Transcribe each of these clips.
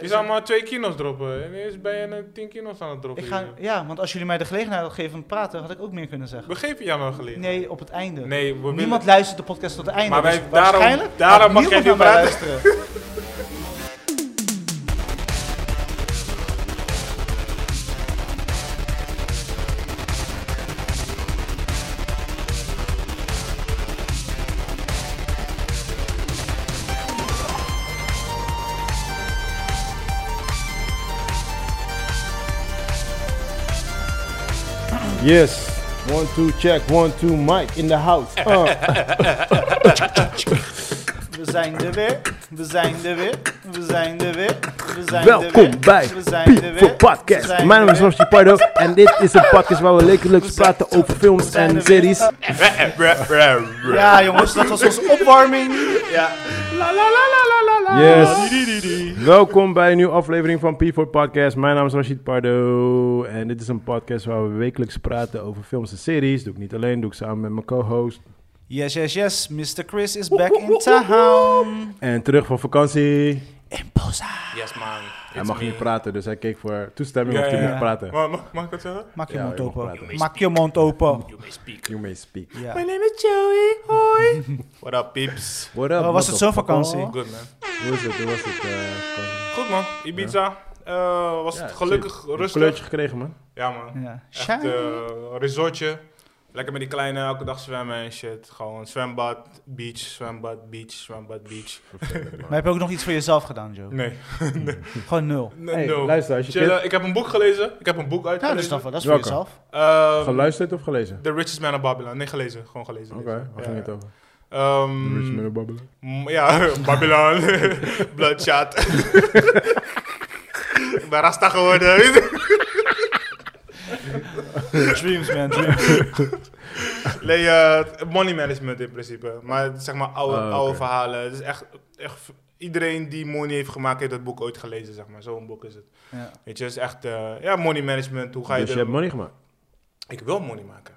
Je zou maar twee kinos droppen en eerst ben je een tien kinos aan het droppen. Ik ga, hier. ja, want als jullie mij de gelegenheid hadden gegeven om te praten, had ik ook meer kunnen zeggen. We geven jou wel geleerd. Nee, op het einde. nee we willen- Niemand luistert de podcast tot het einde. Maar wij- dus daarom- waarschijnlijk daarom gaat mag niemand jij niet naar mij praten. luisteren. Yes. One, two, check. One, two, mic in the house. Uh. We zijn er weer. We zijn er weer. We zijn er weer. We zijn er weer. Welkom bij We zijn er People weer. We Podcast. zijn er Mijn naam is weer. Ramsey Pardo en dit is een podcast waar we lekkerlijks praten over films zijn en er weer. series. Ja, jongens, dat was onze opwarming. Yes. Welkom bij een nieuwe aflevering van P4 Podcast. Mijn naam is Rashid Pardo. En dit is een podcast waar we wekelijks praten over films en series. Doe ik niet alleen, doe ik samen met mijn co-host. Yes, yes, yes. Mr. Chris is back in town. En terug van vakantie. Imposa. Yes man. Hij mag niet praten, dus hij keek voor toestemming of hij ja, mocht ja. praten. Ma- mag, mag ik dat zeggen? Maak je Ja, mond je mag open. praten. Maak je mond open. You may speak. Ja. My name is Joey. Hoi. What up peeps? What up, Wel, Oh, was het zo'n motherfucker? vakantie? Good man. Hoe is het? Hoe was het? eh, vakantie? Goed man. Ibiza. Eh, was het gelukkig Een rustig. kleurtje gekregen, man. Ja man. Ja. Echt Shine. eh, resortje. Lekker met die kleine elke dag zwemmen en shit. Gewoon zwembad, beach, zwembad, beach, zwembad, beach. Maar heb je ook nog iets voor jezelf gedaan, Joe? Nee. Gewoon nul. N- Hey, no. luister, als je Chillen. kind- Ik heb een boek gelezen. Ik heb een boek Nou, dat is uitgelezen. dan wel. Dat is voor Welke? jezelf. Ehm, Geluisterd of gelezen? The Richest Man of Babylon. Nee, gelezen. Gewoon gelezen. Oké, gelezen. waar Ja, ging het ja. over? Ehm, Rich Man of Babylon. m- ja, Babylon. Bloodshot. Ik ben Rasta geworden. Dreams, man. Dreams. nee, eh, money management in principe. Maar zeg maar oude, Ah, oké. oude verhalen. Het is echt, echt... Iedereen die money heeft gemaakt, heeft dat boek ooit gelezen, zeg maar. Zo'n boek is het. Ja. Weet je, het is echt... eh, ja, money management. Hoe ga je... Dus je er- hebt money gemaakt? Ik wil money maken.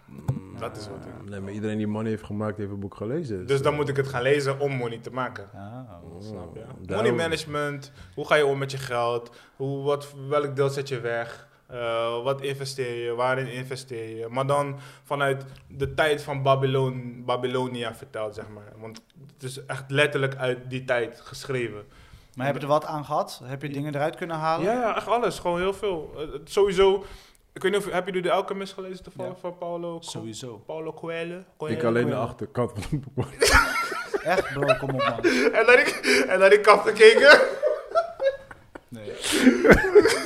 Dat is wat ik... Nee, maar iedereen die money heeft gemaakt, heeft een boek gelezen. eh, oh, Dus dan moet ik het gaan lezen om money te maken. Ah, Snap Ja. Money management, hoe ga je om met je geld? Hoe, wat, welk deel zet je weg? Eh, wat investeer je? Waarin investeer je? Maar dan vanuit de tijd van Babylon, Babylonia verteld, zeg maar. Want het is echt letterlijk uit die tijd geschreven. Maar heb je er wat aan gehad? Heb je dingen eruit kunnen halen? Ja, ja, echt alles. Gewoon heel veel. Eh, het- sowieso, ik weet niet of, heb je de Alchemist gelezen toevallig Ja. van Paulo? Co- Sowieso. Paulo Coelho? Ik Coelho? alleen de Coelho. achterkant van het boek. Echt, bro, kom op, man. En naar die, en naar die kaf gekeken. Nee.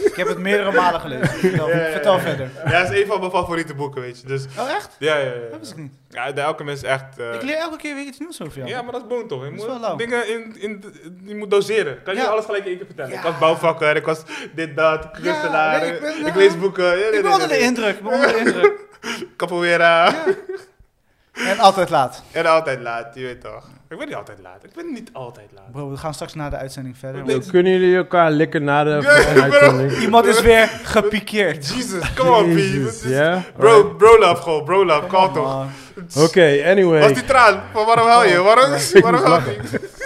ik heb het meerdere malen gelezen. Vertel, Ja, ja, ja. vertel verder. Ja, dat is een van mijn favoriete boeken, weet je. Dus, Oh, echt? ja, ja, ja. Dat wist ik niet. Ja, de Alchemist is echt... eh, Ik leer elke keer weer iets nieuws over jou. Ja, maar dat is boom toch? Je is moet wel lauw. dingen in, in, je moet doseren. Kan je Ja. alles gelijk in één keer vertellen? Ja. Ik was bouwvakker, ik was dit, dat, kunstenaar, nee, ik ik, ben- eh, lees boeken. Ja, nee, nee, ik ben nee, onder de nee. indruk. Ik ben onder de indruk. Capoeira. En altijd laat. En altijd laat, je weet toch. Ik ben niet altijd laat. Ik ben niet altijd laat. Bro, we gaan straks na de uitzending verder. Nee. want Kunnen jullie elkaar lekker na de bro. uitzending? Iemand is weer gepikeerd. Jesus, come on, Jezus, P. ja? Bro, bro love gewoon, bro love, kalm toch. Man. Oké, anyway. Was die traan? Van waarom hel je? Waarom, waarom moest hel je?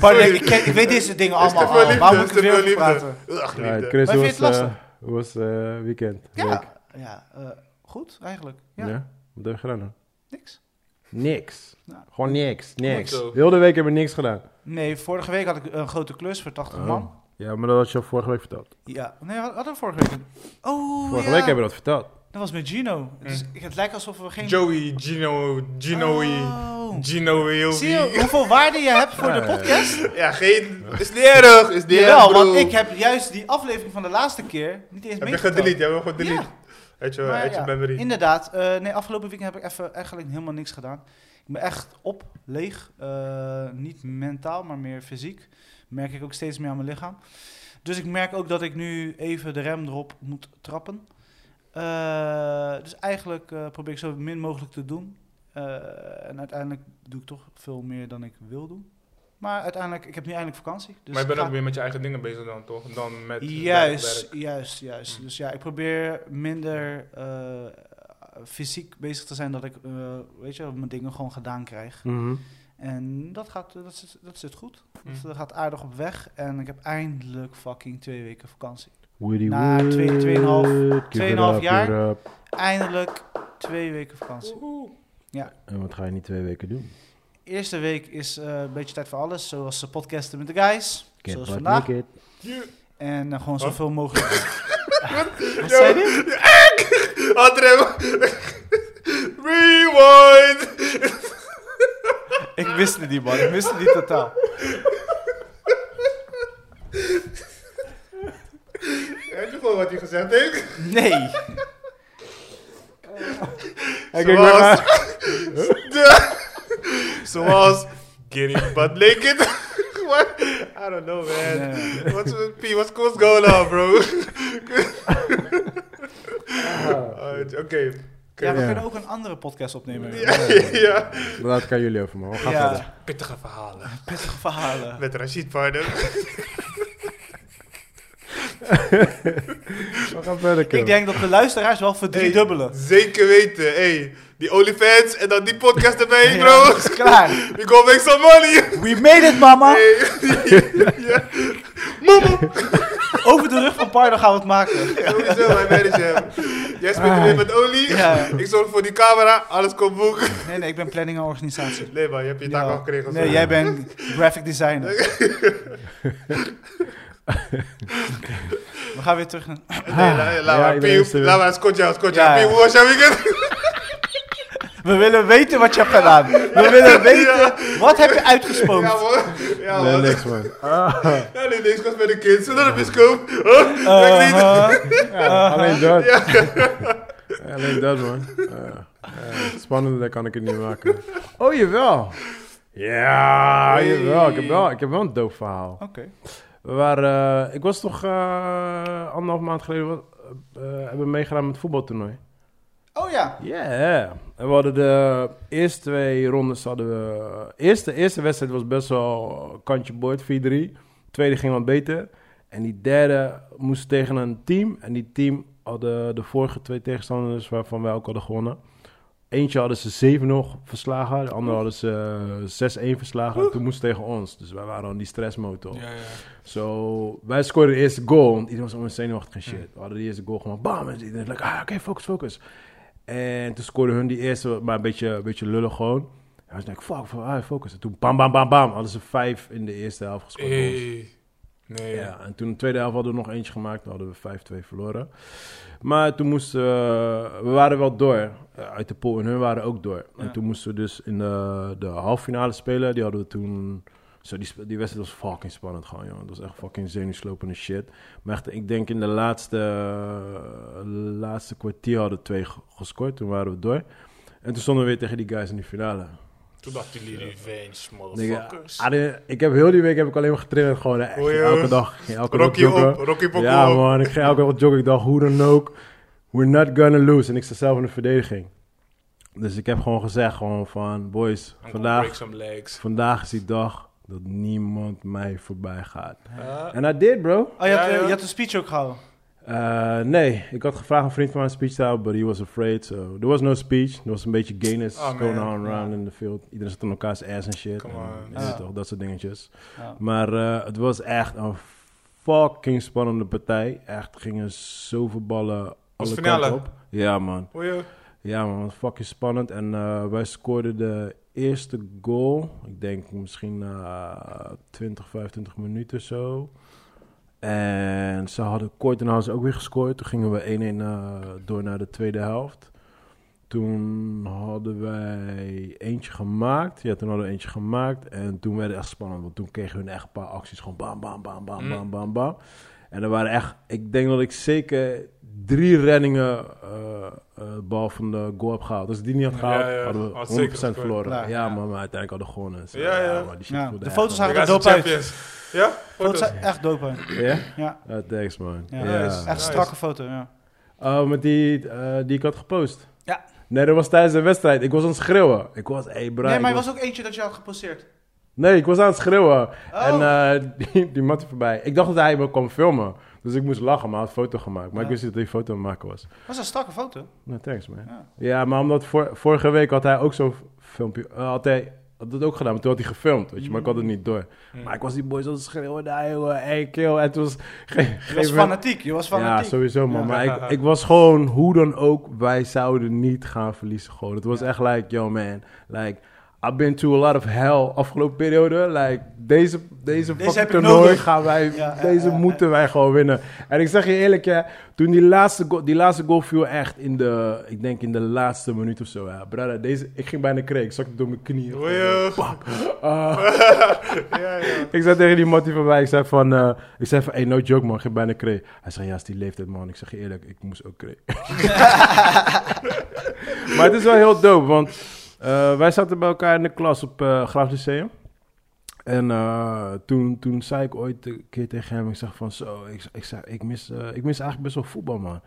Pardon, ik, ken- ik weet deze dingen Is te allemaal veel al. Waarom moet liefde, is te ik er weer veel over liefde. praten? Ugh, Alright, liefde. Chris, Maar hoe vind was, je het eh, hoe was eh, weekend? Week? Ja, ja eh, goed eigenlijk. Ja, Ja? Wat heb je gedaan dan? niks. Niks. Nou. Gewoon niks, niks. zo. Heel de week hebben we niks gedaan. Nee, vorige week had ik een grote klus voor 80 man. Oh. Ja, maar dat had je al vorige week verteld. Ja, nee, had- hadden we vorige week. een- Oh, Vorige ja. week hebben we Mm. dat verteld. Dat was met Gino. Dus ik- het lijkt alsof we geen... Joey, Gino, Ginoey, Oh. Ginoey. Zie je hoeveel waarde je hebt voor Ja, de ja, ja. podcast? Ja, geen. Is niet erg, is niet erg. Jawel, want bro. ik heb juist die aflevering van de laatste keer niet eens Heb je meegeteld. gedelete? Heb je gewoon delete? Ja, Uit je, maar uit je ja, memory. inderdaad. Eh, nee, afgelopen weekend heb ik even eigenlijk helemaal niks gedaan. Ik ben echt op, leeg. Eh, niet mentaal, maar meer fysiek. Merk ik ook steeds meer aan mijn lichaam. Dus ik merk ook dat ik nu even de rem erop moet trappen. Eh, dus eigenlijk eh, probeer ik zo min mogelijk te doen. Eh, en uiteindelijk doe ik toch veel meer dan ik wil doen. Maar uiteindelijk, ik heb nu eindelijk vakantie. Dus maar je ik bent ga- ook weer met je eigen dingen bezig dan, toch? Dan met Juist, werk. juist, juist. Mm. Dus ja, ik probeer minder eh, fysiek bezig te zijn dat ik, eh, weet je, wel, mijn dingen gewoon gedaan krijg. Mhm. En En dat, gaat, eh, dat, zit, dat zit goed. Dat Hm. eh, gaat aardig op weg. En ik heb eindelijk fucking twee weken vakantie. Woody Na Wood, twee- tweeënhalf- give it tweeënhalf up, jaar. give it up. Eindelijk twee weken vakantie. Woehoe. En wat ga je niet twee weken doen? Eerste week is eh, een beetje tijd voor alles. Zoals eh, podcasten met de guys. Get zoals butt vandaag. naked. Je- En eh, gewoon Huh? zoveel mogelijk. Wat zei je? Adrem. Rewind. Ik wist het niet, man. Ik wist het niet totaal. Heb je gewoon wat hij gezegd heeft? Nee. Eh, Hey, kijk maar Zoals... naar- De- Zoals... Getting butt naked. What? I don't know, man. Nee. What's, P, what's, what's going on, nou, bro? Alright, Oké. Ah, Oké. Ja, we Ja. kunnen ook een andere podcast opnemen. Ja, ja, ja. Dat kan jullie over, man. We gaan Ja. verder. Pittige verhalen. Pittige verhalen. Met Rashid Pardon. We gaan verder, Kim. Ik denk dat de luisteraars wel verdriedubbelen. Hey, zeker weten. Hey, die OnlyFans en dan die podcast erbij, Ja, bro. dat is klaar. We go make some money. We made it, mama. Hey. ja. Mama. Over de rug van Pardo gaan we het maken. Sowieso, wij manage hem. Jij speelt weer met Oli. Ah, Ja. Ik zorg voor die camera. Alles komt boeken. Nee, nee, ik ben planning en organisatie. Nee, man. Je hebt je taak Ja. al gekregen. Nee, jij bent graphic designer. Oké. We gaan weer terug naar... Nee, la- laat Ah. Ja, maar. ik ben Piep. eerste weer. Laat maar. Scotja, Scotja. Ja. Piep, hoe was jouw weekend? We willen weten wat je hebt gedaan. We willen Ja. weten... Wat heb je Ja, uitgesproken? man. Ja, Nee, man. niks, man. Ah, Ja, nee, nee. Ik was met de kids. Zonder een bioscoop. Huh? Eh, Lekker niet. huh? ja, alleen dat. Alleen dat, man. Ja. Ja, spannender dan kan ik het niet maken. Oh, jawel. Ja, Hey. jawel. Ik heb wel, ik heb wel een doof verhaal. Oké. We waren, eh, ik was toch eh, anderhalf maand geleden, wat- eh, eh, hebben we meegedaan met het voetbaltoernooi. Oh ja. Ja, en we hadden de eerste twee rondes hadden we... Eerste, eerste wedstrijd was best wel kantje boord, 4-3. Tweede ging wat beter. En die derde moest tegen een team. En die team hadden de vorige twee tegenstanders waarvan wij ook hadden gewonnen. Eentje hadden ze 7-0 verslagen. De andere hadden ze eh, 6-1 verslagen. En toen moest ze tegen ons. Dus wij waren aan die stressmotor. Ja, ja. Zo, wij scoorden de eerste goal. Want iedereen was allemaal zenuwachtig en shit. We hadden de eerste goal gewoon bam. En iedereen like, ah, oké, focus, focus. En toen scoorden hun die eerste, maar een beetje, een beetje lullig gewoon. En was like, fuck, fuck, ah, focus. En toen bam, bam, bam, bam. Hadden ze vijf in de eerste helft gescoord. voor ons. Hey. Nee. Ja, en toen in de tweede helft hadden we nog eentje gemaakt. Dan hadden we 5-2 verloren. Maar toen moesten we... We waren wel door eh, uit de pool. En hun waren ook door. Ja. En toen moesten we dus in de, de halffinale spelen. Die hadden we toen... Zo, die, sp- die wedstrijd was fucking spannend gewoon, jongen. Dat was echt fucking zenuwslopende shit. Maar echt, ik denk in de laatste, eh, laatste kwartier hadden we twee ge- gescoord. Toen waren we door. En toen stonden we weer tegen die guys in die finale. Toen dachten jullie revenge, Nigga, motherfuckers. Ah, nee, ik heb heel die week heb ik alleen maar getraind. Gewoon eh, echt, Oei, elke oei. dag. Elke dag Rocky joggen. op, Rocky Poco Ja, op. man, ik ging elke keer op joggen. Ik dacht, hoe dan ook, we're not gonna lose. En ik sta zelf in de verdediging. Dus ik heb gewoon gezegd, gewoon van, boys, I'm gonna break vandaag, some legs. vandaag is die dag dat niemand mij voorbij gaat. Ah. En I did, bro. Oh, je had, Ja, eh, joh. je had een speech ook gehouden. Eh, nee, ik had gevraagd een vriend van mij een speech te houden, but he was afraid. So there was no speech. Er was een beetje gayness Oh, man. going on around in the field. Iedereen zat in elkaars ass en shit. Come En, on. Ah. je weet Ja. toch, dat soort dingetjes. Ja. Maar eh, het was echt een fucking spannende partij. Echt gingen zoveel ballen alle finale? kanten op. Ja man, Hoor je? ja man, was fucking spannend. En eh, wij scoorden de eerste goal. Ik denk misschien na 20, 25 minuten zo. En ze hadden kort daarna hadden ze ook weer gescoord. Toen gingen we 1-1 eh, door naar de tweede helft. Toen hadden wij eentje gemaakt. Ja, toen hadden we eentje gemaakt. En toen werd het echt spannend. Want toen kregen hun echt een paar acties. Gewoon bam, bam, bam, bam, Mm. bam, bam, bam. En er waren echt... Ik denk dat ik zeker drie reddingen eh, eh, bal van de goal heb gehaald. Als ik die niet had Ja, gehaald, ja, ja. hadden Had we zeker 100% gescoord. verloren. Klaar. ja, maar, maar uiteindelijk hadden we gewonnen. Zo, Ja, ja. maar die shit Ja, voelde de echt foto's gewoon- zagen er De dope Gaza uit. Champions. Ja? Foto's Foto's. zijn echt dope uit. Ja? Ja. Ah, thanks, man. Ja. Ja. Nice. Echt een strakke foto, ja. Oh, met die, eh, die ik had gepost. Ja. Nee, dat was tijdens de wedstrijd. Ik was aan het schreeuwen. Ik was, hey, bro. nee, maar ik er was ook eentje dat je had geposteerd. Nee, ik was aan het schreeuwen. Oh. En eh, die, die matte voorbij. Ik dacht dat hij me kwam filmen. Dus ik moest lachen, maar hij had een foto gemaakt. Maar Ja. ik wist niet dat hij een foto aan het maken was. Dat is een strakke foto. Nou, thanks man. Ja. Ja, maar omdat vor- vorige week had hij ook zo'n filmpje. eh, had hij had dat ook gedaan, maar toen had hij gefilmd, weet je, maar ik had het niet door. Mm. Maar ik was die boys al schreeuwen, daar jongen, hey kill. En toen was geen Je was fanatiek, je was Ja, fanatiek. sowieso man. Ja. Maar ik, ik was gewoon, hoe dan ook, wij zouden niet gaan verliezen gewoon. Het was echt like, yo man, like... I've been to a lot of hell afgelopen periode. Like, deze, deze fucking heb ik toernooi nodig. gaan wij, Ja, ja, deze ja, moeten wij gewoon winnen. En ik zeg je eerlijk, hè, toen die laatste, goal, die laatste goal viel echt in de, ik denk in de laatste minuut of zo. Ja. Brada, deze, ik ging bijna kreeg. Ik zakte door mijn knieën. Doei, joh. Ah. Ja, ja. Ik zei tegen die mattie van mij, ik zei van, eh, ik zei van, hey, no joke man, ik heb bijna kree. Hij zei, ja, is die leeftijd man. Ik zeg je eerlijk, ik moest ook kree. maar het is wel heel dope, want eh, wij zaten bij elkaar in de klas op eh Graaf Lyceum. En eh, toen, toen zei ik ooit een keer tegen hem, ik zeg van, zo, ik, ik, zei, ik, mis, eh, ik mis eigenlijk best wel voetbal man.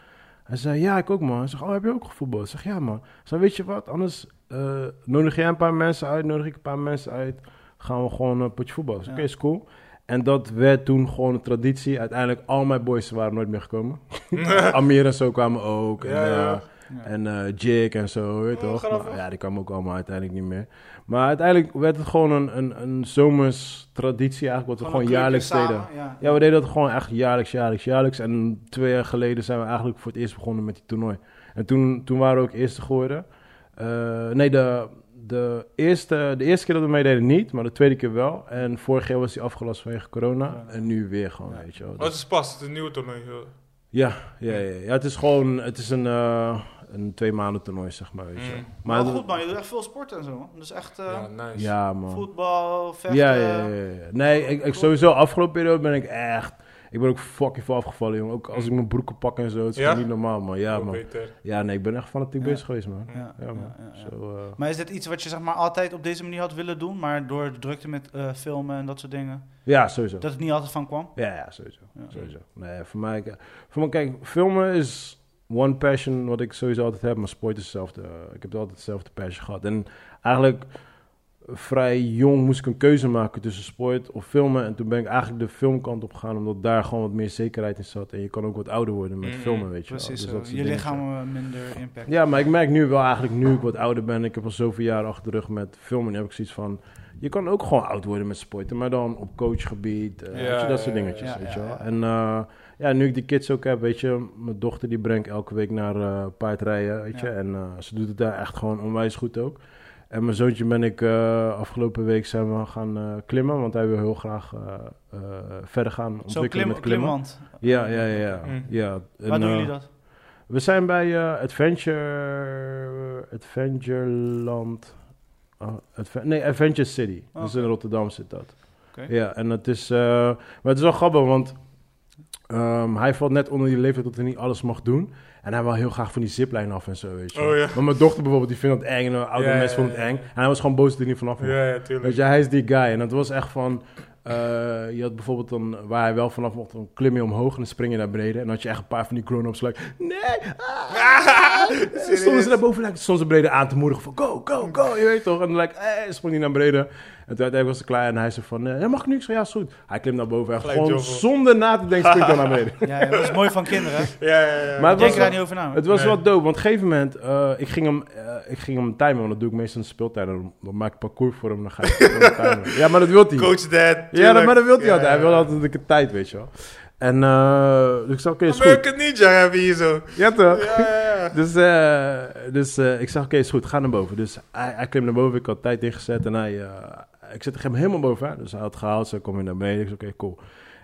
Hij zei, ja, ik ook man. Hij zegt, oh, heb je ook gevoetbald? Ik zeg, ja man. Zo, weet je wat, anders eh, nodig jij een paar mensen uit, nodig ik een paar mensen uit gaan we gewoon een potje voetbal. Ik zei, Ja. Oké, is cool. En dat werd toen gewoon een traditie. Uiteindelijk, al mijn boys waren nooit meer gekomen. Amir en zo kwamen ook. En, Ja, ja. eh, en eh, Jake en zo, weet je Oh, toch? grappig. Maar ja, die kwamen ook allemaal uiteindelijk niet meer. Maar uiteindelijk werd het gewoon een, een, een zomers traditie eigenlijk, wat we gewoon, jaarlijks deden. Ja. Ja, we deden dat gewoon echt jaarlijks, jaarlijks, jaarlijks. En twee jaar geleden zijn we eigenlijk voor het eerst begonnen met die toernooi. En toen, toen waren we ook eerste geworden. Eh, nee, de, de, eerste, de eerste keer dat we meededen niet, maar de tweede keer wel. En vorig jaar was die afgelast vanwege corona. Ja. En nu weer gewoon, weet je wel. Oh, het is pas, het is een nieuw toernooi. joh. Ja, ja, ja, ja, het is gewoon, het is een, eh, een twee maanden toernooi, zeg maar, weet je wel. Mm. Maar dat- goed man, je doet echt veel sport en zo man. Dus echt eh, Ja, nice. Ja, man. voetbal, eh, vechten. Ja, ja, ja, ja. Nee, ik, ik sowieso afgelopen periode ben ik echt. Ik ben ook fucking veel afgevallen, jongen. Ook als Mm. ik mijn broeken pak en zo. Het is Ja? gewoon niet normaal, man. Ja, Ook man. beter. Ja, nee, ik ben echt fanatiek Ja. bezig geweest, man. Ja, Ja, ja, man. ja, ja. Zo, eh, Maar is dit iets wat je zeg maar altijd op deze manier had willen doen, maar door de drukte met eh, filmen en dat soort dingen, ja, sowieso. dat het niet altijd van kwam? Ja, ja, sowieso. Ja. sowieso. Nee, voor mij, eh, voor mij, kijk, filmen is one passion wat ik sowieso altijd heb, maar sport is hetzelfde. Ik heb altijd dezelfde passion gehad. En eigenlijk eh, vrij jong moest ik een keuze maken tussen sport of filmen. En toen ben ik eigenlijk de filmkant op gegaan, omdat daar gewoon wat meer zekerheid in zat. En je kan ook wat ouder worden met Mhm, filmen, weet je wel. Mm-hmm. Precies, zo. Dus dat is het je dingetje. lichaam eh, minder impact. Ja, maar ik merk nu wel eigenlijk, nu ik wat ouder ben, ik heb al zoveel jaren achter de rug met filmen, heb ik zoiets van, je kan ook gewoon oud worden met sporten, maar dan op coachgebied, eh, Ja, weet je, dat soort ja, dingetjes, ja, weet je ja, wel. ja. En eh, ja, nu ik die kids ook heb, weet je, mijn dochter die brengt elke week naar eh, paardrijden, weet je, Ja. en eh, ze doet het daar echt gewoon onwijs goed ook. En mijn zoontje ben ik eh, afgelopen week zijn we gaan eh, klimmen, want hij wil heel graag eh, eh, verder gaan ontwikkelen Zo klim, met klimmen. klimwand. Ja, ja, ja. ja. Mm. ja. En, Waar doen eh, jullie dat? we zijn bij eh, Adventure... Adventureland... Ah, Adve- nee, Adventure City. Oh, Dus Oké. in Rotterdam zit dat. Oké. Ja, en het is... eh, maar het is wel grappig, want... ehm, hij valt net onder die leeftijd dat hij niet alles mag doen. En hij wil heel graag van die ziplijn af en zo, weet je. wel. Oh, ja. Maar mijn dochter bijvoorbeeld, die vindt dat eng. En een oude Ja, ja, mensen vonden ja, het ja. eng. En hij was gewoon boos dat hij niet vanaf mocht. Ja, ja, tuurlijk. Weet je, hij is die guy. En het was echt van... eh, je had bijvoorbeeld een, waar hij wel vanaf mocht, dan klim je omhoog en dan spring je naar beneden. En dan had je echt een paar van die grown-ups, like, nee! Ah, serieus? stonden ze daar boven, like, stonden ze beneden aan te moedigen van, go, go, go, je weet toch? En dan like, eh, sprong hij naar beneden. En toen uiteindelijk was hij klaar en hij zei van, eh, ja, mag ik nu? Ik zei, ja, is goed. Hij klimt naar boven en Gelijk gewoon joggen. zonder na te denken springt hij naar beneden. Ja, ja, dat is mooi van kinderen. hè? Ja, ja, ja. Maar Denk het was er wel- daar niet over na. hoor. Het was Nee. wel dope, want op een gegeven moment, eh, ik, ging hem, eh, ik ging hem timen, want dat doe ik meestal in de speeltijd. Dan, dan maak ik parcours voor hem, dan ga ik hem timen. Ja, maar dat wil hij. Coach Dad. Ja, dat- maar dat wil hij ja, altijd. Hij ja. wil altijd dat ik het tijd, weet je wel. En eh, dus ik zei, oké, is goed. American Ninja hebben we hier zo. Ja, toch? Ja, ja, ja. Dus, eh, dus eh, ik zei, oké, is goed, ga naar boven. Dus hij, hij klim naar boven, ik had tijd ingezet en hij, eh, ik zette hem helemaal boven. Hè? Dus hij had gehaald, zo kom je naar beneden. Ik zei, oké, cool.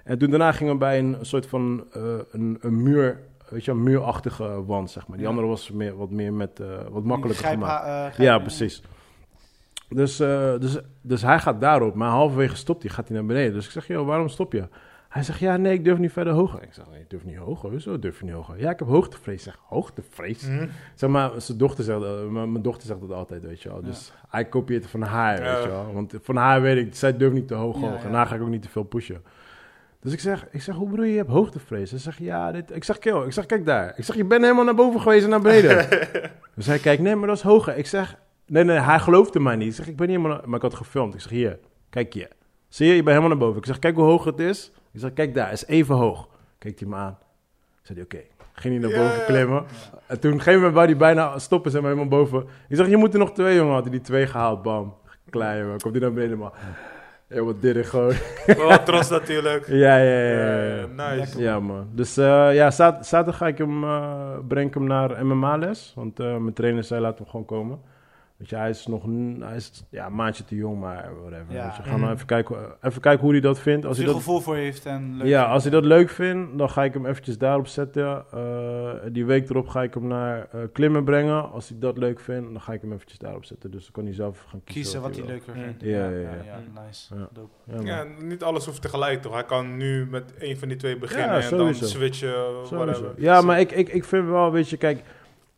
En toen daarna gingen we bij een soort van eh, een, een muur, weet je, een muurachtige wand, zeg maar. Die Ja. andere was meer, wat meer met, eh, wat makkelijker Grijp- gemaakt. eh, grijp- Ja, precies. Dus, eh, dus, dus hij gaat daarop, maar halverwege stopt hij, gaat hij naar beneden. Dus ik zeg, joh, waarom stop je? Hij zegt, ja, nee, ik durf niet verder hoger. Ik zeg, nee, ik durf niet hoger. Hoezo durf je niet hoger? Ja, ik heb hoogtevrees. Ik zeg, hoogtevrees? Hm. Zeg maar, zijn dochter zegt, dat- m- mijn dochter zegt dat altijd, weet je wel. Dus hij kopieert het van haar, Ja. weet je wel. Want van haar weet ik, zij durft niet te hoog Ja, hoog. En ja. daar ga ik ook niet te veel pushen. Dus ik zeg, ik zeg, hoe bedoel je, je hebt hoogtevrees? Hij zegt, ja, dit... Ik zeg, kill. Ik zeg, kijk daar. Ik zeg, je bent helemaal naar boven geweest en naar beneden. dus hij kijkt, nee, maar dat is hoger. Ik zeg, nee, nee, hij geloofde mij niet. Ik zeg, ik ben niet helemaal... naar- Maar ik had gefilmd. Ik zeg, hier, kijk hier. Zie je, je bent helemaal naar boven. Ik zeg, kijk hoe hoog het is. Ik zeg, kijk daar, is even hoog. Kijkt hij me aan. Zei hij, oké. Ging hij naar Ja, boven ja. klimmen. En toen op een gegeven moment waar hij bijna stoppen, zijn we helemaal boven. Ik zeg, je moet er nog twee, jongen. Had hij die twee gehaald, bam. Klein, man. Komt die naar beneden, man. Helemaal dirrig gewoon. Wel trots natuurlijk. ja, ja, ja, ja, Eh, ja. nice. Ja, man. Dus eh, ja, za- zaterdag ga ik hem, eh, breng ik hem naar MMA-les. Want eh, mijn trainer zei, laat hem gewoon komen. Weet je, hij is nog n- hij is, ja, een maandje te jong, maar whatever. Ja. Weet je, ga Mhm. nou even kijken, even kijken hoe hij dat vindt. Als Als hij hij dat, gevoel voor heeft en leuk. ja, als hij dat leuk vindt, dan ga ik hem eventjes daarop zetten. Eh, die week erop ga ik hem naar eh, klimmen brengen. Als hij dat leuk vindt, dan ga ik hem eventjes daarop zetten. Dus dan kan hij zelf gaan kiezen. kiezen wat hij wil. leuker Mm. vindt. Ja, ja, ja. Mm. nice. Ja. Dope. Ja, man. Ja, niet alles hoeft tegelijk toch? Hij kan nu met één van die twee beginnen Ja, en sowieso. dan switchen. Sowieso. whatever. Ja, maar ik, ik, ik vind wel, weet je, kijk,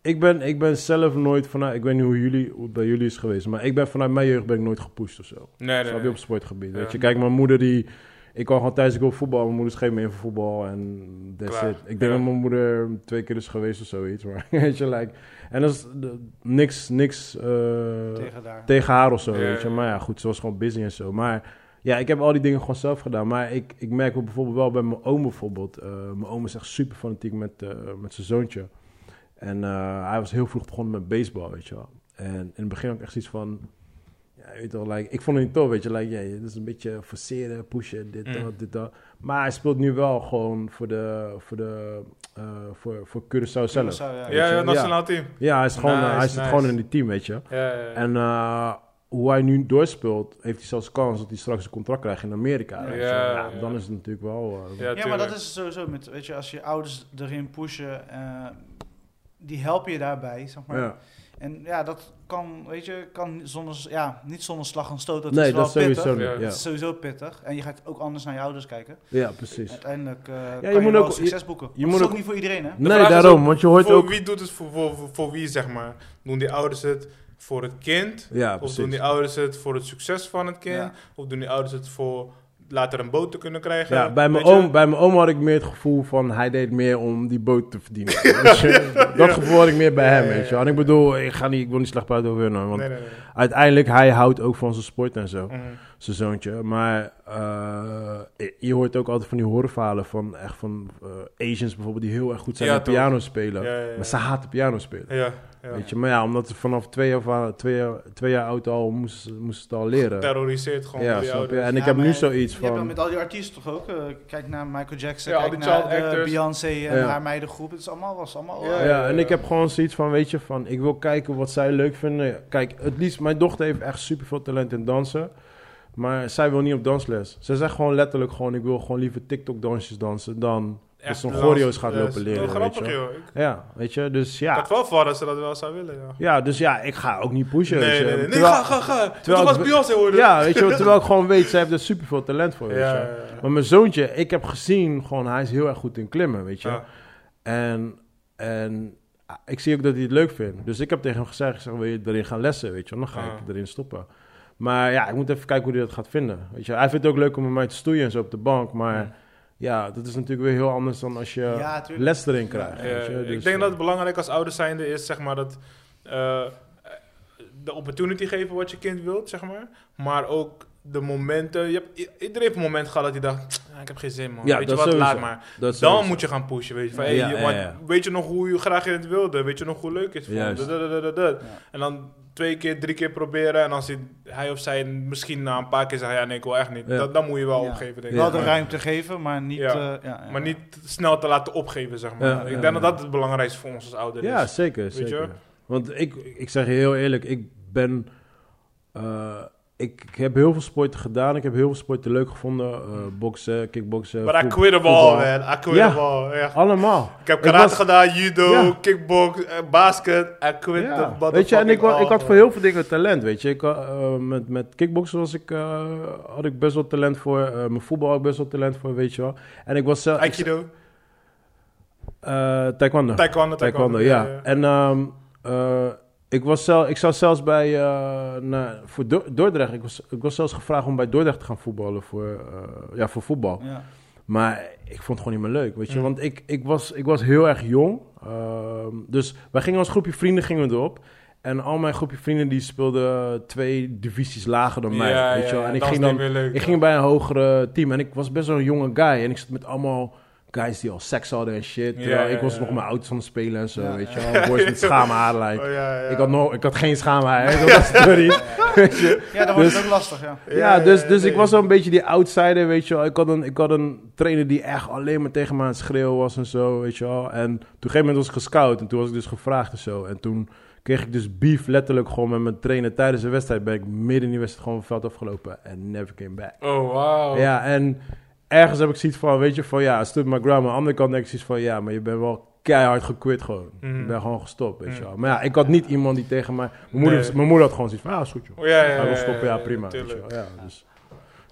ik ben, ik ben zelf nooit vanuit, ik weet niet hoe, jullie, hoe het bij jullie is geweest, maar ik ben vanuit mijn jeugd ben ik nooit gepusht of zo. Nee, nee, Snap je nee. op sportgebied. Ja. Weet je, kijk, mijn moeder die, ik kwam gewoon thuis, ik wil voetbal, mijn moeder schreef me in voor voetbal en that's Klaar. it. Ik denk Ja. dat mijn moeder twee keer is geweest of zoiets, maar weet je, like, en dat is eh, niks, niks eh, Tegen daar. tegen haar of zo, Ja, weet je. ja. Maar ja, goed, ze was gewoon busy en zo. Maar ja, ik heb al die dingen gewoon zelf gedaan. Maar ik, ik merk wel bijvoorbeeld wel bij mijn oom bijvoorbeeld. Eh, mijn oom is echt super fanatiek met, eh, met zijn zoontje. En eh, hij was heel vroeg begonnen met baseball, weet je wel. En in het begin ook echt iets van... Ja, je weet wel, like, ik vond het niet tof, weet je. Like, ja, dit is een beetje forceren, pushen, dit, Mm. dat, dit, dat. Maar hij speelt nu wel gewoon voor de... Voor, de, eh, voor, voor Curaçao zelf. Curaçao, ja. Ja, Weet je, ja, ja. nationaal team. Ja, hij, is gewoon, eh, Nice, hij zit nice. gewoon in het team, weet je. Ja, ja, ja. En eh, hoe hij nu doorspeelt, heeft hij zelfs kans dat hij straks een contract krijgt in Amerika. Ja, Weet je. ja, Ja, ja. Dan is het natuurlijk wel. eh, Ja, Ja, maar dat tuurlijk. is sowieso met, weet je, als je ouders erin pushen, eh, die helpen je daarbij, zeg maar. ja. En ja, dat kan, weet je, kan zonder, ja, niet zonder slag en stoot, dat nee, is wel dat pittig. sowieso Ja. niet. Ja. Dat is sowieso pittig. En je gaat ook anders naar je ouders kijken. ja, precies. Uiteindelijk eh kan je je, moet wel ook- succes boeken. Je moet dat is ook, ook- niet voor iedereen, hè? De nee, vraag is daarom, ook want je hoort voor ook. wie doet het voor, voor, voor, voor wie, zeg maar? Doen die ouders het voor het kind? Ja, of doen die precies. ouders het voor het succes van het kind? Ja. Of doen die ouders het voor later een boot te kunnen krijgen? Ja, bij, mijn Weet je? oom, bij mijn oom had ik meer het gevoel van hij deed meer om die boot te verdienen. Weet je. Dat gevoel had ik meer bij Ja, hem, ja, weet je. ja, En ik ja. bedoel, ik, ga niet, ik wil niet slecht praten over hun, hoor, want Nee, nee, nee. uiteindelijk hij houdt ook van zijn sport en zo. Mhm. zijn zoontje. Maar eh, je hoort ook altijd van die horrorverhalen van echt van eh, Asians bijvoorbeeld die heel erg goed zijn Ja, in toch. piano spelen. Ja, ja, ja. Maar ze haten piano spelen. Ja, ja. Weet je, maar ja, omdat ze vanaf twee jaar, van- twee jaar, twee jaar oud al moesten, ze- moesten ze het al leren. Terroriseert gewoon eh, Ja, die snap je? ouders. En ik Ja, heb nu maar zoiets Je hebt dan van. met al die artiesten toch ook? eh, kijk naar Michael Jackson, Ja, al kijk die child naar eh, actors. Beyoncé en Ja. haar meidengroep. Het is allemaal, was allemaal... Ja, eh, Ja, en ik heb gewoon zoiets van, weet je, van ik wil kijken wat zij leuk vinden. Kijk, het liefst, mijn dochter heeft echt super veel talent in dansen. Maar zij wil niet op dansles. Ze zegt gewoon letterlijk gewoon, ik wil gewoon liever TikTok dansjes dansen dan Echt zo'n last- choreo's gaat ja, lopen is leren, wel weet grappig, je joh. Ik Ja, weet je, dus ja. had wel voor dat ze dat wel zou willen, ja. Ja, dus ja, ik ga ook niet pushen. nee, weet je. nee, nee, nee, Terwijl- ga, ga, ga. terwijl Terwijl was ik- Beyoncé hoorde. Ja, weet je, terwijl ik gewoon weet, zij heeft er super veel talent voor, ja, weet ja, je. ja. Maar mijn zoontje, ik heb gezien, gewoon, hij is heel erg goed in klimmen, weet je. Ja. En, en ah, ik zie ook dat hij het leuk vindt. Dus ik heb tegen hem gezegd, ik zeg, wil je erin gaan lessen, weet je. wel? Dan ga Ja. ik erin stoppen. Maar ja, ik moet even kijken hoe hij dat gaat vinden, weet je. Hij vindt het ook leuk om met mij te stoeien en zo op de bank, maar... Ja. Ja. dat is natuurlijk weer heel anders dan als je Ja, tuurlijk. les erin krijgt. Ja, weet je. Dus, ik denk eh, dat het belangrijk als ouder zijnde is, zeg maar, dat eh, de opportunity geven wat je kind wilt, zeg maar. Maar ook de momenten. Je hebt, i- iedereen heeft een moment gehad dat hij dacht, "Ah, ik heb geen zin, man. Ja, weet je dat wat, sowieso. laat maar. eh, dat Dan sowieso. moet je gaan pushen, weet je. Van, hey, Ja, je- ja, want ja. Weet je nog hoe je graag je het wilde? Weet je nog hoe leuk het vond? Juist. Dat, dat, dat, dat, dat. Ja. En dan twee keer, drie keer proberen. En als hij, hij of zij misschien na een paar keer zegt, ja, nee, ik wil echt niet. Ja. Dat, dan moet je wel Ja. opgeven, denk ik. Wel de Ja. ruimte geven, maar niet... Ja. eh, ja, ja. Maar niet snel te laten opgeven, zeg maar. Ja, ik ja, denk ja. dat dat het belangrijkste voor ons als ouder is. Ja, zeker. Weet je zeker. wel? Want ik, ik zeg je heel eerlijk, ik ben. eh, ik, ik heb heel veel sporten gedaan. Ik heb heel veel sporten leuk gevonden. eh boksen, kickboksen. Maar I voet- quit them all, voetbal. man. I quit Ja. them all. echt. Allemaal. Ik heb Ik karate was- gedaan, judo, Ja. kickbox, eh, basket. I quit Ja. the motherfucking Weet je, en ik, wa- all, ik had voor man. heel veel dingen talent. Weet je, ik, had, eh, met, met kickboksen was ik, eh, had ik best wel talent voor. eh, mijn voetbal had ik best wel talent voor, weet je wel. En ik was zelf. ik- Aikido, eh, taekwondo. taekwondo, Taekwondo, ja. En ehm, eh, ik, was zelf, ik zou zelfs bij eh, na- voor Do- Dordrecht, ik was, ik was zelfs gevraagd om bij Dordrecht te gaan voetballen voor, eh, ja, voor voetbal. Ja. Maar ik vond het gewoon niet meer leuk, weet je. Mm. Want ik, ik, was, ik was heel erg jong. Ehm, dus wij gingen als groepje vrienden gingen we erop. En al mijn groepje vrienden die speelden twee divisies lager dan mij, Ja, weet je wel. ja, En ik dat ging was dan niet meer leuk, ik ja. ging bij een hogere team en ik was best wel een jonge guy. En ik zat met allemaal guys die al seks hadden en shit. Ja, terwijl ja, ik was ja. nog mijn auto's aan het spelen en zo, Ja, weet ja. je wel. Boys met schaamhaar, like. Oh, ja, ja. Ik, had nog, ik had geen schaamhaar, hè. dat was de story. weet je. Ja, dan wordt Dus- het ook lastig, ja. Ja, Ja, dus, ja, dus nee. ik was zo'n beetje die outsider, weet je wel. Ik had, een, ik had een trainer die echt alleen maar tegen me aan het schreeuwen was en zo, weet je wel. En toen op een gegeven moment was ik gescout en toen was ik dus gevraagd en zo. En toen kreeg ik dus beef letterlijk gewoon met mijn trainer. Tijdens de wedstrijd ben ik midden in die wedstrijd gewoon het veld afgelopen en never came back. Oh, wauw. Ja, en ergens heb ik zoiets van, weet je, van ja, stood my ground. Maar aan de andere kant denk ik zoiets van, ja, maar je bent wel keihard gequit gewoon. Mhm. Ik ben gewoon gestopt, weet je Mhm. wel. Maar ja, ik had niet iemand die tegen mij... Mijn moeder, Nee. mijn moeder had gewoon zoiets van, ah, is goed joh. Oh, ja, ja, Hij ja, wil ja, stoppen, ja, ja, prima. weet je tuurlijk. wel. Ja, dus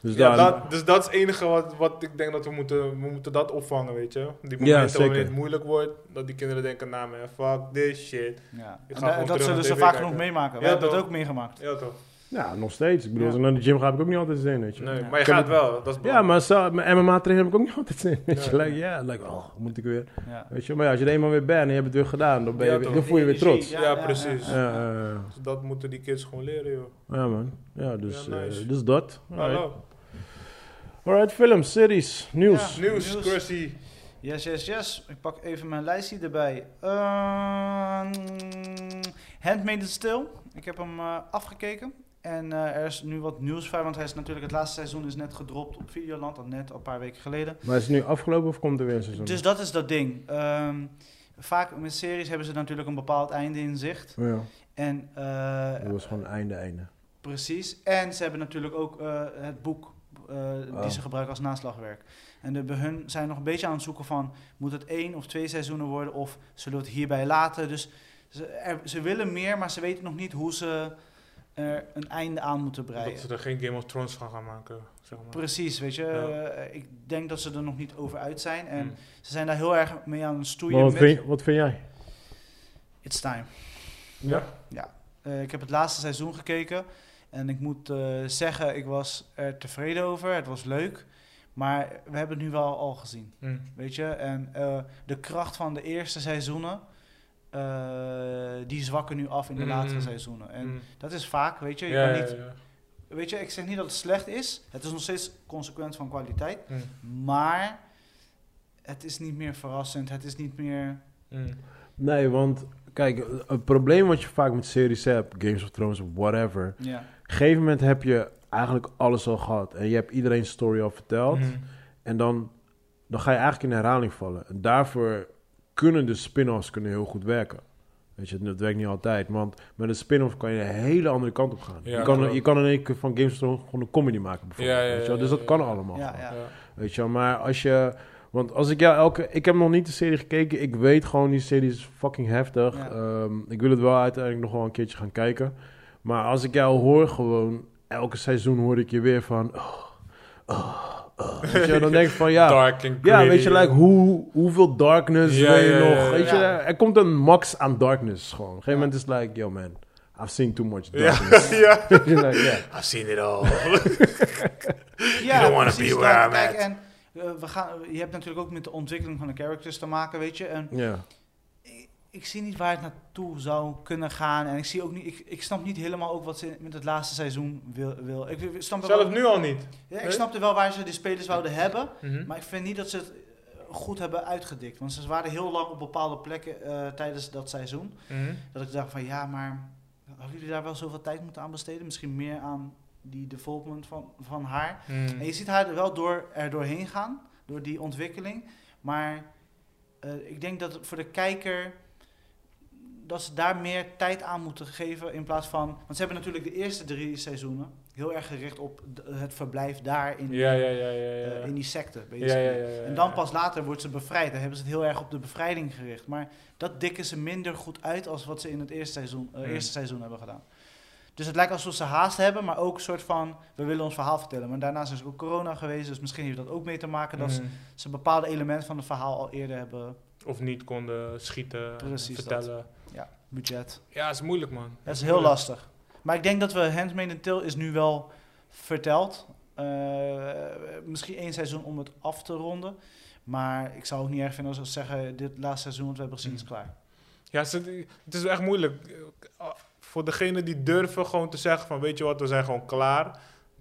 dus Ja, daar- dat, dus dat is het enige wat, wat ik denk dat we moeten, we moeten dat opvangen, weet je. Die Ja, momenten zeker. wanneer het moeilijk wordt, dat die kinderen denken, nou man, fuck this shit. ja. Ik En, ga eh, gewoon dat terug zullen naar ze TV vaak kijken. genoeg meemaken. We Ja, hebben dat toch? ook meegemaakt. Ja toch? ja, nog steeds. Ik bedoel, Ja. als ik naar de gym ga, heb ik ook niet altijd zin, weet je. Nee, Ja. maar je Ik heb gaat wel, dat is Ja, belangrijk. maar zo, mijn MMA-trainer heb ik ook niet altijd zin, weet je. Ja. Ja, like, ja, like, oh, moet ik weer. Ja. Weet je, maar ja, als je er eenmaal weer bent en je hebt het weer gedaan, dan, ben Ja, je, weer- toch. dan voel je weer trots. Ja, precies. Ja, ja, ja. Dus dat moeten die kids gewoon leren, joh. Ja, man. Ja, dus, Ja, nice. eh, dus dat. Alright. Hallo. Alright, films, series, nieuws. Nieuws, Nieuws. Crusty. Yes, yes, yes. Ik pak even mijn lijstje erbij. Ehm Handmaid's Tale. Ik heb hem eh, afgekeken. En eh, er is nu wat nieuws bij, want hij is natuurlijk het laatste seizoen is net gedropt op Videoland, al net al een paar weken geleden. Maar is het nu afgelopen of komt er weer een seizoen? Dus dat is dat ding. Ehm, vaak met series hebben ze natuurlijk een bepaald einde in zicht. Oh ja, En eh, dat was gewoon einde, einde. Precies. En ze hebben natuurlijk ook eh, het boek eh, Oh. die ze gebruiken als naslagwerk. En de, bij hun zijn nog een beetje aan het zoeken van... moet het één of twee seizoenen worden of zullen we het hierbij laten? Dus ze, er- ze willen meer, maar ze weten nog niet hoe ze er een einde aan moeten breien. Dat ze er geen Game of Thrones van gaan maken, zeg maar. Precies, weet je. Ja. Eh, ik denk dat ze er nog niet over uit zijn. En Mm. ze zijn daar heel erg mee aan het stoeien. Maar wat, met- vind, wat vind jij? It's time. Ja? Eh, ik heb het laatste seizoen gekeken. En ik moet eh, zeggen, ik was er tevreden over. Het was leuk. Maar we hebben het nu wel al gezien. Hm. Weet je? En eh, de kracht van de eerste seizoenen. eh, die zwakken nu af in de Mm. latere seizoenen. En Hm. dat is vaak, weet je. Je Ja, kan ja, niet, ja. Weet je, ik zeg niet dat het slecht is. Het is nog steeds consequent van kwaliteit. Hm. Maar het is niet meer verrassend. Het is niet meer. Hm. Nee, want kijk, het probleem wat je vaak met series hebt, Games of Thrones, whatever. Op Ja. een gegeven moment heb je eigenlijk alles al gehad. En je hebt iedereen story al verteld. Hm. En dan, dan ga je eigenlijk in herhaling vallen. En daarvoor kunnen de spin-offs kunnen heel goed werken. Weet je, dat werkt niet altijd. Want met een spin-off kan je een hele andere kant op gaan. Ja, je, kan, klopt. je kan in één keer van Games of Thrones gewoon een comedy maken bijvoorbeeld. Ja, ja, weet je wel. ja, Dus ja, dat kan ja. allemaal. Ja, gewoon. ja. Ja. Weet je wel, maar als je... Want als ik jou elke... Ik heb nog niet de serie gekeken. Ik weet gewoon, die serie is fucking heftig. Ja. Ehm, ik wil het wel uiteindelijk nog wel een keertje gaan kijken. Maar als ik jou hoor gewoon... Elke seizoen hoor ik je weer van... Oh, oh, oh. Weet je wel, dan denk ik van ja... Dark and Ja, weet je, gritty. like, hoe, hoeveel darkness Ja, wil je ja, ja, nog? ja. Weet je, Ja. er komt een max aan darkness gewoon. Op een gegeven Ja. moment is het like, yo man, I've seen too much darkness. Ja, ja. Weet je, like, ja. I've seen it all. Ja, don't wanna precies be where dat. I'm Kijk, at. en eh, we gaan, je hebt natuurlijk ook met de ontwikkeling van de characters te maken, weet je. En Ja. ik, ik zie niet waar het naartoe zou kunnen gaan. En ik, zie ook niet, ik, ik snap niet helemaal ook wat ze met het laatste seizoen wil. wil. Ik, ik snap wel, Zelf nu al niet. ja, ik nee? snapte wel waar ze die spelers wouden hebben. Mhm. Maar ik vind niet dat ze het eh, goed hebben uitgedikt. Want ze waren heel lang op bepaalde plekken eh, tijdens dat seizoen. Mhm. Dat ik dacht van, ja, maar hadden jullie daar wel zoveel tijd moeten aan besteden? Misschien meer aan die development van, van haar. Mhm. En je ziet haar er wel door, er doorheen gaan, door die ontwikkeling. Maar eh, ik denk dat voor de kijker dat ze daar meer tijd aan moeten geven in plaats van... Want ze hebben natuurlijk de eerste drie seizoenen heel erg gericht op d- het verblijf daar in, Ja, ja, ja, ja, ja. eh, in die secte. ja, basically. ja, ja, ja, ja. En dan pas later wordt ze bevrijd. Dan hebben ze het heel erg op de bevrijding gericht. Maar dat dikken ze minder goed uit als wat ze in het eerste seizoen, eh, Hmm. eerste seizoen hebben gedaan. Dus het lijkt alsof ze haast hebben, maar ook een soort van... we willen ons verhaal vertellen. Maar daarnaast is er ook corona geweest, dus misschien heeft dat ook mee te maken... dat ze- Mhm. ze bepaalde elementen van het verhaal al eerder hebben. Of niet konden schieten, eh, Precies vertellen. Budget. Ja, is moeilijk, man. Dat is heel lastig. Maar ik denk dat we Handmaiden Tale is nu wel verteld. Eh, misschien één seizoen om het af te ronden. Maar ik zou ook niet erg vinden als ze zeggen... dit laatste seizoen wat we hebben gezien is Mm. klaar. Ja, ze- het is echt moeilijk. Eh, Voor degene die durven gewoon te zeggen van, weet je wat, we zijn gewoon klaar.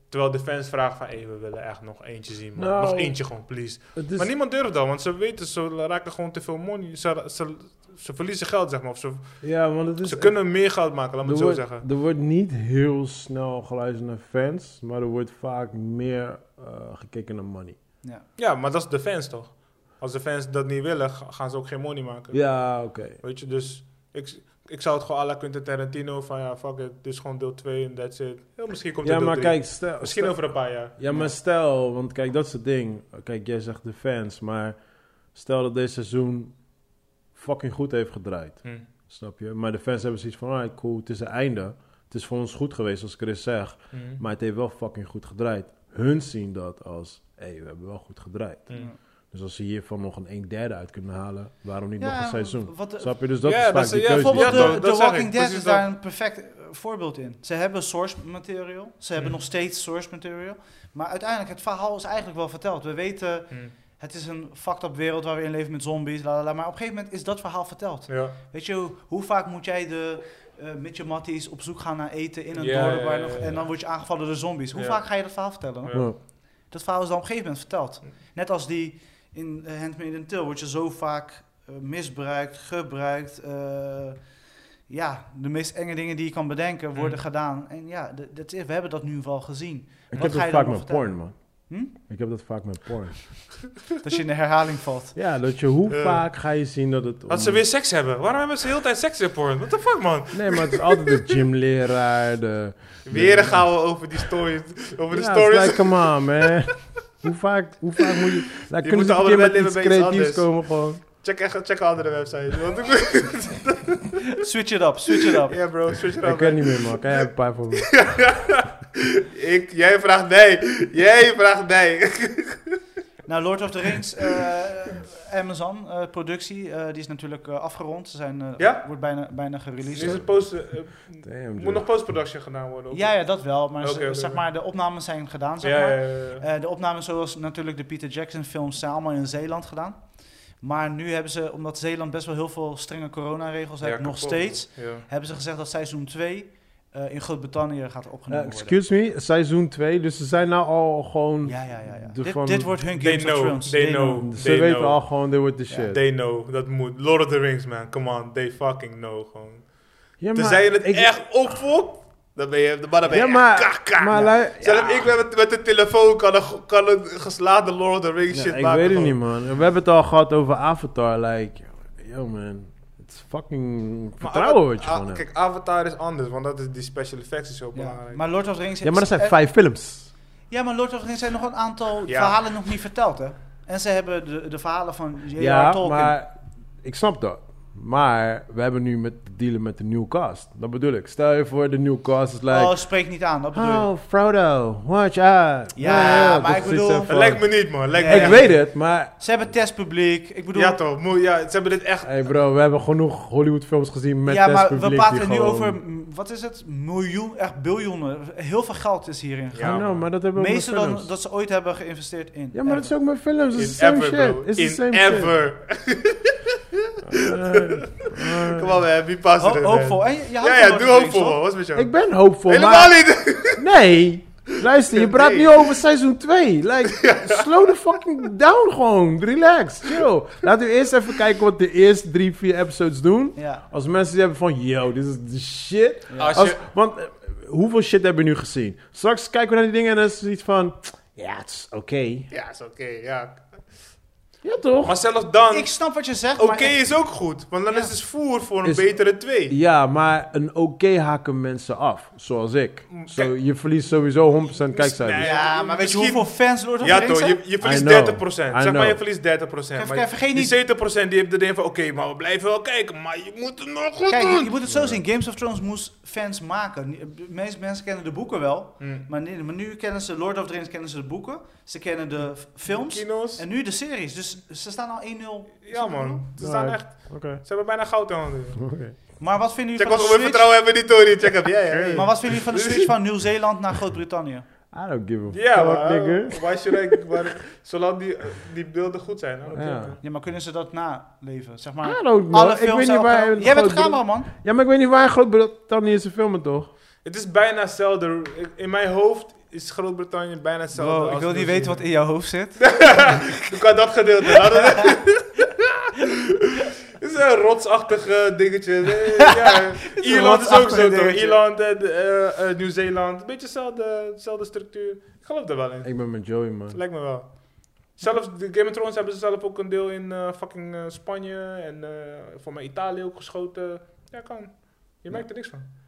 Terwijl de fans vragen van, hey, we willen echt nog eentje zien. man. Nou. Dus- nog eentje gewoon, please. Het is- Maar niemand durft dat, want ze weten, ze raken gewoon te veel money. Ze, ze, ze verliezen geld, zeg maar. Of ze, ja, want Dus het is, ze kunnen meer geld maken, laat me het er zo wordt, zeggen. Er wordt niet heel snel geluisterd naar fans, maar er wordt vaak meer eh, gekeken naar money. Ja. Ja, maar dat is de fans toch? Als de fans dat niet willen, ga- gaan ze ook geen money maken. Ja, oké. Weet je, dus ik, ik zou het gewoon à la Quentin Tarantino van ja, fuck it, dit is gewoon deel 2 en that's it. Heel misschien komt er Ja, deel maar drie. kijk, stel, Misschien stel- over een paar jaar. Ja, maar stel, want kijk, dat is het ding. Kijk, jij zegt de fans, maar stel dat dit seizoen fucking goed heeft gedraaid. Hm. Snap je? Maar de fans hebben zoiets van, alright, cool, het is het einde. Het is voor ons goed geweest, zoals Chris zegt. Hm. Maar het heeft wel fucking goed gedraaid. Hun zien dat als, hé, hey, we hebben wel goed gedraaid. Hm. Dus als ze hiervan nog een 1 derde uit kunnen halen, waarom niet nog Ja, een seizoen? Wat, eh, Snap je? Dus dat Ja, is vaak dat is- die ja, keuze. die bijvoorbeeld eh, Bijvoorbeeld ze dat- de, dat zeg ik, de Walking Dead precies is dat. daar een perfect eh, voorbeeld in. Ze hebben source material. Ze hebben Hmm. nog steeds source material. Maar uiteindelijk, het verhaal is eigenlijk wel verteld. We weten, Hm. het is een fucked up wereld waar we in leven met zombies. la, la, la. Maar op een gegeven moment is dat verhaal verteld. Ja. Weet je, hoe- hoe vaak moet jij de eh met je matties op zoek gaan naar eten in een Ja, dorp waar ja, ja, nog- ja. en dan word je aangevallen door zombies. Hoe Ja. vaak ga je dat verhaal vertellen? Ja. Ja. Dat verhaal is dan op een gegeven moment verteld. Ja. Net als die in eh, Handmaid in Till, word je zo vaak eh, misbruikt, gebruikt. eh, ja, de meest enge dingen die je kan bedenken worden Mm. gedaan. En ja, d- dat is, we hebben dat nu wel gezien. Ik Wat heb ga dat je vaak dan met nog porn, man. Hm? Ik heb dat vaak met porn. Dat je in de herhaling valt. Ja, dat je, hoe Eh. vaak ga je zien dat het... om- Wat ze weer seks hebben. Waarom hebben ze de hele tijd seks in porn? What the fuck, man? Nee, maar het is altijd de gymleraar, de... Weer gaan we over die story, over de ja, stories. it's like, come on, man. hoe, vaak, hoe vaak moet je... Nou, Je kunnen moet ze een allebei keer met leven iets bij iets creatiefs anders. komen gewoon? Check, echt- check een andere website. Want Switch it up, switch it up. ja, bro, switch it ik up. weet niet meer, man. Kan jij een paar voor me? Ik, jij vraagt nee. Jij vraagt nee. Nou, Lord of the Rings, eh, Amazon eh, productie, eh, die is natuurlijk eh, afgerond. Ze zijn, eh, Ja? wordt bijna, bijna gereleased. Is het post, eh, Damn, moet dude. nog post-production gedaan worden? of- Ja, ja, dat wel. Maar ze- Oké, oké, zeg oké. maar, de opnames zijn gedaan, zeg Ja, maar. ja, ja, ja. Eh, de opnames zoals natuurlijk de Peter Jackson films zijn allemaal in Zeeland gedaan. Maar nu hebben ze, omdat Zeeland best wel heel veel strenge coronaregels Ja, heeft, nog kapot, steeds, man. Ja. hebben ze gezegd dat seizoen 2 eh, in Groot-Brittannië gaat opgenomen Eh, worden. excuse me, seizoen 2. Dus ze zijn nou al gewoon... Ja, ja, ja. ja. De Dit, van- dit wordt hun They Game of know, Thrones. they know. ze They weten know. al gewoon, dit wordt de shit. They know, dat moet. Lord of the Rings, man. Come on, they fucking know gewoon. Ja, Tenzij je het ik- echt opvoelt, dan ben je, dan ben je Ja, echt maar- kaka. Maar lui- Zelf ik met, met de telefoon kan een, kan een geslagen Lord of the Rings Ja, shit ik maken. weet het gewoon. niet, man. We hebben het al gehad over Avatar. Like, yo, man. Het is fucking Maar vertrouwen Ava- wat je A- gewoon hebt. Kijk, Avatar is anders, want dat is die special effects is heel Ja, belangrijk. maar Lord of the Rings Ja, maar dat zijn eh, vijf films. Ja, maar Lord of the Rings zijn nog een aantal Ja. verhalen nog niet verteld, hè? En ze hebben de, de verhalen van J.R. Ja, Tolkien. maar ik snap dat. Maar we hebben nu met te dealen met de nieuwe cast. Dat bedoel ik. Stel je voor, de nieuwe cast is Oh, like... spreek niet aan, dat bedoel ik. Oh, Frodo, watch out. Ja, maar dat ik is iets bedoel- van- Het lijkt me niet, man. Lijkt Nee. me Ik echt weet het, maar... Ze hebben testpubliek. Ik bedoel, Ja toch, moe- ja, ze hebben dit echt... Hey bro, we hebben genoeg Hollywood films gezien met ja, maar testpubliek we die praten nu gewoon- over, mm, wat is het? Miljoen, echt biljoenen. Heel veel geld is hierin Ja, gegaan. Ja, nou, maar dat hebben we ook met Meester dan films. dat ze ooit hebben geïnvesteerd in. Ja, maar dat is ook met films. Het is In the same ever, shit. bro. It's the In same ever. shit. Kom op, man. Wie past Ho- er? hoopvol. En je, je houdt Ja, van ja, Lord doe of the Rings, hoopvol, man. toch? Wat is met jou? Ik ben hoopvol, Helemaal maar... niet! Nee! Luister, je praat Nee. nu over seizoen 2. Like, slow the fucking down gewoon. Relax, chill. Laten we eerst even kijken wat de eerste drie, vier episodes doen. Ja. Als mensen die hebben van, yo, dit is de shit. Als Als- je- want eh, hoeveel shit hebben we nu gezien? Straks kijken we naar die dingen en dan is het iets van, ja, het is oké. Ja, is oké, ja. Ja, toch? Maar zelfs dan, Ik oké snap wat je zegt, maar echt- is ook goed. Want dan Ja. is het voer voor een Is- betere twee. Ja, maar een oké haken mensen af, zoals ik. Mm, Zo, kijk. je verliest sowieso 100% kijkcijfers. Nee, Ja, maar weet je Misschien- hoeveel fans Lord of the Ja Rings toch, je, hebben? je I verliest 30%. know. Zeg I know. maar je verliest 30%. Kijk, maar kijk, vergeet die niet- 70% die heeft de ding van, oké, maar we blijven wel kijken. Maar je moet het nog goed Kijk, je- je doen. moet het zo zien. Games of Thrones moest fans maken. De meeste mensen kennen de boeken wel. Hmm. Maar nu, maar nu kennen ze Lord of the Rings, kennen ze de boeken. Ze kennen de f- films. Kino's. En nu de series. Dus ze staan al 1-0. Ja man, ze, staan Nee. echt, Oké. ze hebben bijna goud in handen. Oké. Maar wat vinden Check jullie ons van we de switch? vertrouwen hebben die Tony. Check hem. Ja, ja, ja. Maar wat vinden jullie van de switch van Nieuw-Zeeland naar Groot-Brittannië? I don't give a Ja, fuck, maar, nigga. eh, why should I, maar zolang die, die beelden goed zijn. dan Ja. oké. Ja, maar kunnen ze dat naleven? Zeg maar, I don't know. alle Ah, Ik films weet zijn niet waar- opgenomen. Jij bent de Groot- cameraman. Ja, maar ik weet niet waar in Groot-Brittannië ze filmen, toch? Het is bijna hetzelfde. In mijn hoofd is Groot-Brittannië bijna hetzelfde Bro, ik als wil niet weten wat in Nieuw-Zeeland. jouw hoofd zit. Ik kan dat gedeelte. laten we- Het is een rotsachtige dingetje. Eh, Ja. Ierland is ook rotsachtig zo, toch? dingetje. Ierland, eh, de- eh, eh, Nieuw-Zeeland. Beetje dezelfde, dezelfde structuur. Ik geloof er wel in. Ik ben met Joey, man. Lijkt me wel. Zelfs de Game of Thrones hebben ze zelf ook een deel in eh, fucking eh, Spanje en eh voor mij Italië ook geschoten. Ja, kan. Je merkt er niks van.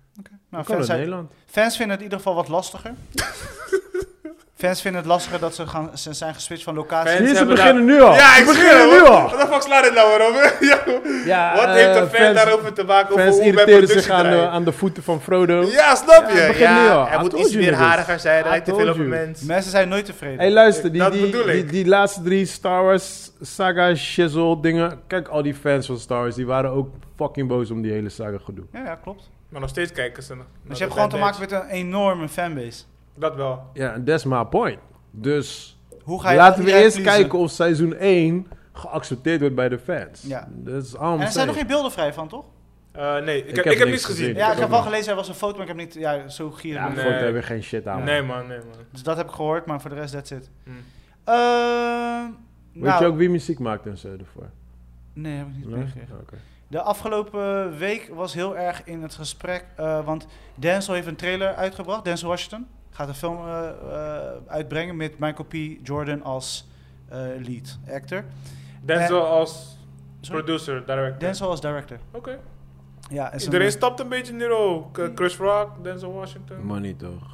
Nou, kan fans, uit uit- Nederland. fans vinden het in ieder geval wat lastiger. fans vinden het lastiger dat ze, gaan, ze zijn geswitcht van locatie. Fans- Hier, ze hebben beginnen nu al. ja, Ze ik beginnen Oh. nu al. Wat de fuck slaat dit nou weer op? Ja, Ja, Wat eh, heeft de fan fans- daarover te maken? Over Fans hoe men irriteren productie zich aan, draait? eh, aan de voeten van Frodo. Ja, snap je? Ja, begin nu al. Ja, I hij moet told iets you meer niggas. hariger zijn. I Hij lijkt te told veel op you. een mens. Mensen zijn nooit tevreden. Hey, luister, die, Dat die, bedoel die, ik. die laatste drie Star Wars saga shizzle dingen. Kijk, al die fans van Star Wars, die waren ook fucking boos om die hele saga gedoe. ja, ja, Nou, klopt. Maar nog steeds kijken ze. naar Dus de je hebt gewoon te fanbase. maken met een enorme fanbase. Dat wel. Ja, en that's my point. Dus Hoe ga je laten we iedereen eerst pleasen? kijken of seizoen 1 geaccepteerd wordt bij de fans. Ja. Dat is allemaal. En er zijn nog geen beelden vrij van, toch? Eh, nee, ik, Ik heb, heb ik heb niks niks gezien. gezien. Ja, heb ik heb ook wel nog. gelezen, er was een foto, maar ik heb niet... Ja, zo gierig. Ja, ben ik. Nee. nee. daar weer geen shit aan. Nee man, nee man. Dus dat heb ik gehoord, maar voor de rest, that's it. Hm. Ehm, Weet nou, je ook wie muziek maakt en zo ervoor? Nee, heb ik niet Nee? Oh, meegekregen. Oké. De afgelopen week was heel erg in het gesprek, eh, want Denzel heeft een trailer uitgebracht. Denzel Washington gaat een film eh, eh, uitbrengen met Michael P. Jordan als eh, lead actor. Denzel als Sorry? producer, director. Denzel als director. Oké. Ja, en, zijn- Iedereen stapt een beetje nu ook. Hmm. Eh, Chris Rock, Denzel Washington. Money toch?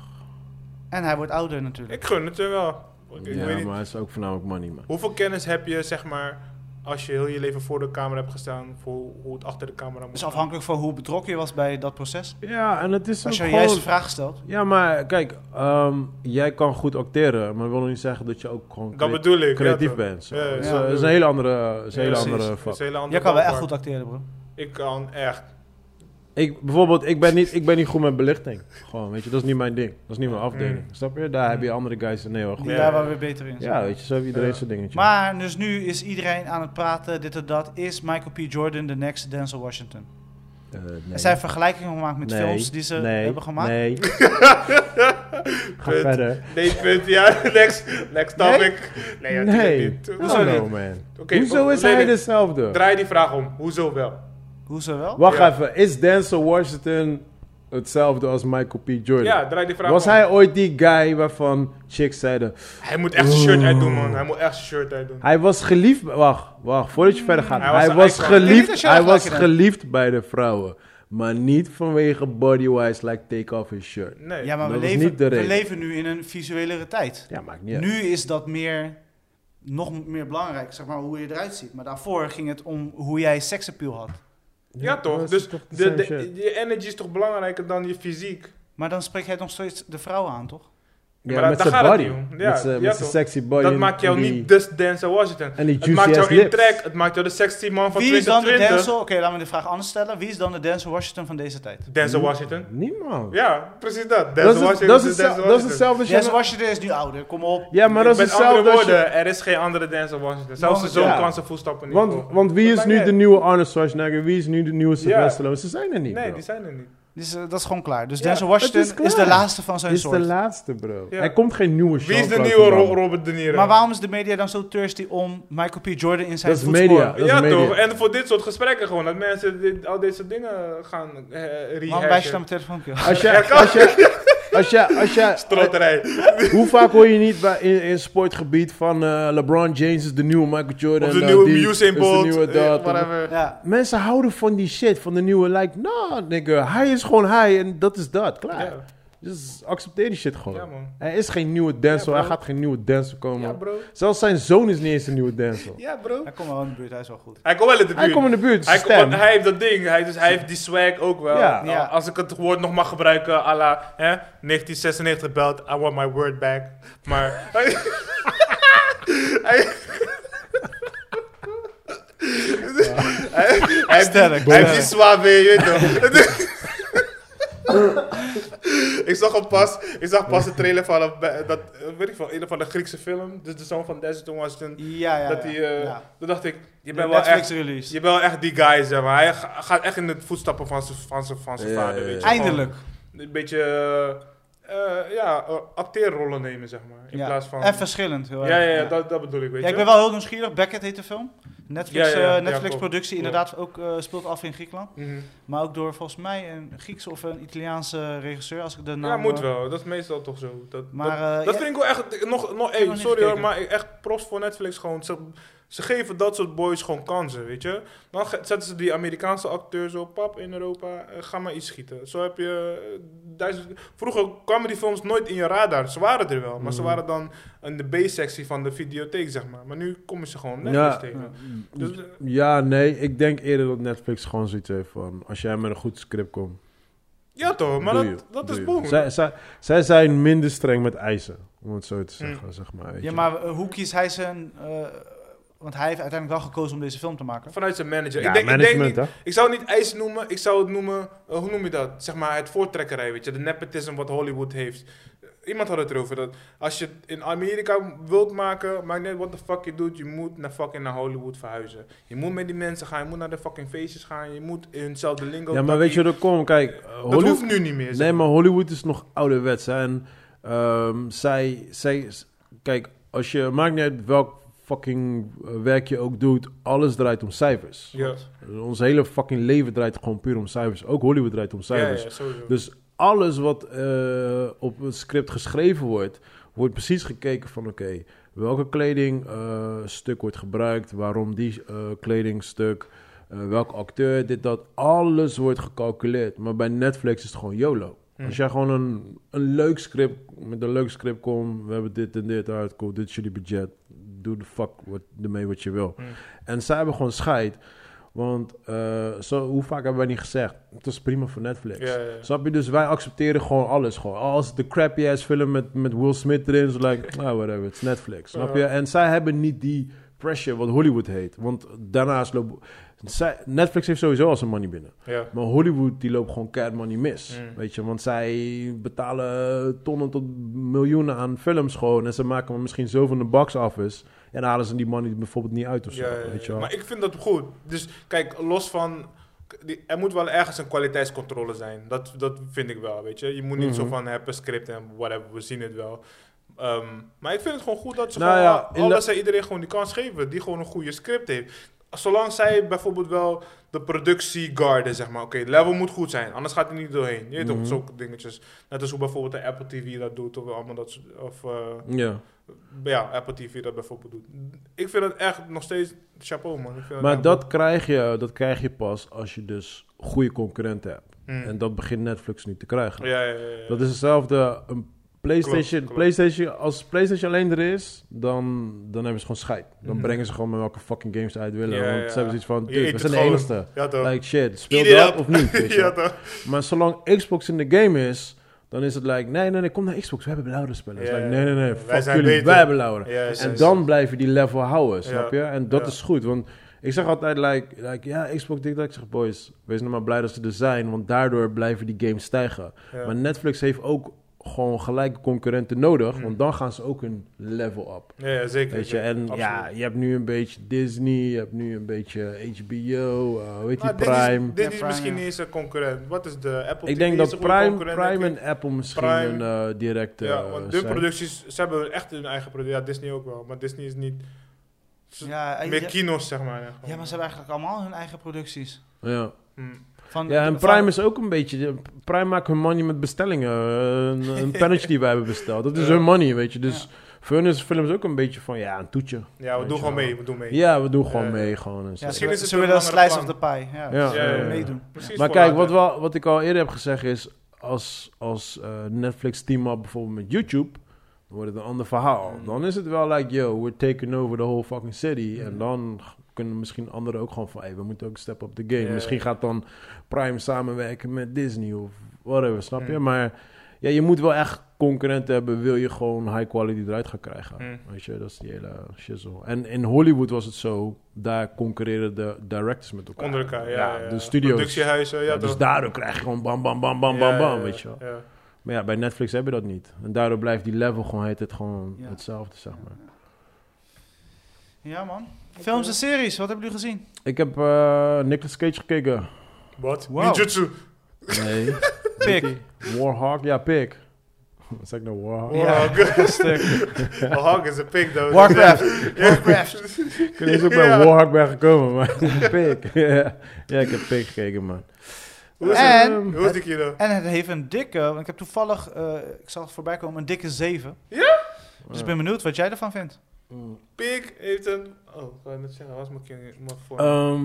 en hij wordt ouder natuurlijk. Ik gun het je wel. Ik, ik ja, weet niet. maar het is ook voornamelijk money, man. Hoeveel kennis heb je, zeg maar, als je heel je leven voor de camera hebt gestaan, voor hoe- hoe het achter de camera moet? Dus afhankelijk van hoe betrokken je was bij dat proces. Ja, en het is ook Als je een gewoon... juiste vraag stelt. Ja, maar kijk, ehm, jij kan goed acteren, maar dat wil nog niet zeggen dat je ook gewoon Dat crea- bedoel ik. creatief ja, toch? bent. zo. Ja, Dat is, ja. dat is een hele andere, is een hele Ja, precies. andere Dat vak. is een hele andere Jij kan wel echt ballpark. goed acteren, bro. Ik kan echt. Ik, bijvoorbeeld, ik ben, niet, ik ben niet goed met belichting. Gewoon, weet je, dat is niet mijn ding. Dat is niet Mm. mijn afdeling. Snap je? Daar heb je andere guys die heel erg goed. Die Ja. daar wel weer beter in zijn. Ja, weet je, zo heeft iedereen Ja. zijn dingetje. Maar dus nu is iedereen aan het praten, dit en dat. Is Michael P. Jordan de next Denzel Washington? Eh, nee. Er zijn vergelijkingen gemaakt met Nee, films die ze nee, hebben gemaakt. Nee. Ga Punt. verder. Nee, punt. Ja, next, next Nee? topic. Nee, Nee. natuurlijk niet. Hoezo Hoezo niet? man. Oké, Hoezo wa- is hij dus- nee, nee. dezelfde? Draai die vraag om. Hoezo wel? Hoezo wel? Wacht Ja. even, is Denzel Washington hetzelfde als Michael P. Jordan? Ja, draai die vraag Was om. hij ooit die guy waarvan chicks zeiden... Hij moet echt zijn shirt uitdoen, man. Hij moet echt zijn shirt uitdoen. Hij was geliefd... Wacht, wacht, voordat Mm, je verder gaat. Hij Hij was was, een icon. Niet dat geliefd, je hij dat was gelijk geliefd bij de vrouwen. Maar niet vanwege body-wise, like take off his shirt. Nee. Ja, maar we Dat was leven, niet de we reden. leven nu in een visuelere tijd. Ja, maakt niet uit. Nu is dat meer, nog meer belangrijk, zeg maar, hoe je eruit ziet. Maar daarvoor ging het om hoe jij seksappeal had. Ja, toch? dat is Dus toch de de, same de- shit. je energy is toch belangrijker dan je fysiek? Maar dan spreek jij nog steeds de vrouw aan, toch? Ja, maar met daar zijn gaat body. het niet om. Ja, met zijn ja, met zijn toch. sexy body. dat en- maakt jou en Oh, die- niet de Denzel Washington. En die Het juicy maakt jou ass lips. in trek. Het maakt jou de sexy man van Wie is dan de 2020. Denzel? Oké, laten we de vraag anders stellen. Wie is dan de Denzel Washington van deze tijd? Denzel Washington. Niemand. Ja, precies dat. Hmm. Dat Denzel is, het- Washington dat, is is Denzel hetzelfde- dat is Washington. hetzelfde. als je- Denzel Washington is nu ouder, kom op. Ja, maar dat is Met andere hetzelfde. als je- woorden, er is geen andere Denzel Washington. Zelfs Nog- zijn zoon ja. kan zijn voetstappen niet Want, volgen. want wie Dat is maakt nu niet de uit. nieuwe Arnold Schwarzenegger? Wie is nu de nieuwe Sylvester Stallone? Ze zijn er niet, Nee, bro. die zijn er niet. Dus, eh, dat is gewoon klaar. Dus Ja, Denzel het is Washington is, de klaar. laatste van zijn Dit is de soort. laatste, bro. Ja. Er komt geen nieuwe show. Wie is de nieuwe Ro- Robert De Niro? maar waarom is de media dan zo thirsty om Michael P. Jordan in zijn Dat is voetsporen? media. Dat is ja, media. toch? En voor dit soort gesprekken gewoon. Dat mensen dit- al deze dingen gaan eh Waarom wijs je dan rehashen. mijn telefoon? kill? Als je, als je, als je, als je, Trotterij. hoe vaak hoor je niet bij, in, in sportgebied van eh, LeBron James is de nieuwe Michael Jordan. Of de eh, nieuwe die Usain is Bolt. De nieuwe eh, dat. whatever. Ja. Mensen houden van die shit, van de nieuwe, like, nah, nigga, hij is gewoon hij en dat is dat, klaar. Ja. Dus accepteer die shit gewoon. Ja, man. Er is geen nieuwe Denzel, Ja, er bro. gaat geen nieuwe Denzel komen. Ja, bro. Zelfs zijn zoon is niet eens een nieuwe Denzel. Ja, bro. Hij komt wel in de buurt, hij is wel goed. Hij komt wel in de buurt. Hij komt in de buurt, Hij, zijn komt- stem. hij heeft dat ding, hij, dus hij heeft die swag ook wel. Ja. Nou, Ja. Als ik het woord nog mag gebruiken, à la hè, 1996 belt, I want my word back. Maar. Hij- Hij- hij heeft die- Sterk, Hij heeft sterk. die suave, je weet toch. ik zag hem pas, ik zag pas de trailer van een, dat, eh, weet ik veel, een van de Griekse film. Dus de zoon van Denzel Washington. Ja, ja. Dat ja. hij, eh, ja. Toen dacht ik, je bent De wel Netflix echt release. je bent wel echt die guy, zeg maar. Hij ga- gaat echt in de voetstappen van zijn van zijn- van zijn Ja, vader, ja, weet ja. je. Eindelijk. Gewoon Een beetje... eh, eh, ja, eh, acteerrollen nemen, zeg maar. In Ja. plaats van... En verschillend. Heel ja, erg. ja, ja, Dat, dat bedoel ik, weet Ja, je. ik ben wel heel nieuwsgierig. Beckett heet de film. Netflix, Ja, ja, ja. eh, Netflix Ja, klopt. productie Klopt. inderdaad ook eh, speelt af in Griekenland. Mhm. Maar ook door volgens mij een Griekse of een Italiaanse regisseur. Als ik de naam ja, moet eh, wel. Dat is meestal toch zo. Dat, Maar, dat, eh, dat ja- vind ik wel echt... Nog, nog, heb hey, nog niet sorry hoor, gekeken. maar echt props voor Netflix gewoon. Ze, ze geven dat soort boys gewoon kansen, weet je. Dan ge- zetten ze die Amerikaanse acteurs op. Pap, in Europa, eh, ga maar iets schieten. Zo heb je... eh, duizend- vroeger kwamen die films nooit in je radar. Ze waren er wel, maar ze Mhm. waren dan in de B-sectie van de videotheek, zeg maar. Maar nu komen ze gewoon Netflix Ja. tegen. Dus, Dus, eh, ja, nee, ik denk eerder dat Netflix gewoon zoiets heeft van... Als jij met een goed script komt, ja toch, maar doe dat, je, dat doe is je. boem. Zij, zij, zij zijn minder streng met eisen, om het zo te Hmm. zeggen, zeg maar. weet Ja, je. maar eh, hoe kiest hij zijn... eh, want hij heeft uiteindelijk wel gekozen om deze film te maken. Vanuit zijn manager. Ja, ik, denk, ik, denk management, niet, hè? ik zou het niet ijs noemen, ik zou het noemen, eh, hoe noem je dat? Zeg maar het voortrekkerij, weet je, de nepotisme wat Hollywood heeft. Iemand had het erover dat als je het in Amerika wilt maken, maakt niet uit what the fuck je doet, je moet naar fucking naar Hollywood verhuizen. Je moet met die mensen gaan, je moet naar de fucking feestjes gaan, je moet in hetzelfde lingo. Ja, maar weet je dat wat er komt? Kijk, eh, Hollywood- hoeft nu niet meer. zeg Nee, maar. maar Hollywood is nog ouderwets. Hè? En ehm, zij, zij... Kijk, als je... Maakt niet uit welk fucking eh, werk je ook doet. Alles draait om cijfers. Ja, Ons hele fucking leven draait gewoon puur om cijfers. Ook Hollywood draait om ja, cijfers. ja, sowieso. Dus alles wat eh, op het script geschreven wordt, wordt precies gekeken van oké, welke kledingstuk wordt gebruikt, waarom die eh, kledingstuk, eh welke acteur, dit, dat. Alles wordt gecalculeerd. Maar bij Netflix is het gewoon YOLO. Hm. Als jij gewoon een, een leuk script, met een leuk script komt, we hebben dit en dit uit, cool, dit is jullie budget, doe de fuck wat, ermee wat je wil. Hm. En zij hebben gewoon scheid, want eh, zo, hoe vaak hebben wij niet gezegd, het is prima voor Netflix. ja, ja, ja. Snap je? Dus wij accepteren gewoon alles. Gewoon. Oh, Als de crappy ass film met, met Will Smith erin is, like, nou whatever, it's Netflix. Snap je? Ja. En zij hebben niet die pressure wat Hollywood heet. Want daarnaast loopt... zij- Netflix heeft sowieso al zijn money binnen. ja. Maar Hollywood die loopt gewoon keihard money mis. Mm. Weet je, want zij betalen tonnen tot miljoenen aan films gewoon. En ze maken er misschien zoveel in de box office. En halen ze die money bijvoorbeeld niet uit of zo. Ja, ja, ja. weet je wel? Maar ik vind dat goed. Dus kijk, los van. die- Er moet wel ergens een kwaliteitscontrole zijn. Dat, dat vind ik wel, weet je. Je moet niet zo Mhm. van hebben script en whatever, we zien het wel. Ehm, maar ik vind het gewoon goed dat ze Nou gewoon ja, in al- de- alles aan iedereen gewoon die kans geven. Die gewoon een goede script heeft. Zolang zij bijvoorbeeld wel de productie garden, zeg maar. Oké, het level moet goed zijn, anders gaat hij niet doorheen. Je weet Mhm. toch, zulke dingetjes. Net als hoe bijvoorbeeld de Apple TV dat doet of allemaal dat soort... Of, eh, ja. ja, Apple TV dat bijvoorbeeld doet. Ik vind het echt nog steeds chapeau, man. Ik vind het Maar echt dat goed. krijg, je, dat krijg je pas als je dus goede concurrenten hebt. Hmm. En dat begint Netflix nu te krijgen. Ja, ja, ja. ja. Dat is hetzelfde. Een PlayStation, Klopt, klopt. PlayStation, als PlayStation alleen er is, dan, dan hebben ze gewoon scheid. Dan Mhm. brengen ze gewoon met welke fucking games ze uit willen. Ja, want ja. ze hebben zoiets van, Je dude, eet we het zijn de gewoon. enigste. Ja, toch? Like shit, speel Eat it dat up. of niet, weet je ja, wel. toch? Maar zolang Xbox in de game is, dan is het like, nee, nee, nee, kom naar Xbox, we hebben blauwe spellen. Het is Ja, like, ja. nee, nee, nee, Wij fuck zijn jullie, beter. wij hebben blauwe. Ja, ja, En ja. dan blijf je die level houden, snap Ja. je? En dat Ja. is goed, want ik zeg altijd, like, like ja, Xbox, dit, dat. Ik zeg, boys, wees nou maar blij dat ze er zijn, want daardoor blijven die games stijgen. Ja. Maar Netflix heeft ook gewoon gelijke concurrenten nodig, Mm. want dan gaan ze ook hun level up. Ja, ja, zeker. Weet je, en zeker. ja, Absoluut. je hebt nu een beetje Disney, je hebt nu een beetje HBO, eh weet je, Maar Dit Prime. is, dit is Ja, Prime, misschien ja. niet eens een concurrent. Wat is de Apple Ik TV denk is dat een goede Prime, concurrent, Prime denk ik. en Apple misschien Prime. een eh, directe Ja, want de zijn. producties, ze hebben echt hun eigen productie. Ja, Disney ook wel. Maar Disney is niet ze- Ja, eh, meer ja, kino's, zeg Ah, maar. gewoon. ja, maar ze hebben eigenlijk allemaal hun eigen producties. Ja. Hmm. Van, ja, en van- Prime is ook een beetje... Prime maakt hun money met bestellingen. Eh, Een, een pennetje die wij hebben besteld. Dat is Ja. hun money, weet je. Dus voor hun is films ook een beetje van, ja, een toetje. Ja, we doen Weet je gewoon wel. mee. We doen mee. Ja, we doen gewoon Ja. mee. Gewoon en zo. Ja, Misschien ze, is het ze een willen een slice of langere the pie. Ja, dus Ja, ze ja, willen ja, ja. meedoen. Precies Maar voor kijk, wat, later. wel, wat ik al eerder heb gezegd is... Als, als eh, Netflix team-up bijvoorbeeld met YouTube... Dan wordt het een ander verhaal. Mm. Dan is het wel like, yo, we're taking over the whole fucking city. En dan kunnen misschien anderen ook gewoon van... Hey, we moeten ook step up the game. Ja. Misschien gaat dan Prime samenwerken met Disney of whatever, snap je? Mm. Maar ja, je moet wel echt concurrenten hebben... wil je gewoon high quality eruit gaan krijgen. Mm. Weet je, dat is die hele shizzle. En in Hollywood was het zo... daar concurreren de directors met elkaar. Onder elkaar, ja. ja, de ja. studio's. Productiehuizen, ja. Ja, dus toch? daardoor krijg je gewoon bam, bam, bam, bam, bam, Ja, bam, ja, weet je wel. ja. Maar ja, bij Netflix hebben dat niet. En daardoor blijft die level gewoon, heet het gewoon Ja. hetzelfde, zeg maar. Ja, man. Films en series, wat hebben jullie gezien? Ik heb eh Nicolas Cage gekeken. Wat? Wow. Ninjutsu. Nee. Pik. Warhawk, ja, pik. Zeg ik nou Warhawk? Warhawk. Ja, dat stuk. Een hawk is een pik, though. Warcraft. Ja. Warcraft. Ik weet niet eens ook bij Ja. Warhawk ben gekomen, maar pik. ja. ja, ik heb pik gekeken, man. Hoe is En- het? Hoe is die kilo? En het heeft een dikke, want ik heb toevallig, eh, ik zag het voorbij komen, een dikke 7. Dus ik ben benieuwd wat jij ervan vindt. Mm, Pik heeft een... Oh, ik wou net zeggen, was mijn kilo? Mijn voor. Ehm,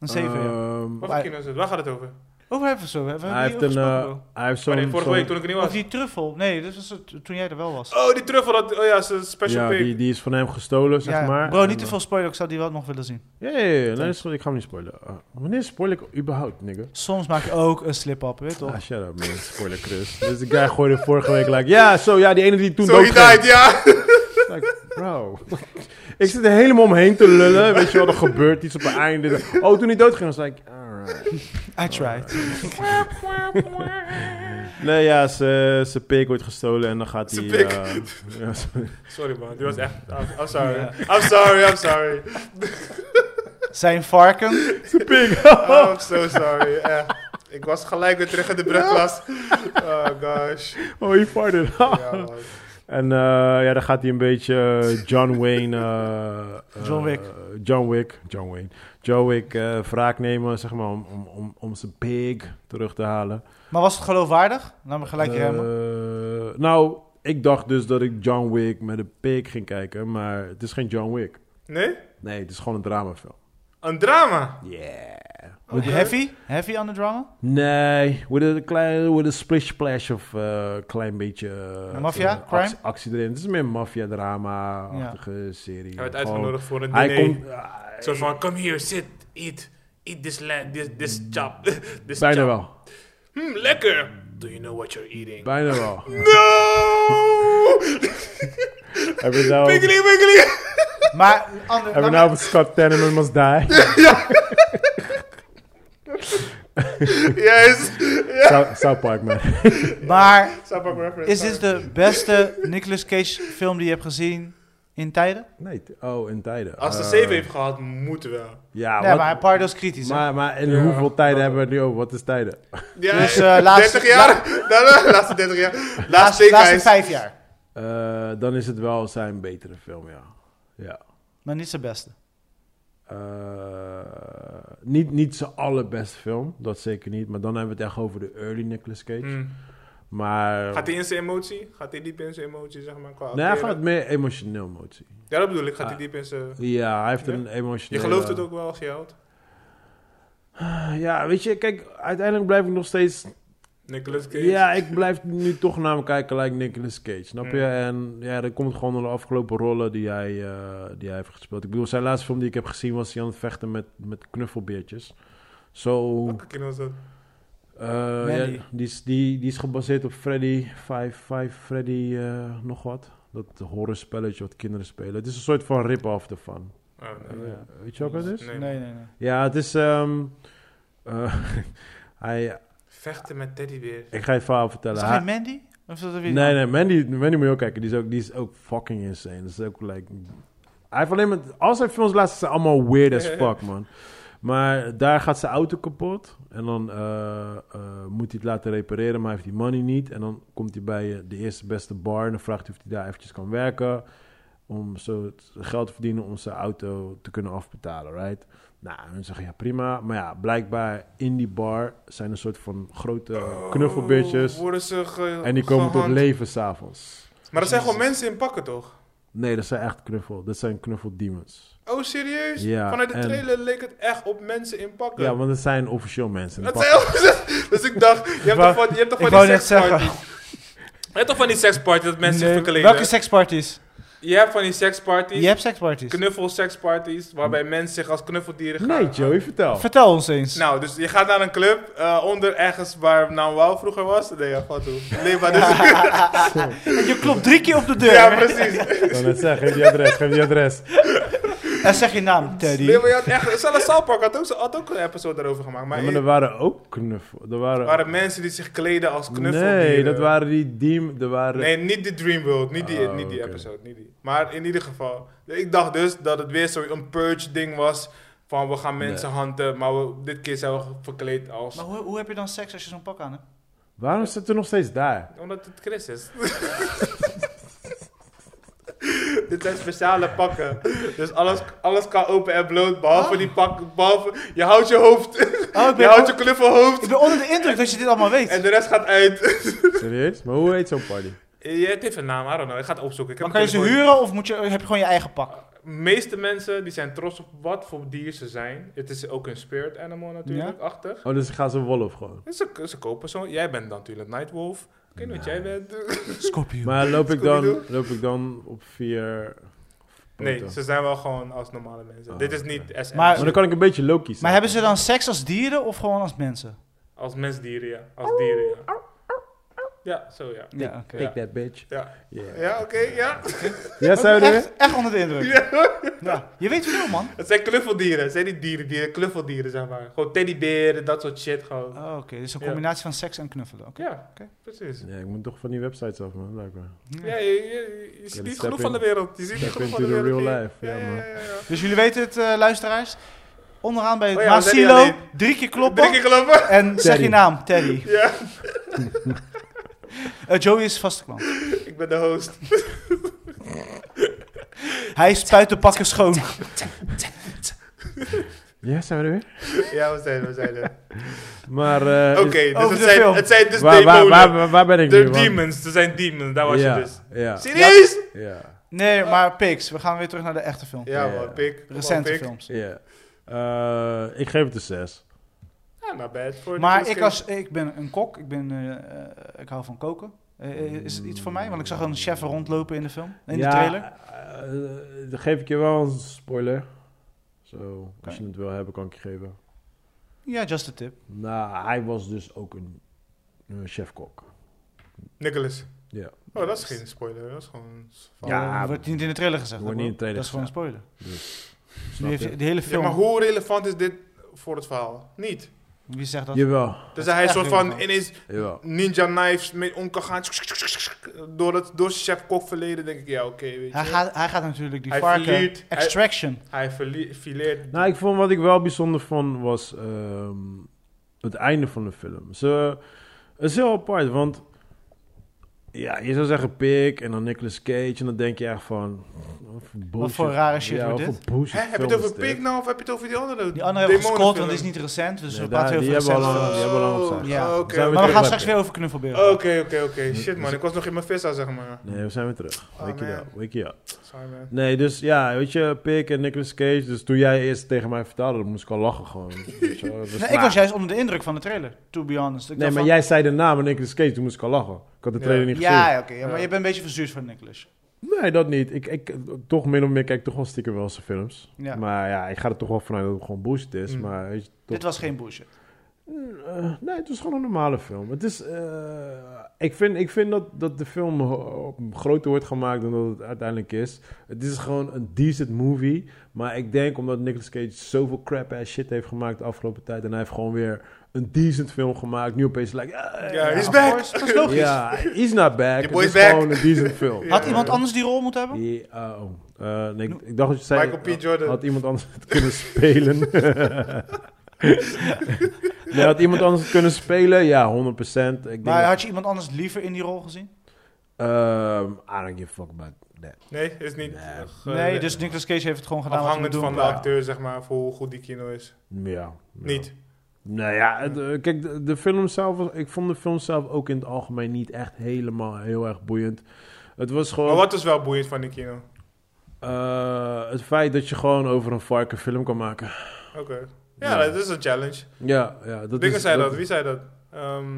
Een 7, ja. ehm, Wat voor kilo is het? Waar gaat het over? Oh, we hebben we zo. We hebben Hij heeft een... eh, Hij heeft Oh zo'n... nee, vorige zo'n- week toen ik er niet Of was. die truffel. Nee, dat was het, toen jij er wel was. Oh, die truffel. Dat, oh ja, is een special Ja, pik. die, die is van hem gestolen, zeg Ja, maar. Bro, En, niet te eh, veel spoiler, ik zou die wel nog willen zien. Ja, ja, ja, ja, nee, sorry, ik ga hem niet spoilen. Eh, wanneer spoil ik überhaupt, nigga? Soms maak je ook een slip-up, weet je toch? Ah, shut up, man. Spoiler, Chris. dus die guy gooide vorige week, like, ja, zo, ja, die ene die toen Zo, he doodging. died, ja. Like, bro. ik zit er helemaal omheen te lullen. Weet je wel, er gebeurt iets op het einde. Oh, toen hij doodging, was ik, like, alright. I tried. Nee, ja, zijn pik wordt gestolen en dan gaat hij... Zijn eh, pik. ja, sorry. Sorry man, die was echt... I'm, I'm sorry. Ja. I'm sorry, I'm sorry. Zijn varken. Oh, I'm so sorry, echt. Ik was gelijk weer terug in de brugklas. Oh gosh. oh, he farted. Ja, man. en eh, ja, dan gaat hij een beetje eh, John Wayne... eh, eh, John Wick. John Wick. John Wayne. John Wick eh, wraak nemen, zeg maar, om, om, om, om zijn pik terug te halen. Maar was het geloofwaardig? Laat me gelijk remmen. Eh, nou, ik dacht dus dat ik John Wick met een pik ging kijken, maar het is geen John Wick. Nee? Nee, het is gewoon een dramafilm. Een drama. Yeah. Oké. Heavy? Heavy aan de drama? Nee, with een klein, with a splish splash of eh, klein beetje... eh, Maffia? eh, Crime? actie- Actie erin. Het is meer een maffia-drama-achtige serie. Hij werd Gewoon- uitgenodigd voor een Hij diner. komt... Zo van, come here, sit, eat. Eat this land, this, this chop. This Bijna chop. wel. Hmm, lekker. Do you know what you're eating? Bijna wel. No! Hebben we nou, Wiggly, wiggly. Maar, ander, hebben we laat nou me- over Scott Tenement Must Die? Yes. South- South Park, man. maar Stop up reference. is dit de beste Nicolas Cage film die je hebt gezien in tijden? Nee, t- oh, in tijden. Als de Eh, 7 heeft gehad, moeten wel. Ja, nee, wat- maar Pardo is kritisch. hè? Maar, maar in Ja, hoeveel tijden dat- hebben we het nu over? Wat is tijden? Ja, Dus, eh, laatste- 30 jaar? Nou, laatste 30 jaar. Laatste, laatste, laatste zekerheid. vijf jaar. Eh, dan is het wel zijn betere film, ja. ja. Maar niet zijn beste. Eh, niet, niet zijn allerbeste film, dat zeker niet. Maar dan hebben we het echt over de early Nicolas Cage. Hmm. Maar... Gaat hij in zijn emotie? Gaat hij diep in zijn emotie, zeg maar? Qua nee, hij acteren? gaat meer emotioneel motie. Ja, dat bedoel ik. Gaat hij Ah. diep in zijn... Ja, hij heeft Ja? een Je emotioneel... gelooft het ook wel als je houdt? Ja, weet je, kijk, uiteindelijk blijf ik nog steeds... Nicolas Cage? Ja, ik blijf nu toch naar hem kijken, like Nicolas Cage, snap je? Mm. En ja, dat komt gewoon door de afgelopen rollen die hij, eh, die hij heeft gespeeld. Ik bedoel, zijn laatste film die ik heb gezien was hij aan het vechten met, met knuffelbeertjes. Zo, Welke kino is dat? eh, Mandy. ja, die, is, die, die is gebaseerd op Freddy 5, 5 Freddy eh, nog wat. Dat horror spelletje wat kinderen spelen. Het is een soort van rip-off ervan. Oh, Eh, nee. Weet je wat het is? Nee. Nee, nee, nee. Ja, het is... ehm, eh, hij, Vechten met teddybeer. ik ga je het verhaal Is vertellen. het Hij- geen Mandy? Of is dat er weer Nee, nee, Mandy, Mandy moet je ook kijken. Die is ook, die is ook fucking insane. Dat is ook like... Hij heeft alleen maar... Al zijn films laatst zijn allemaal weird as fuck, man. Maar daar gaat zijn auto kapot. En dan eh, eh, moet hij het laten repareren, maar hij heeft die money niet. En dan komt hij bij eh, de eerste beste bar en dan vraagt hij of hij daar eventjes kan werken. Om zo het geld te verdienen om zijn auto te kunnen afbetalen, right? Nou, en dan zeggen ja prima. Maar ja, blijkbaar in die bar zijn een soort van grote knuffelbeertjes. Oh, Worden ze ge- En die komen tot gehand. leven s'avonds. Maar dat zijn gewoon mensen in pakken, toch? Nee, dat zijn echt knuffel. Dat zijn knuffeldemons. Oh, serieus? Ja, Vanuit de en- trailer leek het echt op mensen in pakken. Ja, want dat zijn officieel mensen. Dat zijn ook- dus ik dacht, je hebt wou- toch van, je hebt toch Ik van wou die net zeggen. seksparties? Je hebt toch van die seksparties dat mensen zich verkleden? Welke seksparties? Je hebt van die seksparties, Je hebt seksparties. knuffel seksparties, waarbij mensen zich als knuffeldieren gaan. Nee, Joey, vertel. Vertel ons eens. Nou, dus je gaat naar een club eh, onder ergens waar nou Wow vroeger was. Nee, ja, wat toe. Nee, maar dus... Je klopt drie keer op de deur. ja, precies. Ik wil net zeggen, geef die adres, geef die adres. En zeg je naam, Teddy. Nee, maar je had echt... Zelfs Salpark had ook, had ook een episode daarover gemaakt. Maar, Ja, maar er er waren ook knuffel. Er waren... waren mensen die zich kleden als knuffeldieren. nee, dat waren die diem... Er waren... Nee, niet de Dream World, niet die, Oh, niet die oké. episode, niet die. Maar in ieder geval, ik dacht dus dat het weer zo'n purge ding was van we gaan mensen hunten, maar we, dit keer zijn we verkleed als... Maar hoe, hoe heb je dan seks als je zo'n pak aan hebt? Waarom zitten we nog steeds daar? Omdat het Chris is. Dit zijn speciale pakken. Dus alles, alles kan open en bloot, behalve die pak. Behalve, je houdt je hoofd. Oh, ik, Je ben houdt je knuffelhoofd. ik ben onder de indruk dat je dit allemaal weet. En de rest gaat uit. Serieus? Maar hoe heet zo'n party? Eh, Je het heeft een naam, I don't know. Ik ga het opzoeken. Ik heb Dan kan je ze het gewoon- huren of moet je, heb je gewoon je eigen pak? meeste mensen die zijn trots op wat voor dier ze zijn. Het is ook een spirit animal natuurlijk, achtig. Oh, dus gaan ze wolf gewoon. Ze, ze kopen zo. Jij bent dan natuurlijk Nightwolf. Ik weet niet wat jij bent. Scorpio. Maar loop ik dan, Scooby-Doo? loop ik dan op vier... Nee, poten? ze zijn wel gewoon als normale mensen. Oh, Dit is oké. niet SM. Maar- Maar dan kan ik een beetje Loki zijn. Maar hebben ze dan seks als dieren of gewoon als mensen? Als mensdieren, ja. Als dieren, ja. Ja, zo ja. Ja, oké. Take that bitch. Ja, Yeah. ja oké, ja. Ja, zou je dat willen? echt, echt onder de indruk. Ja. Je weet veel, man. Het zijn knuffeldieren. Het zijn die dieren, dieren knuffeldieren, zeg maar. Gewoon teddyberen, dat soort shit gewoon. Oh, oké, dus een Ja. combinatie van seks en knuffelen. Oké. Ja, Oké. precies. Ja, ik moet toch van die websites af, man. Blijkbaar. Ja, je, je- je ziet step niet genoeg in. van de wereld. Je ziet Step niet genoeg van de into the wereld. real hier. life, ja, man. ja. Dus jullie weten het, eh, luisteraars. Onderaan bij het Oh ja, we zijn niet Masilo, alleen. drie keer kloppen Drie keer gelopen. en zeg Teddy. je naam, Teddy. Ja. Eh, Joey is vaste klant. Ik ben de host. Hij spuit de pakken schoon. Ja, zijn we er weer? Ja, we zijn, we zijn er. Maar... eh, Oké, is- dus over het de zijn, film. het zijn dus waar, waar, demonen. waar, waar, waar ben ik de nu? man? demons, er zijn demons, daar was ja, je dus. Ja, Serieus? ja, Nee, maar Pix, we gaan weer terug naar de echte film. Ja, Oh, Ja. man, pik. Kom op, Recente pik. films. ja. Eh, ik geef het een 6. Ja, not bad. Voor Maar de ik, als, ik ben een kok, ik, ben, eh, eh, ik hou van koken. Eh, eh, is het iets voor mij? Want ik zag een chef rondlopen in de film, in de trailer. eh, dan geef ik je wel een spoiler. Zo, als Oké. je het wil hebben, kan ik je geven. Ja, just a tip. Nou, hij was dus ook een, een chef-kok. Nicholas. Ja. Oh, dat is geen spoiler. Dat is gewoon... Ja, Ja, Eh, wordt niet in de trailer gezegd. wordt hoor. niet in de trailer Dus, Dat is gewoon een spoiler. Snap Nu heeft je? de hele Ja, film. maar hoe relevant is dit voor het verhaal? Niet. Wie zegt dat? Jawel, Dus hij een echt soort van relevant. ineens jawel. ninja knives mee om kan gaan. Door, het, door zijn chef kok verleden denk ik, ja oké, weet je. Hij gaat, hij gaat natuurlijk die Hij varken. verliet- hij- Extraction. Hij verli- fileert... Nou, ik vond wat ik wel bijzonder vond was ehm, het einde van de film. Ze, het is heel apart, want ja, je zou zeggen Pik en dan Nicolas Cage en dan denk je echt van... Wat voor, bullshit. voor rare shit ja, wordt wat dit? voor bullshit Hè, heb je film het over is dit? Pig nou of heb je het over die andere Die andere hebben we gescot, want demonenfilm? die is niet recent. Dus Nee, we daar- praten die heel veel hebben we recent. al lang- die hebben we al lang op zijn. Ja. Oh, oké. Zijn we Maar we gaan terug bij straks Pik. weer over knuffelberen. Oké, oké, oké. Shit man, ik was nog in mijn vissa, zeg maar. Nee, we zijn weer terug. Oh, wake man. it up, wake it up. Sorry man. Nee, dus ja, weet je, Pik en Nicolas Cage. Dus toen jij eerst tegen mij vertelde, dan moest ik al lachen gewoon. Weet je wel. Dus, Nee, ik maar- was juist onder de indruk van de trailer, to be honest. Ik Nee, dacht maar van- jij zei de naam en Nicolas Cage, toen moest ik al lachen. Ik had de Ja. trailer niet gezien. Ja, ja, oké. ja, maar Ja. je bent een beetje verzuurd van Nicholas. Nee, dat niet. Ik, ik, toch min of meer kijk ik toch wel stiekem wel zijn films. Ja. Maar ja, ik ga er toch wel vanuit dat het gewoon bullshit is. Mm. Maar weet je, toch- Dit was geen bullshit. Eh, nee, het was gewoon een normale film. Het is, eh, ik vind, ik vind dat, dat de film ho- groter wordt gemaakt dan dat het uiteindelijk is. Het is gewoon een decent movie. Maar ik denk omdat Nicolas Cage zoveel crap ass shit heeft gemaakt de afgelopen tijd. En hij heeft gewoon weer een decent film gemaakt. Nu opeens lijkt... Ja, hij is of back. course, Dat is logisch. Ja, he's not back. Die Het boy is is back. gewoon een decent film. Ja. Had iemand anders die rol moeten hebben? Die, ah, oh. Eh, nee, ik, ik dacht dat je zei... Michael P. Jordan. Had iemand anders het kunnen spelen? nee, had iemand anders het kunnen spelen? Ja, 100%. Ik denk Maar dat- had je iemand anders liever in die rol gezien? Ehm, I don't give a fuck about that. Nee, is niet... Nee. eh, ge- Nee, dus Nicolas Cage heeft het gewoon gedaan wat hij Afhangend moet van doen. de ja. acteur, zeg maar, voor hoe goed die kino is. Ja. ja. Niet. Nou ja, het, eh, kijk, de, de film zelf... was- Ik vond de film zelf ook in het algemeen niet echt helemaal heel erg boeiend. Het was Oh. gewoon... Maar wat is wel boeiend van die kino? eh, het feit dat je gewoon over een varken film kan maken. Oké. Ja, Ja. dat is een challenge. Ja, ja. Dat Dingen is, zei dat. Wie zei dat? Ehm,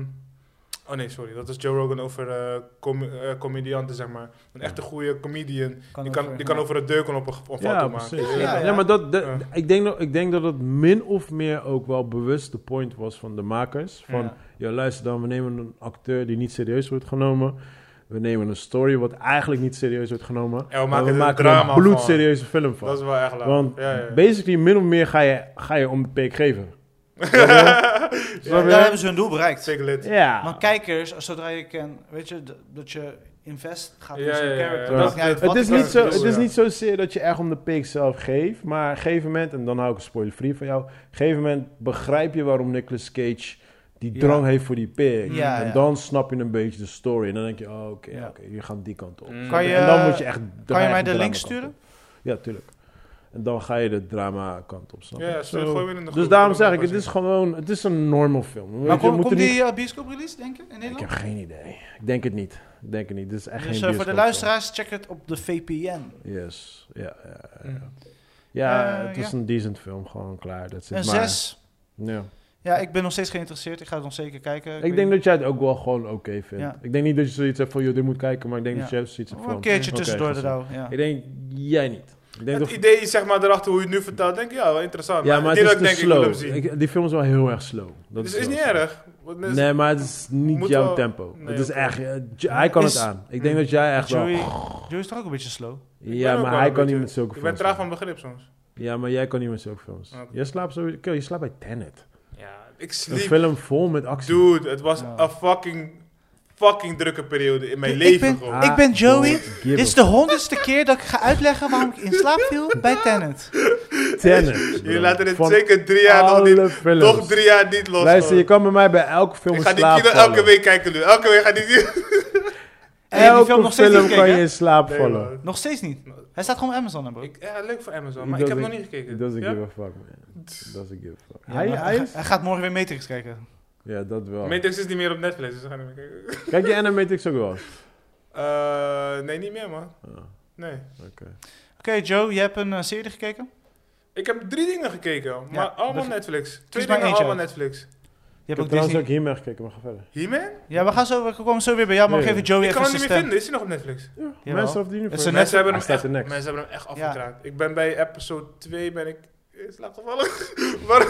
oh nee, sorry. Dat is Joe Rogan over eh, com- eh, comedianten, zeg maar. Een echte goede comedian. Die kan, die kan over het deuken op een op een Ja, foto maken. precies. Ja, Ja, ja. maar dat, dat- Ja. Ik, denk dat, ik denk dat het min of meer ook wel bewust de point was van de makers. Van, ja. Ja. luister dan, we nemen een acteur die niet serieus wordt genomen. We nemen een story wat eigenlijk niet serieus wordt genomen. En we maar maken er een er drama een van. bloedserieuze film van. Dat is wel echt leuk. Want ja, ja. basically, min of meer ga je, ga je om de peek geven. Snap Daar je? hebben ze hun doel bereikt. Zeker lid. Ja. Want kijkers, zodra je ken, weet je, d- dat je invest gaat in Ja, zo'n ja, ja, ja. character. Ja. maakt niet uit Het wat is, de niet character zo, is, character het is ja. niet zozeer dat je echt om de peek zelf geeft, maar op een gegeven moment, en dan hou ik een spoiler free van jou, op een gegeven moment begrijp je waarom Nicolas Cage die Ja. drang heeft voor die pick. Ja, en ja. dan snap je een beetje de story. En dan denk je, oh, oké, Ja. oké, je gaat die kant op. Mm. Kan je- en dan moet je echt... kan je mij echt de drama link kant sturen? op. Ja, tuurlijk. En dan ga je de drama kant op, snap je? Ja, stuur Zo. gewoon weer in de Dus groep, daarom dan zeg ik, kan ik het is gewoon... Het is een normal film. Weet Maar je, we kom- moeten komt niet- die eh, bioscoop-release, denk je, in Ik Nederland? heb geen idee. Ik denk het niet. Ik denk het niet. Dit is echt Dus geen eh, voor de bioscoopfilm. luisteraars, check het op de VPN. Yes. Ja, ja, ja. Mm. Ja, Eh, het was ja. een decent film. Gewoon klaar. Dat Een zit maar... 6. Ja. Ja, ik ben nog steeds geïnteresseerd. Ik ga het nog zeker kijken. Ik denk dat jij het ook wel gewoon oké vindt. Ja. Ik denk niet dat je zoiets hebt van, joh, dit moet kijken, maar ik denk Ja. dat jij zoiets hebt Oh, van... een keertje oké, tussendoor ga de douw. Ja. Ik denk, jij niet. Ik denk Het dat... idee, zeg maar, erachter hoe je het nu vertelt, denk ik, ja, wel interessant. Ja, maar niet het dat is ik te denk, ik wil hem slow. zien. Ik- die film is wel heel erg slow. Dat dus is wel niet zo. erg. Want het is- Nee, maar het is niet Moet jouw wel- tempo. Nee, het is oké. echt... eh, J- hij kan Is- het aan. Ik denk Mm. dat jij echt Joey, wel... Joey is toch ook een beetje slow? ben Ja, ook maar wel hij een kan niet beetje- met zulke Ik films. ben traag van begrip soms. Ja, maar jij kan niet met zulke films. Oké. Jij slaapt sowieso... Kill, Je slaapt bij Tenet. Ja, ik Een sliep. film vol met actie. Dude, het was Ja. een fucking, fucking drukke periode in mijn Ik leven ben- Ah, gewoon. ik ben Joey. Dit is Dit de honderdste keer dat ik ga uitleggen waarom ik in slaap viel bij Tenet. Tenet. Jullie laten dit Van zeker drie jaar nog niet, alle films. toch drie jaar niet los. Luister, gewoon. je kan bij mij bij elke film ik in ga slaap die kino vallen. elke week kijken nu. Elke week ga ik die En je hebt die Elke film nog steeds niet kan gekeken, je in slaap Nee, vallen. man. Nog steeds niet. Hij staat gewoon op Amazon, hè, bro. Ik, ja, leuk voor Amazon, He maar ik heb nog doesn't- niet It gekeken. doesn't Ja? give a fuck, man. It doesn't give a fuck. Ja, hij, maar hij ga- is... hij gaat morgen weer Matrix kijken. Ja, dat wel. Matrix is niet meer op Netflix, dus we gaan niet meer kijken. Kijk je Animatrix ook wel eens? Eh, nee, niet meer man. Ah, Nee. Oké, Joe, je hebt een eh, serie gekeken? Ik heb drie dingen gekeken, maar Ja, allemaal dus- Netflix. Twee maar dingen eentje allemaal uit. Netflix. Je hebt Ik heb ook trouwens Disney. ook hiermee gekeken, maar ga verder. He-Man? Ja, we gaan zo, we komen zo weer bij jou, maar Nee. geef Joey Ik kan even hem niet zijn meer stem. Ah, vinden, is hij nog op Netflix? Ja, Jawel. Master of the Universe. Het is een Mensen hebben, Hij hem staat echt, er next. mensen hebben hem echt Ja. afgekraakt. Ik ben bij episode 2 ben ik in slaap gevallen. maar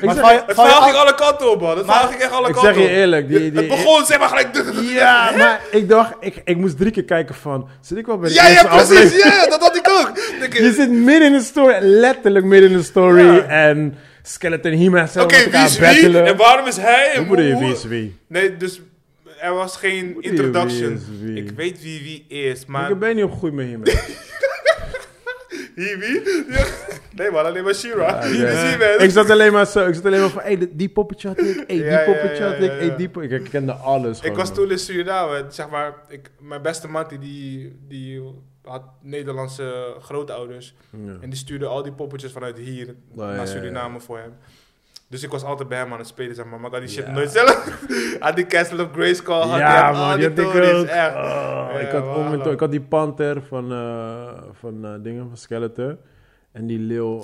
Ik Maar zeg- val je- het val je verhaal af- ging alle kanten op man, het Maar- verhaal ging echt alle Ik kanten zeg je op. eerlijk, die... Het die- begon zeg maar gelijk... Ja, maar ik dacht, ik, ik moest drie keer kijken van, zit ik wel bij de Ja, eerste ja, precies, aflevering? ja, ja, dat had ik ook. Ik- Je zit midden in de story, letterlijk midden in de story. Ja. En Skeleton He-Man zijn Oké, met wie elkaar is wie? battelen. En waarom is hij? Hoe en moet je hoe- wie is wie? Nee, dus er was geen Hoe bedoel je introduction. wie is wie? Ik weet wie wie is, maar... Ik ben niet op goed met He-Man. Wie wie? Ja. Nee man, alleen maar She-Ra. Wie ja. is wie man? ik zat alleen maar zo, ik zat alleen maar van, hey, die- die poppetje had ik, hey, Ja, ja, die poppetje ja, had ja, ik, hey, ja. die po- Ik kende alles Ik gewoon, was man. toen in Suriname. Zeg maar, ik, mijn beste mattie die, die had Nederlandse grootouders. Ja. En die stuurde al die poppetjes vanuit hier ja, ja, naar Suriname voor hem. Dus ik was altijd bij hem aan het spelen, zeg maar. Maar dat die shit Ja. nooit zelf. had die Castle of Grayskull. Had Ja, hij al man, die had ik tories, ook. Echt. Oh, Ja, ik, had maar om en hallo. toe- ik had die panter van, eh, van eh, dingen, van Skeletor. En die leeuw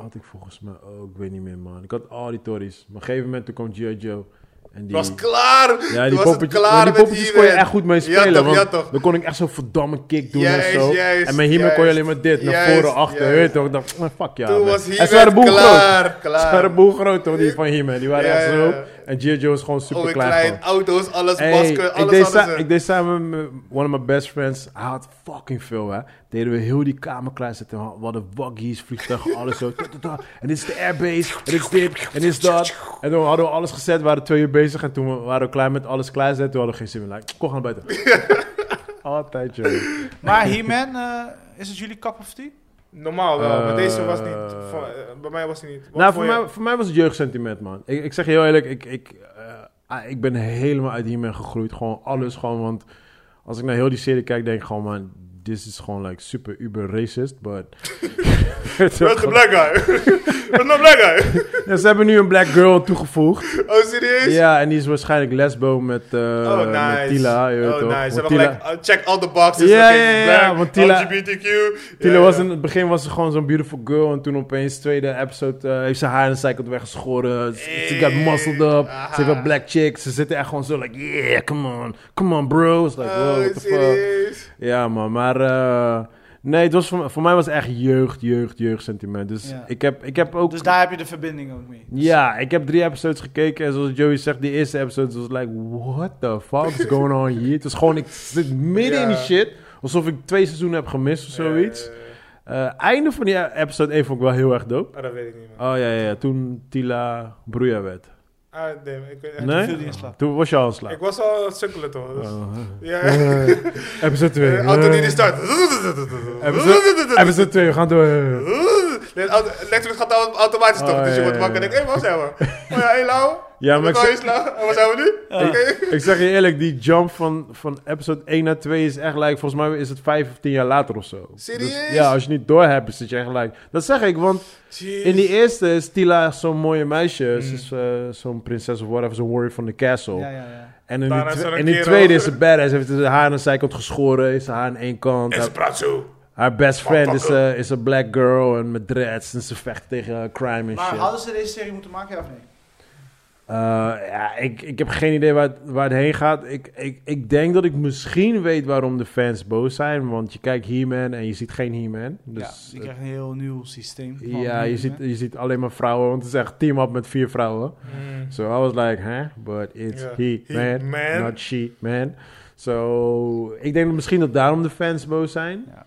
had ik volgens mij ook, ik weet niet meer, man. Ik had al die tories. Maar op een gegeven moment, toen kwam G.I. Joe. En Het die... was klaar. Ja, Toen die was het poppetjes, klaar maar die met poppetjes kon je He-Man. echt goed mee Ja, spelen. toch, want ja, toch. Dan kon ik echt zo'n verdamme kick doen Juist, en zo. juist, en met He-Man kon je juist, alleen maar dit, naar juist, voren, achter. juist. Weet je toch? Ik dacht, maar fuck ja. Toen man. was en ze waren He-Man boel groot. klaar. Ze klaar. waren boel groot toch, die van He-Man. Die waren Ja, echt ja, zo. ja. En G.I. Joe is gewoon Oh, super ik klein. klein, gewoon. auto's, alles, Hey, masker, ik, alles, deed alles. sa- eh. ik deed samen met one of my best friends, hij had fucking veel hè. Deden we heel die kamer klaarzetten. We hadden waggies, vliegtuigen, alles zo. Ta, ta, ta. En dit is de airbase, en dit is dit, en dit is dat. En toen hadden we alles gezet, we waren twee uur bezig. En toen waren we klaar met alles klaarzetten. Toen hadden we geen zin meer. Like, kom, gaan naar buiten. Altijd joh. Maar He-Man, eh, is het jullie cup of tea? Normaal wel, maar deze was Eh, niet. van- eh, bij mij was die niet. Wat Nou, voor je? mij, voor mij was het jeugdsentiment, man. Ik, ik zeg je heel eerlijk, ik, ik, eh, ah, ik ben helemaal uit hiermee gegroeid. Gewoon alles, gewoon, want als ik naar heel die serie kijk, denk ik gewoon, man, this is gewoon like super uber racist, but... Where's the black guy? Where's the black guy? Ja, ze hebben nu een black girl toegevoegd. Oh, serieus? Ja, en die is waarschijnlijk lesbo met, eh Oh, nice. met Tila. Je weet oh, toch? nice. Want Ze hebben Tila- gelijk, uh, check all the boxes. Ja, oké, ja, ja, black, want Tila- LGBTQ. Tila Ja, was ja. in het begin was ze gewoon zo'n beautiful girl. En toen opeens, tweede episode, eh, heeft ze haar in een cycle weggeschoren. Ze ze got muscled up. Aha. Ze heeft een black chick. Ze zitten echt gewoon zo, like, yeah, come on. Come on, bro. It's like, wow, Oh, what the fuck. serieus? Ja, man, maar... eh, nee, het was voor, voor mij was het echt jeugd, jeugd, jeugd sentiment. Dus Ja. ik, heb, ik heb ook... Dus daar heb je de verbinding ook mee. ja, ik heb drie episodes gekeken en zoals Joey zegt, die eerste episode was like, what the fuck is going on hier? Het was gewoon, ik zit midden in die Ja. shit, alsof ik twee seizoenen heb gemist of zoiets. Eh, Eh, einde van die episode 1 vond ik wel heel erg dope. ah, dat weet ik niet, man. Oh ja, ja, ja. toen Tila Bruja werd. Ah, damn, ik weet echt Nee? Viel die in slaap. Toen was je al in niet. Ik slaap. was al aan het sukkelen, toch? Dus- Oh, eh. Ja. Eh, episode 2. Eh, Anthony die start. Episode 2, we gaan door. Dit auto- Netflix gaat auto- automatisch toch. Oh, dus je ja, wordt ja, wakker en ja. denkt, hé, waar zijn we? Oh ja, hé, Lau. Ja, maar Waar ik, kan je zeg- slaan? En Waar zijn we nu? Ja. Oké. ik zeg je eerlijk, die jump van, van episode 1 naar 2 is echt like, volgens mij is het 5 of 10 jaar later of zo. Dus Serieus? ja, als je niet doorhebt, is het je echt like. Dat zeg ik, want in die eerste is Tila echt zo'n mooie meisje. Ze Mm. is eh, zo'n prinses of whatever, zo'n warrior van de castle. Dus- Ja, ja, ja. En in die, Daarna is twe- er een in die kerel. tweede is ze badass. Heeft ze haar aan de zijkant geschoren, heeft ze haar aan één kant. En Haar, ze praat zo. haar best friend is, Motherfucker. eh, is een black girl en met dreads en ze vecht tegen eh, crime en Maar shit. hadden ze deze serie moeten maken, ja of nee? Eh, ja, ik, ik heb geen idee waar het, waar het heen gaat. Ik, ik, ik denk dat ik misschien weet waarom de fans boos zijn. Want je kijkt He-Man en je ziet geen He-Man. Dus, ja, je krijgt een heel nieuw systeem. van ja, je He-Man. ziet, je ziet alleen maar vrouwen. Want het is echt team-up met vier vrouwen. So I was like, huh? But it's Ja. He-Man, He-Man. not She-Man. So, ik denk misschien dat daarom de fans boos zijn. Ja.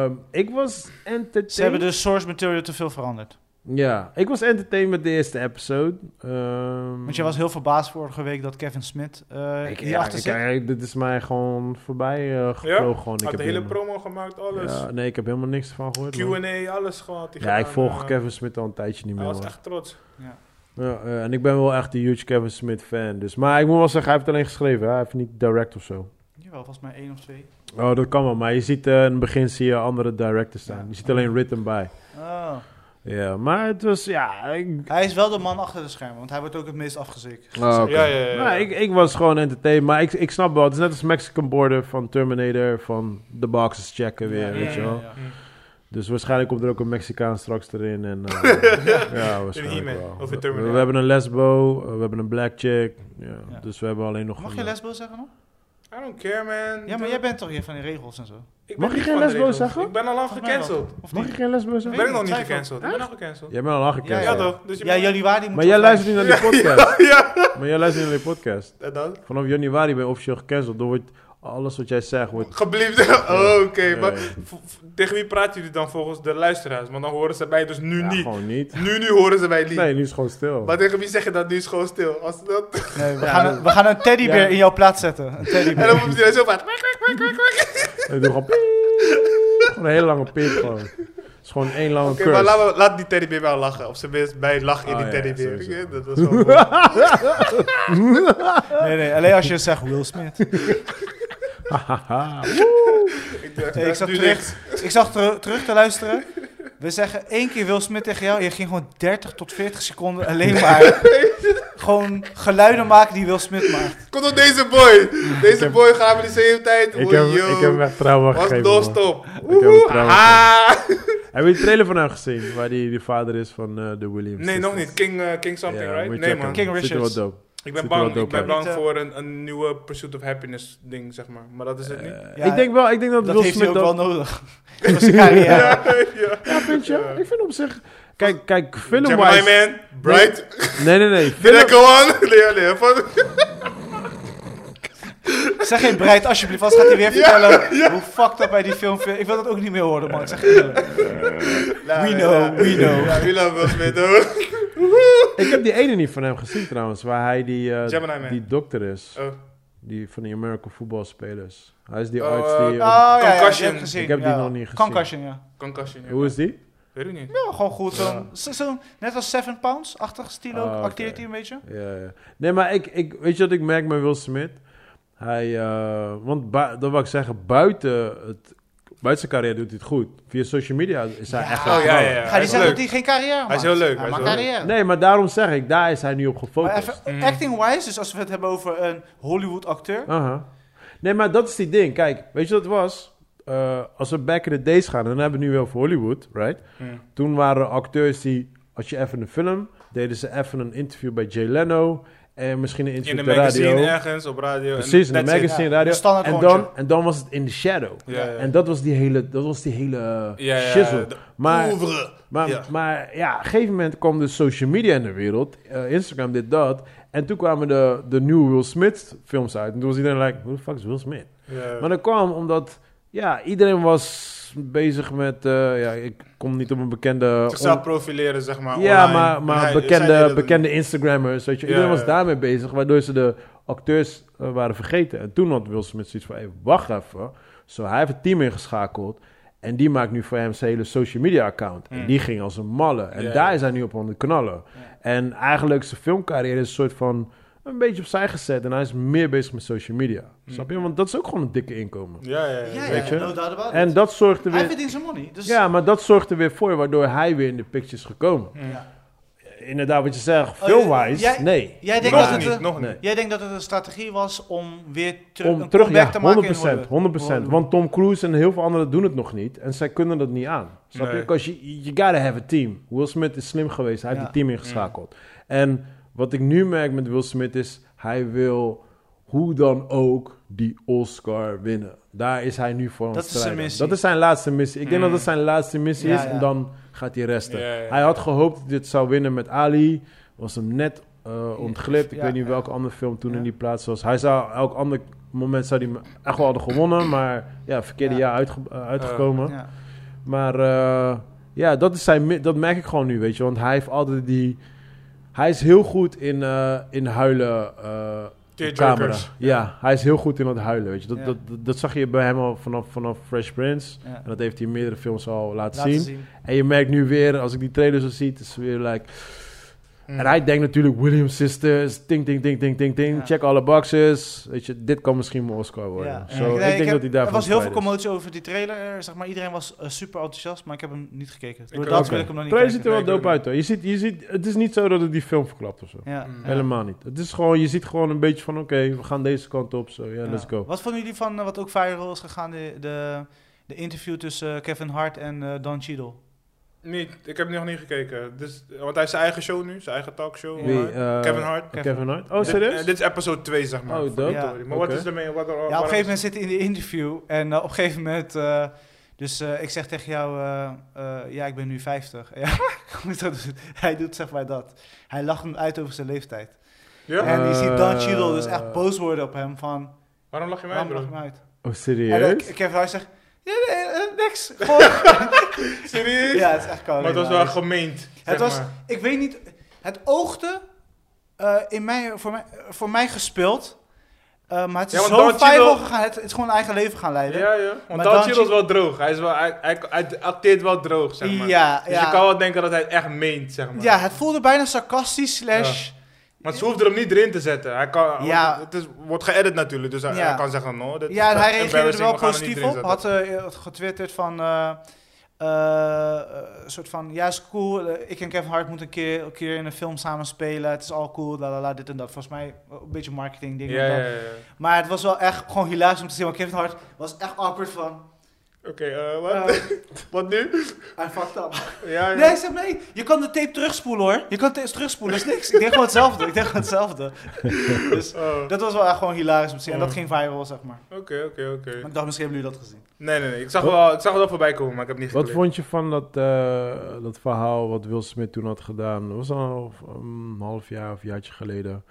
Ehm, ik was entertained. Ze hebben de source material te veel veranderd. Ja, ik was entertained met de eerste episode. Ehm, Want je was heel verbaasd vorige week dat Kevin Smith eh Ik, hier ja, achter ik- zit. ik- dit is mij gewoon voorbij eh, gevlogen. gewoon. Ik Had heb de hele helemaal- promo gemaakt, alles. Ja, nee, ik heb helemaal niks van gehoord. man. Q&A, alles gehad. die Ja, ik gedaan, volg eh, Kevin Smith al een tijdje niet meer. Hij was hoor. echt trots. Ja. Ja, eh, en ik ben wel echt een huge Kevin Smith fan. Dus. Maar ik moet wel zeggen, hij heeft het alleen geschreven. hè. Hij heeft niet direct of zo. Jawel, volgens mij één of twee. Oh, dat kan wel. Maar je ziet eh, in het begin zie je andere directors staan. Ja. Je ziet alleen written by. Oh. Ja, maar het was... Ja, ik, Hij is wel de man achter de schermen, want hij wordt ook het meest afgezikt. Oh, oké. Ja, ja, Eh. ja, ja. Nou, ik, ik was gewoon entertained, maar ik, ik snap wel. Het is net als Mexican Border van Terminator, van de boxes checken weer, Ja, weet ja, je ja, wel. ja. Dus waarschijnlijk komt er ook een Mexicaan straks erin. En, eh, ja, waarschijnlijk He-Man, wel. of in We- Terminator. We, hebben een lesbo, eh, we hebben een black chick. Ja, Ja. Dus we hebben alleen nog Mag een, je lesbo zeggen nog? I don't care, man. Ja, maar jij bent toch hier van die regels en zo? Ik ben Mag je niet geen van de lesbo regels. zeggen? Ik ben al lang Volgens mij wel. gecanceld. Of Mag niet? je geen lesbo Ik zeggen? Weet ben ik ik nog niet twijfel. gecanceld. Ik ben al gecanceld. Jij bent al Ja, aangecanceld. Ja, toch? Dus je Ja, moet- januari moet Maar jij het luistert niet naar die podcast. Ja, Maar jij luistert niet naar die podcast. en dan? Vanaf januari ben je officieel gecanceld. Dan wordt alles wat jij zegt... Wordt... Geblieft. Oké, maar Ja, v- v- tegen wie praten jullie dan volgens de luisteraars? Want dan horen ze mij dus nu ja, niet. gewoon niet. Nu, nu horen ze mij niet. Nee, nu is het gewoon stil. Maar tegen wie zeg je dat nu is gewoon stil? Als dat... zijn. Nee, we, Ja, gaan, dat- een- we gaan een teddybeer Ja. in jouw plaats zetten. Een En teddybeer. dan moet je zo vaak. Ik doe gewoon piep. Gewoon een hele lange piep gewoon. Het is gewoon één lange Oké, curse. maar laat, me- laat die teddybeer wel lachen. Of zijn minst bij lach in Oh, die ja, teddybeer. sowieso. dat was wel mooi. Nee, nee, alleen als je zegt Will Smith. Hahaha. ik dacht, Hey, ik, zat nu niks. terug, ik zag teru- terug te luisteren. We zeggen één keer Will Smith tegen jou. Je ging gewoon 30 tot 40 seconden alleen maar. gewoon geluiden maken die Will Smith maakt. Kom op deze boy. Deze heb- boy gaat me die zeven tijd. ik, Oh, heb, yo. ik heb hem echt trauma Was gegeven. man. non-stop. hem Woehoe, trouwens ah. Heb je de trailer van hem gezien? Waar die, die vader is van eh, de Williams. Nee, nog sisters? niet. King, eh, King something, Ja, moet right? je Nee, checken. man. King Ziet er wel Richards. dope. Ik Ziet er ben wel bang. dope Ik ben uit. bang Niet, eh, voor een, een nieuwe Pursuit of Happiness ding, zeg maar. Maar dat is het niet. Eh, Ja, ik denk wel, ik denk dat, Dat Will heeft hij Smith ook dat... wel nodig. Voor zijn carrière. ja. Ja, vind je? Ja. Ik vind op zich... Kijk, kijk Gemini filmwise... Man, Bright, Nee, nee, nee. Did I Film... Go On? Leer, leer. Van- Zeg geen Breit alsjeblieft, anders gaat hij weer vertellen hoe fucked up hij die film vindt. Ik wil dat ook niet meer horen, man. Ik Zeg Ah, eerlijk. We know, we know. Ja, we love Will Smith, hoor. Ik heb die ene niet van hem gezien trouwens. Waar hij die, eh, Gemini Man. die dokter is. Oh. Die, van die American voetbalspelers. Hij is die Oh, arts eh, die... Oh, ja, ja, Concussion. die heb ik gezien. Ik heb die Ja. nog niet gezien. Concussion, ja. Concussion. ja. Hoe is die? Weet ik niet. Ja, gewoon goed. Zo'n, zo- zo'n- net als Seven Pounds-achtig stilo Ah, oké. acteert hij een beetje. Ja, ja. Nee, maar ik, ik, weet je wat ik merk met Will Smith? Hij, eh, want bui- dat wil ik zeggen, buiten, het, buiten zijn carrière doet hij het goed. Via social media is hij Ja. echt Oh, aan het ja, knallen. ja, ja. Ga hij die is zeggen dat leuk. hij geen carrière maakt? Hij is heel leuk, Hij hij is maakt heel leuk. carrière. Nee, maar daarom zeg ik, daar is hij nu op Maar gefocust. even Mm. acting-wise, dus als we het hebben over een Hollywood-acteur. Aha. Nee, maar dat is die ding. Kijk, weet je wat het was? Eh, als we back in the days gaan, en dan hebben we nu wel voor Hollywood, right? Hmm. Toen waren er acteurs die, als je even een film, deden ze even een interview bij Jay Leno. En misschien een interview In de op de radio. magazine ergens, op radio. en Precies, in de that's it. magazine, Ja, radio. een standaard en, rondje. dan, en dan was het in the shadow. Ja, ja. En dat was die hele, dat was die hele Ja, ja, shizzle. de maar, oeuvre. maar, Ja. maar ja, op een gegeven moment kwam de social media in de wereld. eh, Instagram, dit, dat. En toen kwamen de, de nieuwe Will Smith films uit. En toen was iedereen like, who the fuck is Will Smith? Ja. Maar dat kwam omdat, ja, iedereen was bezig met, eh, ja, ik kom niet op een bekende... Zichzelf on- profileren, zeg maar. ja, Ah, online. maar, maar En hij- zij deden bekende, dat bekende Instagrammers, weet je. Ja, Iedereen was ja. daarmee bezig, waardoor ze de acteurs eh, waren vergeten. En toen had Will Smith zoiets van, hey, wacht even. Zo, hij heeft het team ingeschakeld. En die maakt nu voor hem zijn hele social media account. Mm. En die ging als een malle. En Ja, daar ja. is hij nu op aan het knallen. En eigenlijk zijn filmcarrière is een soort van... een beetje opzij gezet. En hij is meer bezig met social media. Mm. Snap je? Want dat is ook gewoon een dikke inkomen. Ja, ja, Ja, ja. Weet ja, je? no doubt about En it. dat zorgt er Hij weer... verdient zijn money. Dus Ja, maar dat zorgt er weer voor waardoor hij weer in de pictures gekomen. Ja. Inderdaad, wat je zegt, Oh, jij- filmwise, jij- nee. Jij denkt, nog dat het, eh, niet, een- nog niet. Nee. jij denkt dat het een strategie was om weer terug Om een terug, comeback ja, te 100%, maken in Hollywood? 100%. Want Tom Cruise en heel veel anderen doen het nog niet. En zij kunnen dat niet aan. Snap je? Nee. Because you, you gotta have a team. Will Smith is slim geweest. Hij heeft Ja. een team ingeschakeld. En wat ik nu merk met Will Smith is... Hij wil hoe dan ook die Oscar winnen. Daar is hij nu voor aan Dat het is zijn strijden. missie. Dat is zijn laatste missie. Ik denk Mm. dat dat zijn laatste missie Ja, is. ja. En dan gaat hij resten. Ja, ja, ja. Hij had gehoopt dat hij het zou winnen met Ali. Was hem net eh, ontglipt. Ik Ja, weet niet ja. welke andere film toen Ja. in die plaats was. Hij zou elk ander moment zou hij me- echt wel hadden gewonnen. Maar ja, verkeerde Ja. jaar uitge- eh, uitgekomen. Ja. Maar eh, ja, dat, is zijn, mi- dat merk ik gewoon nu, weet je. Want hij heeft altijd die... Hij is heel goed in, eh, in huilen eh, op camera. Tearjerkers. Ja, hij is heel goed in dat huilen, weet je. Dat, Ja. dat, dat, dat zag je bij hem al vanaf, vanaf Fresh Prince. Ja. En dat heeft hij in meerdere films al laten, Laten zien. zien. En je merkt nu weer, als ik die trailer zo zie, het is weer like... Mm. En hij denkt natuurlijk, Williams Sisters, ding, ding, ding, ding, ding, ding. Ja. Check alle boxes. Weet je, dit kan misschien mijn Oscar worden. Ja. Zo, Nee, ik heb- denk dat hij daarvoor Er was heel veel bevrijd is. commotie over die trailer. eh, Zeg maar, iedereen was eh, super enthousiast, maar ik heb hem niet gekeken. Door ook dat niet. wil ik hem nog niet Trailer ziet er kijken. wel Nee, ik dope ook uit hoor. Je ziet, je ziet, het is niet zo dat het die film verklapt of zo. Ja, Mm. ja. Helemaal niet. Het is gewoon, je ziet gewoon een beetje van, oké, we gaan deze kant op. Zo, ja, Ja. let's go. Wat vonden jullie van eh, wat ook viral is gegaan, de, de, de interview tussen eh, Kevin Hart en eh, Don Cheadle? Niet, ik heb nog niet gekeken. Dus, want hij heeft zijn eigen show nu, zijn eigen talkshow. Wie, eh, Kevin Hart. Kevin, Hart. Oh, Dit- serieus? eh, Dit is episode 2, zeg maar. Oh, dope. Ja. Maar wat Oké. is ermee? Wat er, Ja, op een gegeven moment zit hij in de interview en eh, op een gegeven moment... eh, dus eh, ik zeg tegen jou, eh, eh, ja, ik ben nu 50. Ja, hoe moet dat doen? hij doet zeg maar dat. Hij lacht hem uit over zijn leeftijd. Ja? En je ziet Don Eh. Cheadle dus echt boos worden op hem van, Waarom lach je mij, waarom lacht je bro? hem uit? Oh, En dan serieus? Kevin Hart zegt, nee, nee, eh, niks. Gewoon- Serieus? ja, het is echt koud. Maar het was wel gemeend. zeg was- maar. Ik weet niet, het oogde eh, in mij, voor, mij, voor mij gespeeld. Eh, maar het is Ja, want zo Don Cheadle- viral gegaan. Het, het is gewoon een eigen leven gaan leiden. Ja, ja. Want Maar Don Don Cheadle is wel droog. Hij, is wel, hij, hij, hij acteert wel droog, zeg maar. ja, Dus ja. je kan wel denken dat hij het echt meent, zeg maar. ja, het voelde bijna sarcastisch slash... Maar ze hoefden hem niet erin te zetten. Hij kan, Ja. want Het is, wordt geëdit natuurlijk, dus hij, Ja. hij kan zeggen, no, dit Ja, is en hij reageerde er embarrassing, wel we gaan niet positief erin op. zetten. Had eh, getwitterd van... eh, eh, een soort van, ja, is cool. eh, ik en Kevin Hart moeten een keer, een keer in een film samen spelen. Het is al cool, la la la, dit en dat. Volgens mij eh, een beetje marketing ding. Ja, ja, ja. ja. Maar het was wel echt gewoon hilarisch om te zien. Want Kevin Hart was echt awkward van... Oké, eh, eh, wat? Wat nu? Hij fucked up. Ja, ja. Nee, hij zegt nee. Je kan de tape terugspoelen hoor. Je kan de tape terugspoelen. Dat is niks. Ik denk gewoon hetzelfde. Ik denk gewoon hetzelfde. Dus Oh, dat was wel echt gewoon hilarisch om te zien. En Mm. dat ging viral, zeg maar. Oké, oké, oké. Maar ik dacht, misschien hebben jullie dat gezien. Nee, nee, nee. Ik zag, wel, ik zag het wel voorbij komen, maar ik heb het niet Wat gekeken. vond je van dat, eh, dat verhaal wat Will Smith toen had gedaan? Dat was al een half jaar of een jaartje geleden.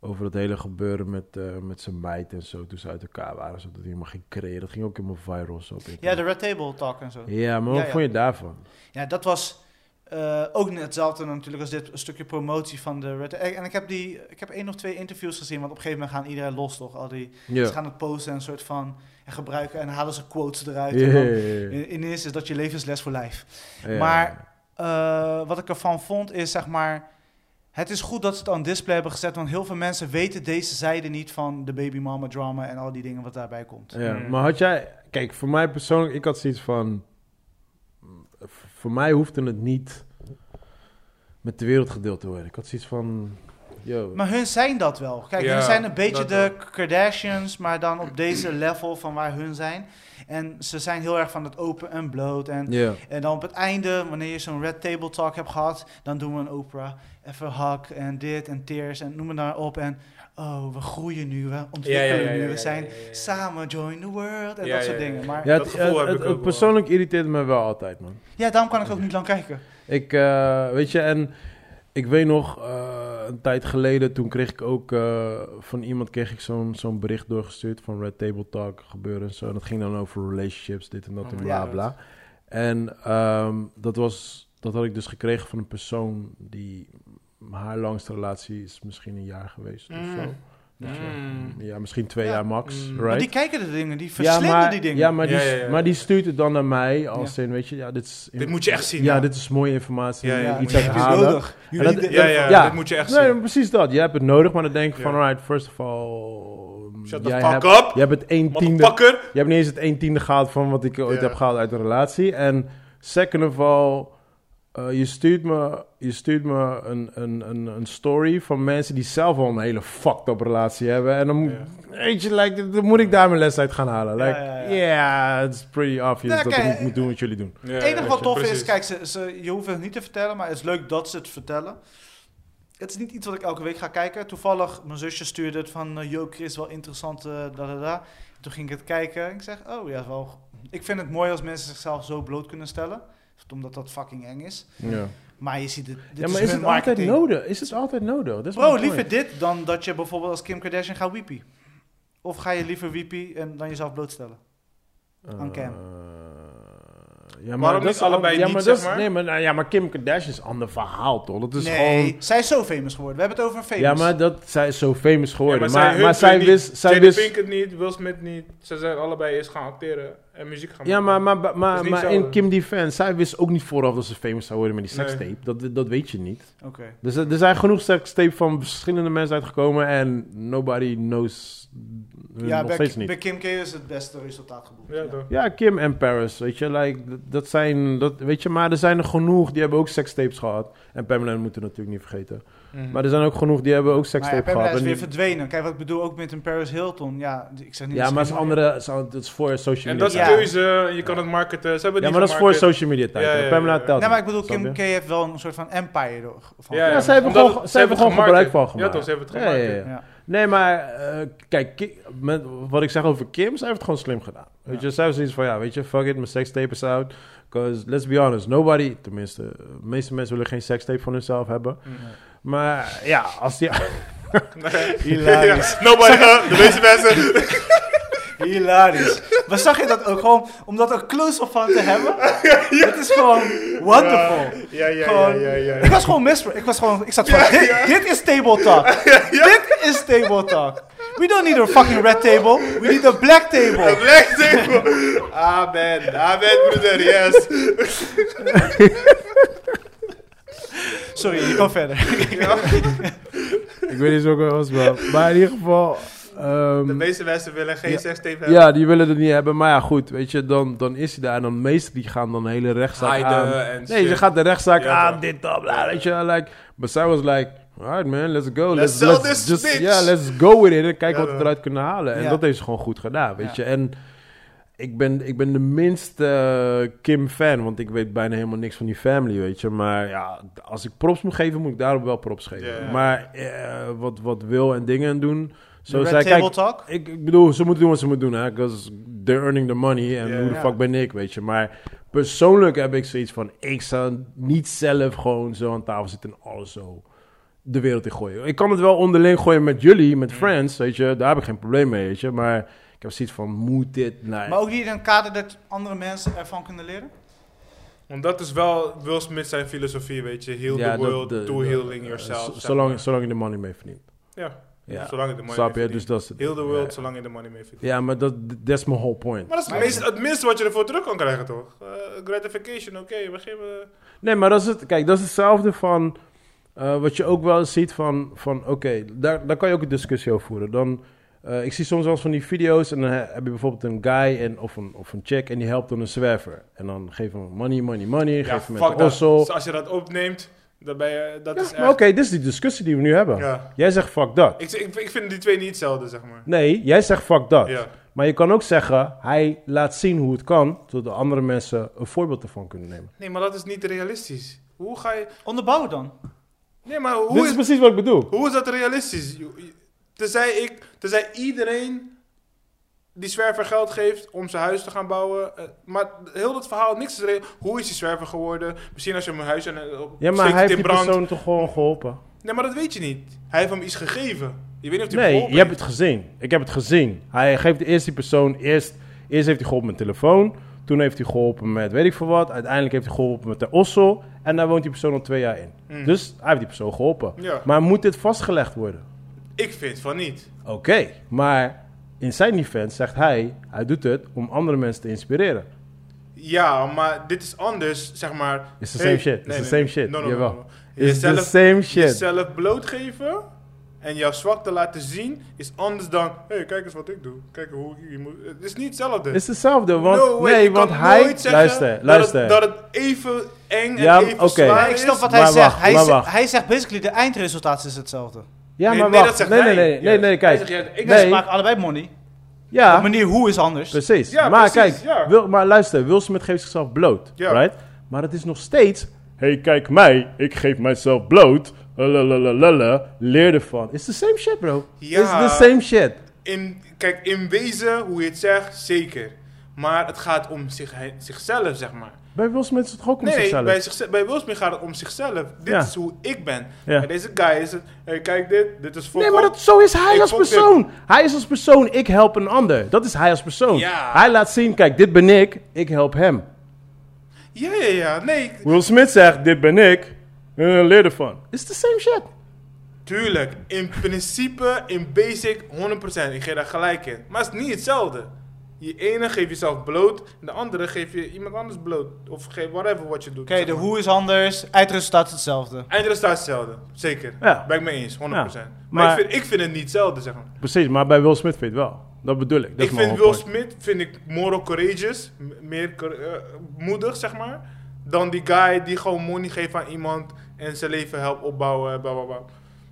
Over dat hele gebeuren met, eh, met zijn meid en zo. Toen ze uit elkaar waren. Zodat hij helemaal ging creëren. Dat ging ook helemaal viral. Zo op Ja, internet. de Red Table Talk en zo. ja, maar wat Ja, ja. vond je daarvan? Ja, dat was eh, ook net hetzelfde natuurlijk als dit een stukje promotie van de Red En ik heb, die, ik heb één of twee interviews gezien. Want op een gegeven moment gaan iedereen los, toch? Al die, Ze gaan het posten en een soort van... En gebruiken en halen ze quotes eruit. Ja, En ja, dan, ja, ja. in, in eerste is dat je levensles voor lijf. Ja. Maar eh, wat ik ervan vond is, zeg maar... Het is goed dat ze het aan display hebben gezet, want heel veel mensen weten deze zijde niet van de baby mama drama en al die dingen wat daarbij komt. Ja, Mm. maar had jij... Kijk, voor mij persoonlijk, ik had zoiets van... Voor mij hoefde het niet met de wereld gedeeld te worden. Ik had zoiets van... Yo, Maar hun zijn dat wel. Kijk, Ja, hun zijn een beetje dat de Kardashians, maar dan op deze level van waar hun zijn. En ze zijn heel erg van het open en bloot. En, ja. en dan op het einde, wanneer je zo'n red table talk hebt gehad, dan doen we een opera. Even hak en dit en tears en noem het maar op. En oh, we groeien nu, we Ja, ontwikkelen ja, ja, ja, nu, ja, we zijn ja, ja, ja. samen join the world en Ja, ja, dat soort ja, dingen. ja. Maar Ja, ja, het, Dat gevoel het- heb ik het- ook wel. persoonlijk irriteert me wel altijd, man. daarom kan ik ook niet lang kijken. Ik, eh, weet je, en ik weet nog, eh, een tijd geleden, toen kreeg ik ook eh, van iemand kreeg ik zo'n zo'n bericht doorgestuurd van Red Table Talk gebeuren en zo. En dat ging dan over relationships, dit en dat Oh en my bla God. bla. En ehm, dat was, dat had ik dus gekregen van een persoon die haar langste relatie is misschien een jaar geweest of Mm. zo. Dus, eh, Mm. Ja, misschien twee Ja. jaar max. Mm. Maar Right? die kijken de dingen, die ja, verslinden maar, die dingen. Ja, maar die, Ja, ja, ja. maar die stuurt het dan naar mij als in, weet je, ja, dit is... Dit moet je echt zien. ja, ja. dit is mooie informatie. Ja, ja, moet iets Dit je is echt uithalen. nodig. Jullie dat- de- Ja, ja, Ja. dit moet je echt Nee, zien. precies dat. Je hebt het nodig, maar dan denk ik van, Ja. alright, first of all... mm, Shut the jij fuck hebt, up, Je hebt het een tiende... motherfucker. Je hebt niet eens het een tiende gehaald van wat ik ooit Ja. heb gehaald uit een relatie. En second of all, eh, je stuurt me, je stuurt me een, een, een, een story van mensen die zelf al een hele fucked up relatie hebben. En dan, moet- weet je, like, dan moet ik daar mijn les uit gaan halen. Ja, Like, ja, ja. yeah, it's pretty obvious Nou, dat kijk, ik niet moet doen wat jullie doen. Het Het enige wat tof is, kijk, ze, ze, je hoeft het niet te vertellen, maar het is leuk dat ze het vertellen. Het is niet iets wat ik elke week ga kijken. Toevallig, mijn zusje stuurde het van, eh, yo Chris, wel interessant, eh, da da da. Toen ging ik het kijken en ik zeg, oh ja, wel... Ik vind het mooi als mensen zichzelf zo bloot kunnen stellen. Omdat dat fucking eng is. Ja, Maar je ziet het, dit ja maar is, is hun het marketing. altijd nodig? Is het altijd nodig? Dat is Bro, mijn liever point. dit dan dat je bijvoorbeeld als Kim Kardashian gaat weepie. Of ga je liever weepie en dan jezelf blootstellen? aan Cam. Eh, ja, maar Waarom dat niet is allebei ja, niet, maar zeg dat is- maar? Nee, maar, nou ja, maar Kim Kardashian is een ander verhaal, toch? Dat is nee, gewoon... zij is zo famous geworden. We hebben het over famous. Ja, maar dat, zij is zo famous geworden. Ja, maar maar, hun zij twee niet. wist... Zij Jada wist Pinkett niet, Will Smith niet. Ze zijn allebei eerst gaan acteren en muziek gaan ja, maar, maken. maar, maar, is maar, niet maar zo, in hè? Kim Defense, zij wist ook niet vooraf dat ze famous zou worden met die Nee. sekstape. Dat, dat weet je niet. Oké. Dus er er zijn genoeg sekstape van verschillende mensen uitgekomen en nobody knows hun Ja, nog bij, steeds Ki- niet. bij Kim K is het beste resultaat geboekt. Ja, toch. Ja, Kim en Paris, weet je, like, dat, dat zijn, dat, weet je, maar er zijn er genoeg, die hebben ook sekstapes gehad. En Pamela moeten we natuurlijk niet vergeten. Hmm. Maar er zijn ook genoeg, die hebben ook Maar ja, sekstape Pamela gehad. is en weer die- verdwenen. Kijk, wat ik bedoel ook met een Paris Hilton. Ja, die- ik zeg niet... ja, dat maar ze dat is, geen- andere, dat is- dat is voor social En media. dat is Ja. keuze, je kan het marketen. Ze hebben Ja, het maar dat niet is voor gemarket. social media tijd. Ja, hè. ja, ja, Pamela ja. telt. Nee, maar ik bedoel, Snap je? Kim K heeft wel een soort van empire door- van. Ja, ja, ze hebben omdat gewoon- het- ze hebben gewoon gemarket. gebruik van gemaakt. Ja, toch, ze hebben het Ja, gemaakt. ja, ja. Ja. Nee, maar eh, kijk, Ki- met wat ik zeg over Kim, zij heeft het gewoon slim gedaan. Weet je, zij heeft zoiets van, ja, weet je, fuck it, mijn sekstape is out. Because, let's be honest, nobody, tenminste, de meeste mensen willen geen sekstape van hunzelf hebben. Mm. Maar ja, als die... Nee. Hilarisch. Ja, Nobody, uh, de meeste mensen. Hilarisch. Maar zag je dat ook gewoon, om dat een close-up van te hebben? Het is gewoon wonderful. Ja, ja, ja, Gewoon- ja, ja. Ik was gewoon mis. Ik was gewoon, ik zat van, dit, dit is table talk. Dit is table talk. We don't need a fucking red table. We need a black table. Black table. Amen, amen, broeder, yes. Sorry, je kan verder. ik weet niet zo goed was, maar, maar in ieder geval... ehm, De meeste mensen willen geen Ja. sekstape hebben. ja, die willen het niet hebben, maar ja, goed, weet je, dan, dan is hij daar. En dan meestal die gaan dan de hele rechtszaak aan. Heiden en Nee, ze shit. gaat de rechtszaak Ja, aan, toch. dit, dat, bla, weet je. Like, but zij was like, alright man, let's go. Let's sell this just, bitch. Yeah, let's go with it. En kijken Ja, wat we toch. eruit kunnen halen. En Ja. dat heeft ze gewoon goed gedaan, weet Ja. je. En ik ben, ik ben de minste eh, Kim-fan, want ik weet bijna helemaal niks van die family, weet je. Maar ja, als ik props moet geven, moet ik daarop wel props geven. Ja. Maar eh, wat, wat wil en dingen doen... Zo red zij, table kijk, talk. ik, ik bedoel, ze moeten doen wat ze moeten doen, hè. Because they're earning the money. En Ja, hoe de ja. fuck ben ik, weet je. Maar persoonlijk heb ik zoiets van... Ik zou niet zelf gewoon zo aan tafel zitten en alles zo de wereld in gooien. Ik kan het wel onderling gooien met jullie, Mm. met friends, weet je. Daar heb ik geen probleem mee, weet je. Maar ik heb zoiets van, moet dit... Nee. Maar ook niet in een kader dat andere mensen ervan kunnen leren. Want dat is wel Will Smith zijn filosofie, weet je. Heal Ja, the dat- world, de- do de- healing eh, yourself. zo- zeg Zolang, maar. zolang je de money mee verdient. Ja. Ja. Zolang je de money Snap je? mee Dus verdient. dat is het Heal the ding, world, ja. zolang je de money mee verdient. Ja, maar dat dat is mijn whole point. Maar dat is het, meest, het minste wat je ervoor terug kan krijgen, toch? Eh, gratification, oké, we geven... Nee, maar dat is het. Kijk, dat is hetzelfde van. eh, wat je ook wel eens ziet van. van Oké, daar, daar kan je ook een discussie over voeren. Dan, eh, ik zie soms wel eens van die video's. En dan he- heb je bijvoorbeeld een guy en, of, een, of een chick. En die helpt dan een zwerver. En dan geef hem money, money, money. ja, geef hem fuck met de dat. ossel. Dus als je dat opneemt, dan ben je... Dat Ja, is maar echt... oké, dit is die discussie die we nu hebben. Ja. Jij zegt fuck dat. Ik, ik, ik vind die twee niet hetzelfde, zeg maar. Nee, jij zegt fuck dat. Ja. Maar je kan ook zeggen, hij laat zien hoe het kan, zodat andere mensen een voorbeeld ervan kunnen nemen. Nee, maar dat is niet realistisch. Hoe ga je... Onderbouw dan. Nee, maar Dit hoe is is, precies wat ik bedoel. hoe is dat realistisch? Je- je- Tenzij, ik, tenzij iedereen die zwerver geld geeft om zijn huis te gaan bouwen. eh, maar heel dat verhaal, niks is real. Hoe is die zwerver geworden? Misschien als je hem een huis aan... eh, op- Ja, steekt maar hij het heeft in die brand. persoon toch gewoon geholpen. Nee, maar dat weet je niet. Hij heeft hem iets gegeven. Je weet niet of hij hem Nee, geholpen je hebt heeft. het gezien. Ik heb het gezien. Hij geeft eerst die persoon, eerst, eerst heeft hij geholpen met telefoon. Toen heeft hij geholpen met weet ik veel wat. Uiteindelijk heeft hij geholpen met de ossel. En daar woont die persoon al twee jaar in. Mm. Dus hij heeft die persoon geholpen. Ja. Maar moet dit vastgelegd worden? Ik vind van niet. Oké, maar in zijn defense zegt hij, hij doet het om andere mensen te inspireren. Ja, maar dit is anders, zeg maar. Is the same shit, is the same shit, jawel. Is the Jezelf, same shit. jezelf blootgeven en jouw zwakte laten zien is anders dan... Hé, hey, kijk eens wat ik doe. Kijk hoe ik hier moet... Het is niet hetzelfde. Het is hetzelfde, want, No way, nee, je want kan hij, nooit zeggen luister, luister. Dat het, dat het even eng en Ja, even oké. zwaar Maar ik snap is. wat hij Maar zegt. wacht, hij, maar zegt- wacht. hij zegt basically de eindresultaat is hetzelfde. ja, Nee, maar nee, dat wacht, zegt nee, nee, hij. nee, nee, nee, Hij kijk. zegt, ja, ik- Nee. Ze Nee, maken allebei money. De ja, manier hoe is anders. precies. Ja, maar precies, kijk, ja. Wil, maar luister, Will Smith geeft zichzelf bloot, Ja. right? Maar het is nog steeds, hey, kijk mij, ik geef mijzelf bloot, lalalala, leer ervan. It's the same shit, bro. Ja. It's the same shit. In, kijk, in wezen, hoe je het zegt, zeker. Maar het gaat om zich, zichzelf, zeg maar. Bij Will Smith is het ook om Nee, zichzelf. bij, zichzelf, bij Will Smith gaat het om zichzelf. Dit Ja. is hoe ik ben. Ja. En deze guy is het, hey, kijk dit, dit is voor Nee, maar dat, zo is hij Ik als vond dit- persoon. Hij is als persoon, ik help een ander. Dat is hij als persoon. Ja. Hij laat zien, kijk, dit ben ik, ik help hem. Ja, ja, ja, nee, Will Smith zegt, dit ben ik, eh, leer ervan. It's the same shit. tuurlijk. In principe, in basic, 100%. Ik geef daar gelijk in. Maar het is niet hetzelfde. Je ene geeft jezelf bloot, en de andere geef je iemand anders bloot. Of geef whatever wat je doet. Oké, de hoe is anders, eindresultaat is hetzelfde. Eindresultaat is hetzelfde, zeker. Ja. Ben ik mee eens, 100%. Maar, maar- ik, vind, ik vind het niet hetzelfde, zeg maar. Precies, maar bij Will Smith vind je het wel. Dat bedoel ik. Dat is ik mijn vind whole Will point. Smith vind ik moral courageous, m- meer cour- eh, moedig zeg maar, dan die guy die gewoon money geeft aan iemand en zijn leven helpt opbouwen, bla bla bla.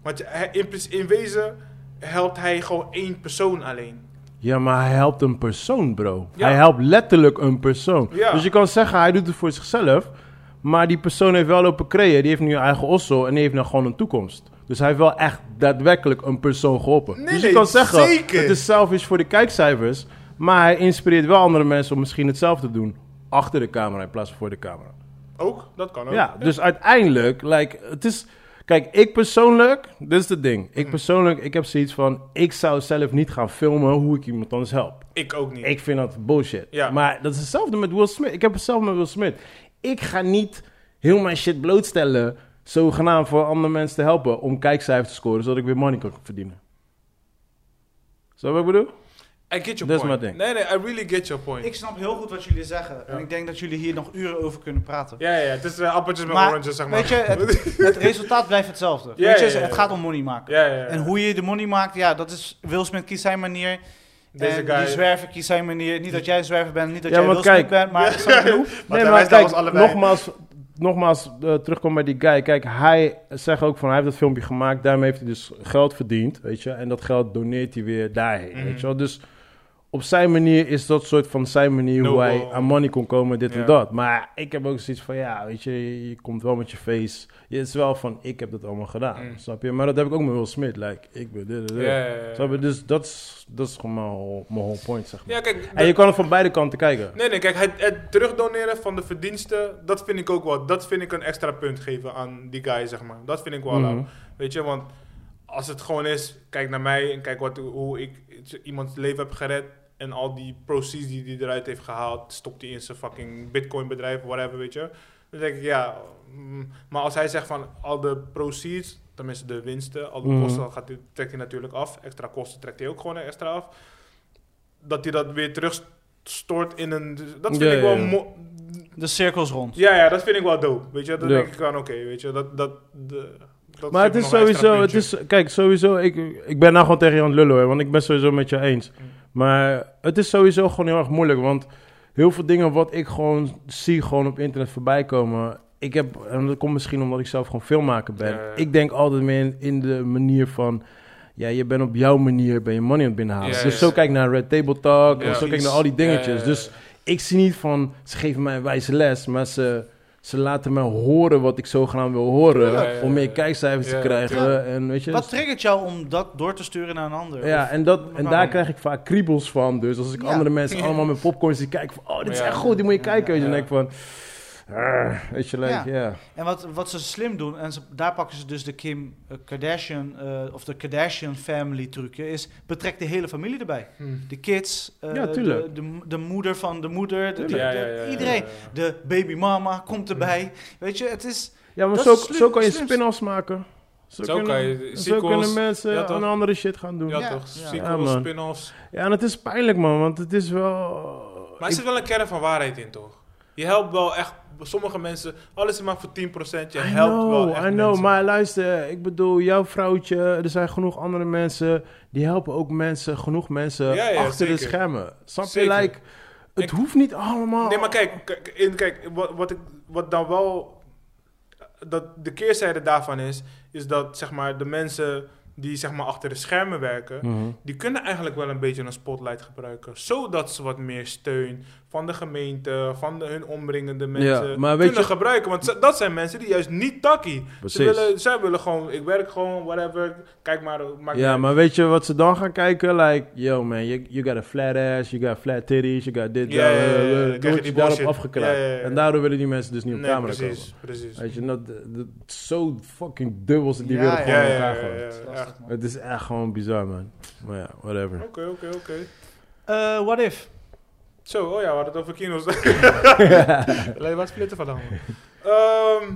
Want je- hij- in, prin- in wezen helpt hij gewoon één persoon alleen. Ja, maar hij helpt een persoon, bro. Ja. Hij helpt letterlijk een persoon. Ja. Dus je kan zeggen, hij doet het voor zichzelf. Maar die persoon heeft wel lopen creëren. Die heeft nu een eigen osso en die heeft nou gewoon een toekomst. Dus hij heeft wel echt daadwerkelijk een persoon geholpen. Nee, dus je nee, kan zeggen, zeker. het is selfish voor de kijkcijfers. Maar hij inspireert wel andere mensen om misschien hetzelfde te doen. Achter de camera in plaats van voor de camera. Ook, dat kan ook. Ja, dus uiteindelijk, like, het is... Kijk, ik persoonlijk, dit is het ding. Mm. Ik persoonlijk, ik heb zoiets van... Ik zou zelf niet gaan filmen hoe ik iemand anders help. Ik ook niet. Ik vind dat bullshit. Ja. Maar dat is hetzelfde met Will Smith. Ik heb hetzelfde met Will Smith. Ik ga niet heel mijn shit blootstellen... zogenaamd voor andere mensen te helpen... om kijkcijfers te scoren... zodat ik weer money kan verdienen. Zo wat ik bedoel? I get your Dat is point. mijn ding. Nee, nee, I really get your point. Ik snap heel goed wat jullie zeggen. En ik denk dat jullie hier nog uren over kunnen praten. Ja, ja, het is eh, appeltjes met Maar, oranges zeg maar. weet je, Het resultaat blijft hetzelfde. Ja, Weet je, ja, ja, het ja. gaat om money maken. ja, ja, ja. En hoe je de money maakt, ja, dat is... Will Smith kiest zijn manier. Deze en guy. die zwerver kiest zijn manier. Niet dat jij een zwerver bent, niet dat Ja, jij want Will Smith kijk- bent, maar... snap je wat ik bedoel? Want nee, hij maar wijst naar kijk, ons allebei. nogmaals, nogmaals eh, terugkom bij die guy. Kijk, hij zegt ook van, hij heeft dat filmpje gemaakt, daarmee heeft hij dus geld verdiend, weet je. En dat geld doneert hij weer daarheen, Mhm. weet je wel. Dus op zijn manier is dat soort van zijn manier hoe Nobel. hij aan money kon komen, dit Ja. en dat. Maar ik heb ook zoiets van, ja, weet je, je komt wel met je face. Je is wel van, ik heb dat allemaal gedaan, Mm. snap je. Maar dat heb ik ook met Will Smith, like, ik ben dit, dit, dit. Ja, ja, ja. Snap je? Dus dat is, dat is gewoon mijn whole, mijn whole point, zeg maar. Ja, kijk, En je kan het van beide kanten kijken. Nee, nee, kijk, het, het terugdoneren van de verdiensten, dat vind ik ook wel. Dat vind ik een extra punt geven aan die guy, zeg maar. Dat vind ik wel. Mhm. lauw. Weet je, want als het gewoon is, kijk naar mij en kijk wat, hoe ik iemands leven heb gered. En al die proceeds die hij eruit heeft gehaald, stopt hij in zijn fucking bitcoinbedrijf, whatever, weet je. Dan denk ik, ja. mm, Maar als hij zegt van al de proceeds, tenminste de winsten, al de Mhm. kosten gaat hij, trekt hij natuurlijk af. Extra kosten trekt hij ook gewoon extra af. Dat hij dat weer terugstort in een... Dat vind Ja, ik wel... ja, ja. mo- De cirkels rond. Ja, ja, dat vind ik wel dope. Weet je, dat Ja. denk ik aan oké, weet je. Dat, dat, de, dat Maar het geeft is nog een extra sowieso, het puntje. is, kijk, sowieso, ik, ik ben nou gewoon tegen je aan het lullen hoor, want ik ben sowieso met je eens. Mm. Maar het is sowieso gewoon heel erg moeilijk, want heel veel dingen wat ik gewoon zie, gewoon op internet voorbij komen. Ik heb, en dat komt misschien omdat ik zelf gewoon filmmaker ben. Ja, ja. Ik denk altijd meer in, in de manier van, ja, je bent op jouw manier, ben je money aan het binnenhalen. Ja, dus ja, zo ja. kijk ik naar Red Table Talk, Ja. en zo kijk ik naar al die dingetjes. Ja, ja, ja. Dus ik zie niet van, ze geven mij een wijze les, maar ze, ze laten mij horen wat ik zogenaamd wil horen. Ja, ja, ja, Om meer ja. kijkcijfers Ja. te krijgen. Ja. En weet je, dus Wat triggert jou om dat door te sturen naar een ander? ja, Of- en, dat, en daar waarom? krijg ik vaak kriebels van. Dus als ik Ja. andere mensen Ja. allemaal met popcorn zie kijken van... Oh, dit is Ja. echt goed, die moet je Ja, kijken. Weet je, ja. dan denk ik van... "Arr," Weet je, like, Ja. ja. En wat, wat ze slim doen, en ze, daar pakken ze dus de Kim eh, Kardashian eh, of de Kardashian family trucje, is betrek de hele familie erbij. Hm. De kids, eh, Ja, de, tuurlijk. de, de moeder van de moeder, de, de- Ja, ja, de- ja, ja, iedereen. ja, ja. De babymama komt erbij. Weet je, het is. Ja, maar Dat zo, is slim- zo kan je slim. spin-offs maken. Zo, Zo kunnen, kan je- zo sequels- kunnen mensen ja, toch? aan andere shit gaan doen. Ja, Ja. Ja, toch? ja. Sequels, Ja, man. spin-offs. en het is pijnlijk, man, want het is wel... Maar er zit wel een kern van waarheid in, toch? Je helpt wel echt sommige mensen, alles is maar voor 10%. Je I helpt wel know, echt I know, mensen. maar luister, ik bedoel, jouw vrouwtje, er zijn genoeg andere mensen, die helpen ook mensen, genoeg mensen Ja, ja, achter de zeker. schermen. Snap je, Zeker. like, het Ik- hoeft niet allemaal... Nee, maar kijk, kijk, in, kijk wat, wat, ik, wat dan wel. Dat de keerzijde daarvan is, is dat zeg maar, de mensen die zeg maar, achter de schermen werken, Mhm. die kunnen eigenlijk wel een beetje een spotlight gebruiken. Zodat ze wat meer steun van de gemeente, van de, hun omringende mensen Ja, maar weet kunnen je- gebruiken. Want ze- dat zijn mensen die juist niet takkie. Ze Precies. willen, zij willen gewoon, ik werk gewoon, whatever. Kijk maar. maakt niet Ja, uit. maar weet je wat ze dan gaan kijken? Like, yo man, you, you got a flat ass, you got flat titties, you got dit, Ja, dat, ja, ja, ja, eh, dan eh, krijg dan je word die je daarop bullshit. afgekraakt. Ja, ja, ja, ja. En daardoor willen die mensen dus niet op nee, camera precies, precies. komen. Weet je, en dat, dat zo fucking dubbel zit die Ja, wereld ja, gewoon ja, in ja, elkaar. ja, gewoon. ja. Dat is lastig, man. Het is echt gewoon bizar, man. Maar ja, whatever. Oké, oké, oké. Eh, what if? Zo, oh ja, we hadden het over kino's. Allee, Waar splitten van dan? Ehm,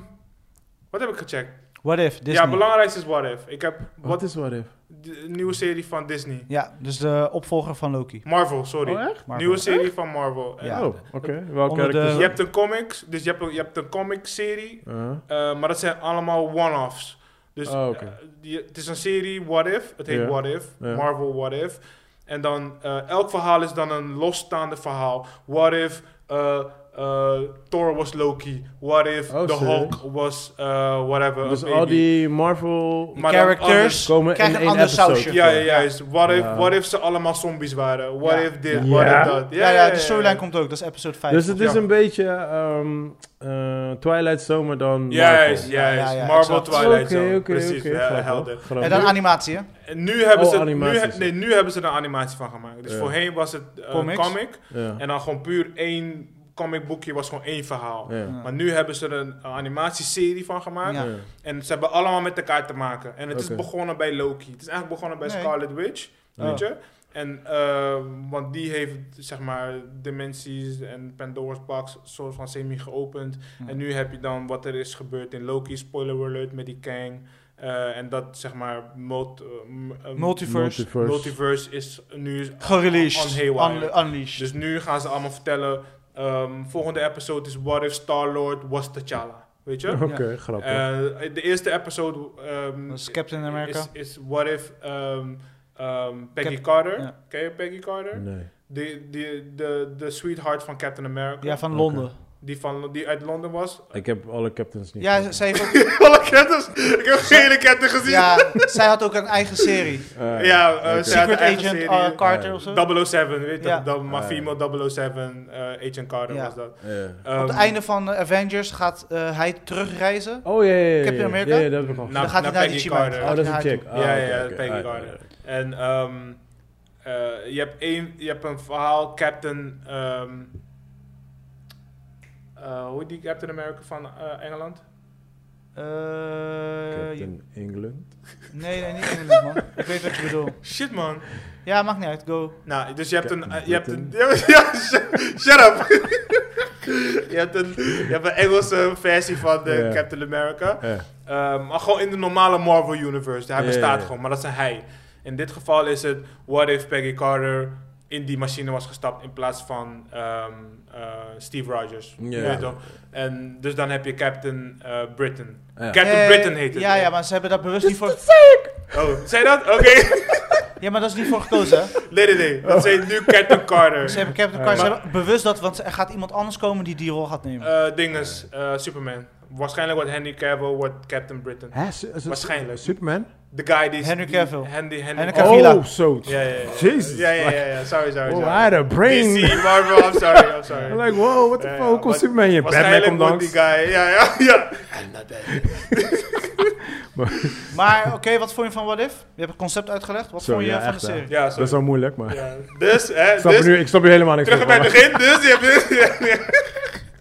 wat heb ik gecheckt? What if? Disney. Ja, belangrijkste is What If. Ik heb Wat wat is What If? de nieuwe serie van Disney. Ja, dus de opvolger van Loki. Marvel, sorry. Oh, echt? Marvel. nieuwe serie van Marvel. En Ja. Oh, oké. Welke Onder de- Je characters? hebt een comics, dus je hebt een, je hebt een comic serie, Uh-huh. eh, maar dat zijn allemaal one-offs. Dus Oh, oké. eh, die- het is een serie What If, het heet Ja. What If, Ja. Marvel What If. En dan eh, elk verhaal is dan een losstaande verhaal. What If eh, eh, Thor was Loki, What If Oh, The serieus? Hulk was eh, whatever. een Dus baby. al die Marvel Maar dan Characters anders- komen in krijgen één een ander episode. sausje. Ja, ja, juist. What, Ja. If, what if ze allemaal zombies waren? What Ja. if dit, Ja. what Ja? if dat? Ja, ja, de storyline komt ook. Dat is episode 5. Dus het is Ja. een beetje ehm, eh, Twilight Zomer dan Juist, Marvel. Ja, juist. ja, ja, Marvel exact. Twilight Oké, Zone. oké, Precies, oké, ja, grappig. helder. Grappig. En dan animatie, hè? En nu hebben, Oh, ze, nu, animaties, he- nee, nu hebben ze er een animatie van gemaakt. Dus Ja. voorheen was het eh, een Comics. comic. Ja. En dan gewoon puur één comic boekje was gewoon één verhaal. Ja. Maar nu hebben ze er een animatieserie van gemaakt. Ja. Ja. En ze hebben allemaal met elkaar te maken. En het Oké. is begonnen bij Loki. Het is eigenlijk begonnen bij Nee. Scarlet Witch. Weet je? En, eh, want die heeft, zeg maar, dimensies en Pandora's box soort van semi geopend. Ja. En nu heb je dan wat er is gebeurd in Loki, spoiler alert, met die Kang. Eh, en dat, zeg maar, mult, eh, m- eh, Multiverse. multiverse is nu... is Gereleased. On Haywire. Unle- unleashed. Dus nu gaan ze allemaal vertellen, ehm, volgende episode is What If Star-Lord was T'Challa. Weet je? Oké, grappig. Eh, de eerste episode ehm, Dat is Captain America. Is, is What If ehm, ehm, Peggy Cap- Carter. ja. Ken je Peggy Carter? nee. Die, die, de, de sweetheart van Captain America. Ja, van Londen. Die, van, die uit Londen was. Ik heb alle captains niet. Ja, gezien. zij, heeft ook, Alle captains. Ik heb geen captain gezien. Ja, ja, zij had ook een eigen serie. Eh, eh, ze oké. had Secret een eigen Agent serie. uh, Carter Ja. of zo. 007, weet je Ja. dat? dat- Maar Ja. female 007, eh, Agent Carter Ja. was dat. Ja. Ehm, Op het einde van eh, Avengers gaat eh, hij terugreizen. Oh ja, ja, ja. ja. Captain America? Ja, ja, dat heb ik al. Nou, dan gaat hij naar naar Peggy die Chimera. Carter. oh, dat is een chick. Ja, Ah, ja, oké, ja, oké, Peggy ah, Carter. oké. En ehm, eh, je, hebt één, je hebt een verhaal, Captain. ehm, eh, hoe heet die Captain America van eh, Engeland? Eh, Captain England. nee, nee, niet Engeland, man. Ik weet wat je bedoelt. Shit man. Ja, maakt niet uit. Go. Nou, dus je hebt een. Captain eh, je hebt een ja, ja, shut, shut up! je, hebt een, je hebt een Engelse versie van de Ja. Captain America. Eh, Ehm, maar gewoon in de normale Marvel Universe. Hij Ja, bestaat ja, ja. gewoon, maar dat is een hij. In dit geval is het, what if Peggy Carter in die machine was gestapt in plaats van ehm, eh, Steve Rogers. Ja. Je weet toch? En dus dan heb je Captain eh, Britain. Ja. Captain Eh, Britain heet het. Ja, ja, maar ze hebben daar bewust niet voor... Oh, zei dat? Oké. Ja, maar dat is niet voor gekozen, hè. Nee, nee, nee. Dat heet nu Captain Carter. Ze hebben Captain Carter... Maar- Ze hebben bewust dat, want er gaat iemand anders komen die die rol gaat nemen. Eh dinges, eh, Superman. Waarschijnlijk wordt Henry Cavill wordt Captain Britain. Hè? Su- is het Waarschijnlijk. Superman? De guy die... Henry die- Cavill. Henry, Henry, Henry Oh, Cavill. Avila. Oh, zo. Ja, ja, ja. Jezus. Ja, ja, ja, ja. Sorry, sorry, Oh, I sorry. had a brain. DC, Marvel, I'm sorry, I'm sorry. I'm like, wow, what the Ja, fuck? ja, Hoe komt wat- Superman hier? Batman Waarschijnlijk komt wordt die langs. guy, ja, ja, ja. Maar oké, wat vond je van What If? Je hebt het concept uitgelegd. Wat Zo, vond je ja, van de echt, hè. serie? Ja, Dat is sorry. wel moeilijk, maar... Ja. Dus, hè, Ik snap, je dus nu, ik snap je helemaal niks terug van, Ah, bij het maar- begin, dus je hebt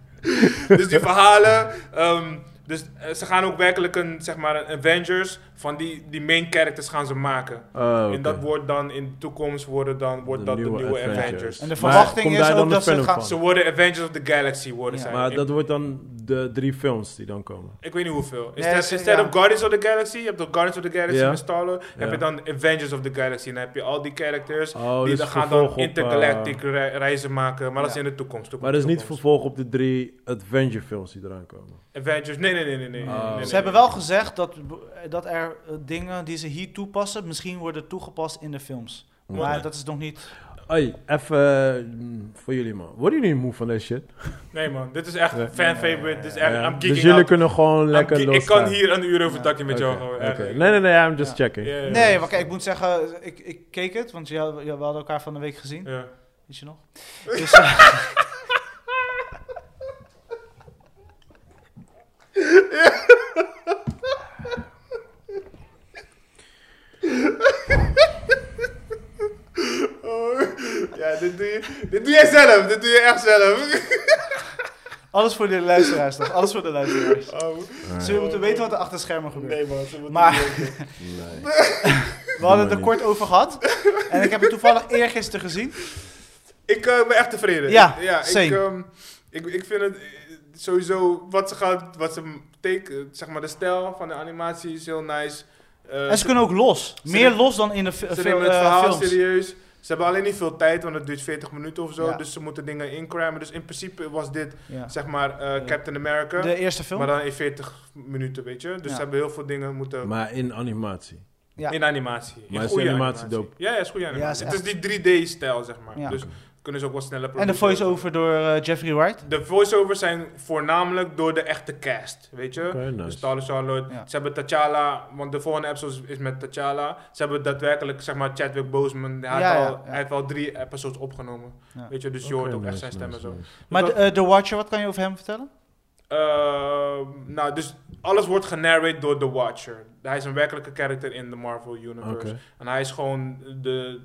Dus die verhalen, ehm, dus eh, ze gaan ook werkelijk een, zeg maar, een Avengers van die, die main characters gaan ze maken. Oh, oké. En dat wordt dan in de toekomst worden dan, wordt De dat de nieuwe nieuwe Avengers. Avengers. En de Maar verwachting komt is daar dan ook de dat ze het film gaan... van? Ze worden Avengers of the Galaxy worden Ja. zij. Maar In- dat wordt dan de drie films die dan komen. Ik weet niet hoeveel. Is Nee, dat- ik- is dat ja. op Guardians of the Galaxy? Je hebt de Guardians of the Galaxy Ja. met Star-Lord. Heb Ja. je dan Avengers of the Galaxy. En dan heb je al die characters Oh, die dus dan gaan vervolg dan op, intergalactic eh, re- reizen maken. Maar dat is Ja. in de toekomst. maar dat is niet toekomst. vervolg op de drie Adventure films die eraan komen. Avengers, nee, nee, nee, nee. nee, Oh. nee, nee, Ze nee. hebben wel gezegd dat, b- dat er eh, dingen die ze hier toepassen, misschien worden toegepast in de films. Maar Ja. dat is nog niet. Oei, even mm, voor jullie man. Worden jullie moe van deze shit? Nee man, dit is echt Ja. fan-favorite. Dit is echt, Ja. I'm geeking dus jullie out. kunnen gewoon I'm lekker ge- los. Ik kan hier een uur over takken met jou. Oké, gewoon, oké. eigenlijk. Nee, nee, nee, I'm just Ja. checking. Ja, ja, ja. Nee, maar kijk, ik moet zeggen, ik, ik keek het, want ja, ja, we hadden elkaar van de week gezien. Ja. Weet je nog? Dus, eh, Oh, ja, dit doe, je, dit doe jij zelf. Dit doe je echt zelf. alles voor de luisteraars toch? Alles voor de luisteraars. Oh, Ze moeten weten wat er achter schermen gebeurt. nee man, ze moeten Maar- niet weten. Nee. We hadden het er niet. kort over gehad. En ik heb het toevallig eergisteren gezien. Ik eh, ben echt tevreden. Ja, Ik- ja ik, same. ehm, ik, ik vind het eh, sowieso wat ze gaat, wat ze teken, zeg maar de stijl van de animatie is heel nice. Eh, En ze kunnen ook los. Meer nemen- los dan in de fi- ze fil- nemen het eh, verhaal films. serieus. Ze hebben alleen niet veel tijd, want het duurt 40 minuten of zo. Ja. Dus ze moeten dingen incrammen. Dus in principe was dit, Ja. zeg maar, eh, Ja. Captain America. De eerste film? maar dan in 40 minuten, weet je. Dus Ja. ze hebben heel veel dingen moeten... Maar in animatie. Ja. In animatie. In Maar is goede de animatie dope? Ja, ja, is goede animatie. is het is die 3D-stijl, zeg maar. Ja. Dus kunnen ze ook wat sneller en de produceren. voice-over door eh, Jeffrey Wright. De voiceovers zijn voornamelijk door de echte cast, weet je? Dus Oké, nice. Star Charlotte. Ja. Ze hebben T'Challa, want de volgende episode is met T'Challa. Ze hebben daadwerkelijk, zeg maar, Chadwick Boseman. Hij, Ja, had ja, al, ja. hij heeft al drie episodes opgenomen. Ja. Weet je, dus je Oké, hoort ook echt nice, zijn stem nice, en zo. nice. Maar dat- de, eh, The Watcher, wat kan je over hem vertellen? Ehm, nou, dus alles wordt genarrate door The Watcher. Hij is een werkelijke character in de Marvel Universe. Oké. En hij is gewoon de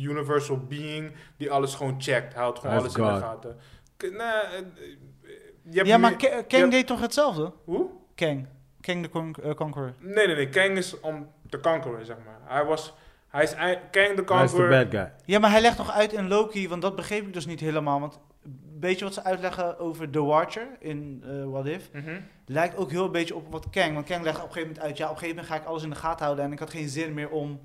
universal being die alles gewoon checkt. Hij houdt gewoon Hij alles is in de God. gaten. K- nou, eh, eh, je hebt Ja, maar meer- Ka- Kang hebt- deed toch hetzelfde? Hoe? Kang. Kang de Con- eh, Conqueror. Nee, nee, nee. Kang is om te kankeren, zeg maar. Hij was... Hij is ei- Kang de Hij is de kanker. bad guy. Ja, maar hij legt nog uit in Loki, want dat begreep ik dus niet helemaal. Want weet je wat ze uitleggen over The Watcher in eh, What If? Lijkt ook heel een beetje op wat Kang. Want Kang legt op een gegeven moment uit, ja, op een gegeven moment ga ik alles in de gaten houden en ik had geen zin meer om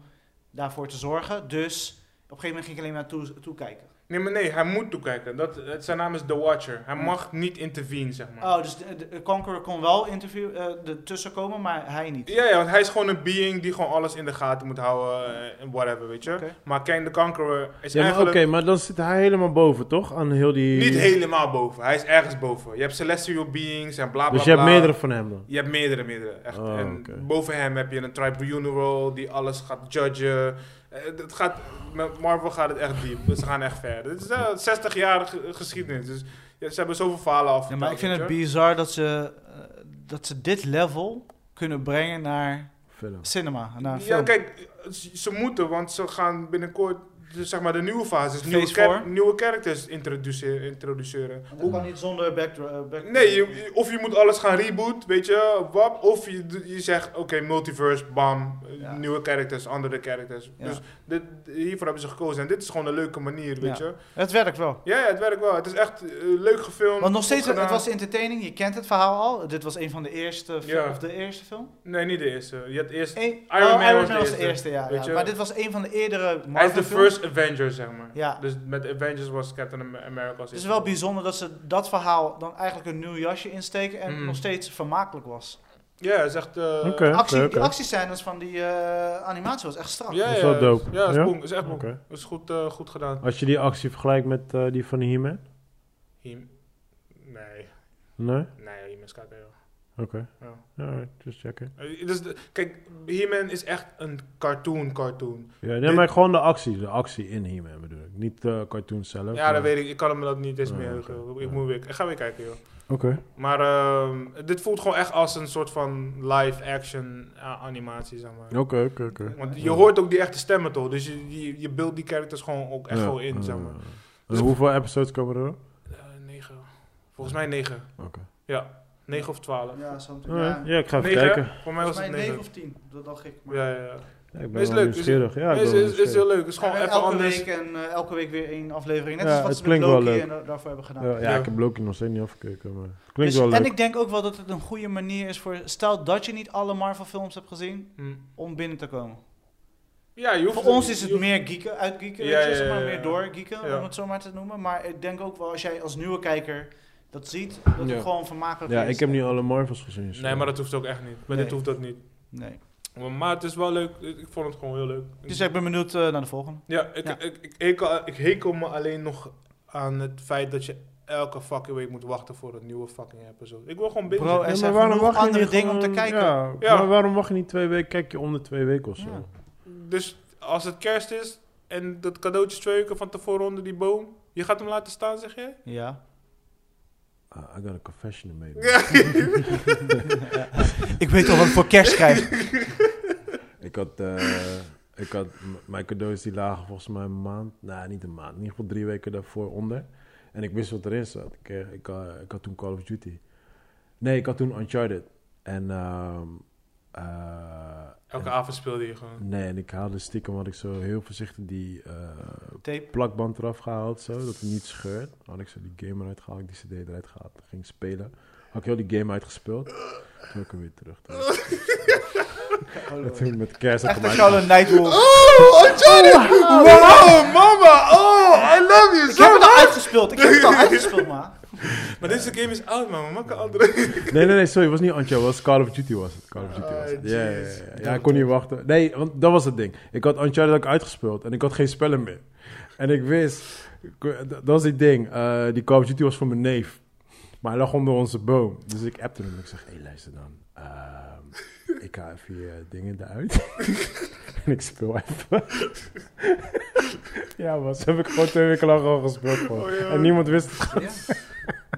daarvoor te zorgen. Dus op een gegeven moment ging ik alleen maar toe, toekijken. Nee, maar nee. Hij moet toekijken. Dat, het, zijn naam is The Watcher. Hij mag niet intervenen, zeg maar. Mhm. Oh, dus de, de Conqueror kon wel interview, eh ertussen komen, maar hij niet. Ja, ja, want hij is gewoon een being die gewoon alles in de gaten moet houden eh, en whatever, weet je. Oké. Maar Kang de Conqueror is Ja, maar oké, eigenlijk maar dan zit hij helemaal boven, toch? Aan heel die... niet helemaal boven. Hij is ergens boven. Je hebt celestial beings en bla bla Dus je hebt bla. meerdere van hem dan? Je hebt meerdere, meerdere. Echt. Oh, en oké. boven hem heb je een tribunal die alles gaat judgen. Eh, Het gaat, met Marvel gaat het echt diep. dus Ze gaan echt ver. Het is eh, 60 jaar ge- geschiedenis. Dus ja, ze hebben zoveel verhalen af. Ja, maar ik vind het bizar dat ze, eh, dat ze dit level kunnen brengen naar Film. Dus, cinema, naar een Ja, film. kijk, eh, ze ze moeten, want ze gaan binnenkort dus zeg maar de nieuwe fases, Phase nieuwe, char- four? nieuwe characters introduceren. introduceren. Dat kan niet zonder back... eh, back- Nee, je- je- of je moet alles gaan reboot, weet je, wap, of je, d- je zegt, oké, multiverse, bam, eh, Ja. nieuwe characters, andere characters. Ja. Dus dit, hiervoor hebben ze gekozen en dit is gewoon een leuke manier, weet Ja. je. Het werkt wel. Ja, ja, het werkt wel. Het is echt eh, leuk gefilmd. Want nog steeds, het opgedaan. was entertaining, je kent het verhaal al. Dit was een van de eerste, fi- Ja. of de eerste film. Nee, niet de eerste. Je had eerst... Eén- Man oh, was de was de eerste, eerste, ja. weet ja. je. Maar dit was een van de eerdere Hij is de Marvel-films. first Avenger, zeg maar. Ja. Dus met Avengers was Captain Am- America als Het is eerste. wel bijzonder dat ze dat verhaal dan eigenlijk een nieuw jasje insteken en Mm. nog steeds vermakelijk was. Ja, het is echt... eh, Oké. De Actie, oké. Die actiescènes van die eh, animatie was echt strak. Ja, Is ja. wel dope. Ja, is, Ja? boem, is echt boem. Oké. Is goed, eh, goed gedaan. Als je die actie vergelijkt met eh, die van He-Man? Hier- Nee, Nee? nee, hier mis kijken, joh. Oké. Ja. Alright, just checking. Eh, Dus de- kijk, He-Man is echt een cartoon-cartoon. Ja, nee, Dit- maar gewoon de actie. De actie in He-Man bedoel ik. Niet de cartoon zelf. Ja, dat weet ik. Ik kan me dat niet eens Ja, meer Oh, oké. heugen. Ik, Ja. moet weer, ik ga weer kijken, joh. Oké. Maar ehm, dit voelt gewoon echt als een soort van live-action eh, animatie, zeg maar. Oké, oké, oké. Want je hoort ook die echte stemmen, toch? Dus je, je, je beeldt die characters gewoon ook echt Ja, gewoon in, eh, zeg maar. en Dus- hoeveel episodes komen er? Eh, negen. Volgens mij negen. Oké. Ja, negen of twaalf. Ja, something. Alright, Ja, ik ga even Negen? kijken. Voor mij was het negen. of 10, dat dacht ik. Ja, ja, ja. Ja, ik ben Is wel leuk, is- nieuwsgierig. Ja, ik is, ben wel is, is heel nieuwsgierig. leuk. Het is gewoon En even elke anders. week en eh, elke week weer één aflevering. Net Ja, als wat het ze met klinkt wel Loki leuk. en da- daarvoor hebben gedaan. ja, ja, Ja. ik heb Loki nog steeds niet afgekeken, maar het klinkt Dus- wel leuk. En ik denk ook wel dat het een goede manier is voor... Stel dat je niet alle Marvel films hebt gezien, Hm. om binnen te komen. Ja, je hoeft Voor ons is het je hoeft- meer geeken, uitgeeken, Ja, weet je, ja, zeg maar, ja, ja. meer doorgeeken, Ja. om het zo maar te noemen. Maar ik denk ook wel, als jij als nieuwe kijker dat ziet, dat het Ja. gewoon vermakelijk Ja, is. ik heb niet alle Marvels gezien. dus- zo. Nee, maar dat hoeft ook echt niet. Bij Nee. dit hoeft dat niet. Nee. Maar het is wel leuk. Ik ik vond het gewoon heel leuk. Dus ik ben benieuwd eh, naar de volgende. Ja, ik, Ja. Ik, ik, hekel, ik hekel me alleen nog aan het feit dat je elke fucking week moet wachten voor een nieuwe fucking episode. Ik wil gewoon binnen. Bro, Ja, er maar zijn waarom genoeg wacht je andere niet dingen om te gewoon- kijken. Ja, Ja. maar waarom wacht je niet twee weken? Kijk je om de twee weken of zo. Ja. Dus als het kerst is en dat cadeautje is twee weken van tevoren onder die boom, je gaat hem laten staan, zeg je? Ja. Ah, I got a confession to make. ik weet al wat ik voor kerst krijg. Ik had, eh, ik had m- mijn cadeaus die lagen volgens mij een maand, nou niet een maand, in ieder geval drie weken daarvoor onder. En ik wist wat erin zat. Ik, eh, ik, eh, ik had toen Call of Duty. Nee, ik had toen Uncharted. En, ehm, eh, Elke en- avond speelde je gewoon. Nee, en ik haalde stiekem, had ik zo heel voorzichtig die eh, Tape. plakband eraf gehaald, zo, dat hij niet scheurt. Had ik zo die game eruit gehaald, die cd eruit gehaald, ging ik spelen. Had ik heel die game uitgespeeld, toen heb ik hem weer terug. Dat toen met kerst had ik Echt hem een koude Nightwolf. Oh, Uncharted! Wow, mama! Oh, I love you Ik heb het al uitgespeeld, ik heb het al uitgespeeld, maar. Maar deze game is oud, man. Maak een andere. Nee, nee, nee, sorry, het was niet Antje, het was Call of Duty was het. Call of Duty was het. Ah, Ja, ja, ja, jeez. ja. Ja, ik kon niet wachten. Nee, want dat was het ding. Ik had Uncharted had ik uitgespeeld en ik had geen spellen meer. En ik wist, ik- d- dat was die ding, eh, die Call of Duty was voor mijn neef. Maar hij lag onder onze boom. Dus ik appte hem en ik zeg, hé, hey, luister dan. Ehm, ik haal even je dingen eruit. en ik speel even. ja, was heb ik gewoon twee weken lang al gespeeld. gewoon. Oh, ja. En niemand wist het. Ja.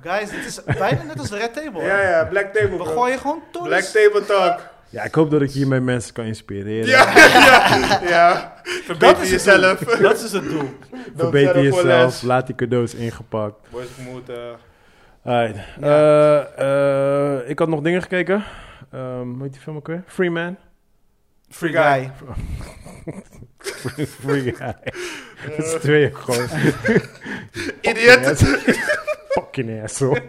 Guys, dit is bijna net als de Red Table. Ja, ja, Black Table. We bro. gooien gewoon Black tollies. Table Talk. Ja, ik hoop dat ik hiermee mensen kan inspireren. Ja, ja, ja. Dat Verbeter is jezelf. jezelf. Dat is het doel. Don't Verbeter settle for jezelf, less. laat die cadeaus ingepakt. Boys, ik moet... eh, Alright. Ja. Eh, eh, ik had nog dingen gekeken. Ehm, hoe heet die film ook weer? Free Man. Free guy. Free Guy. Dat is eh, twee ook gewoon. Idiot. Fucking ass- Fucking asshole.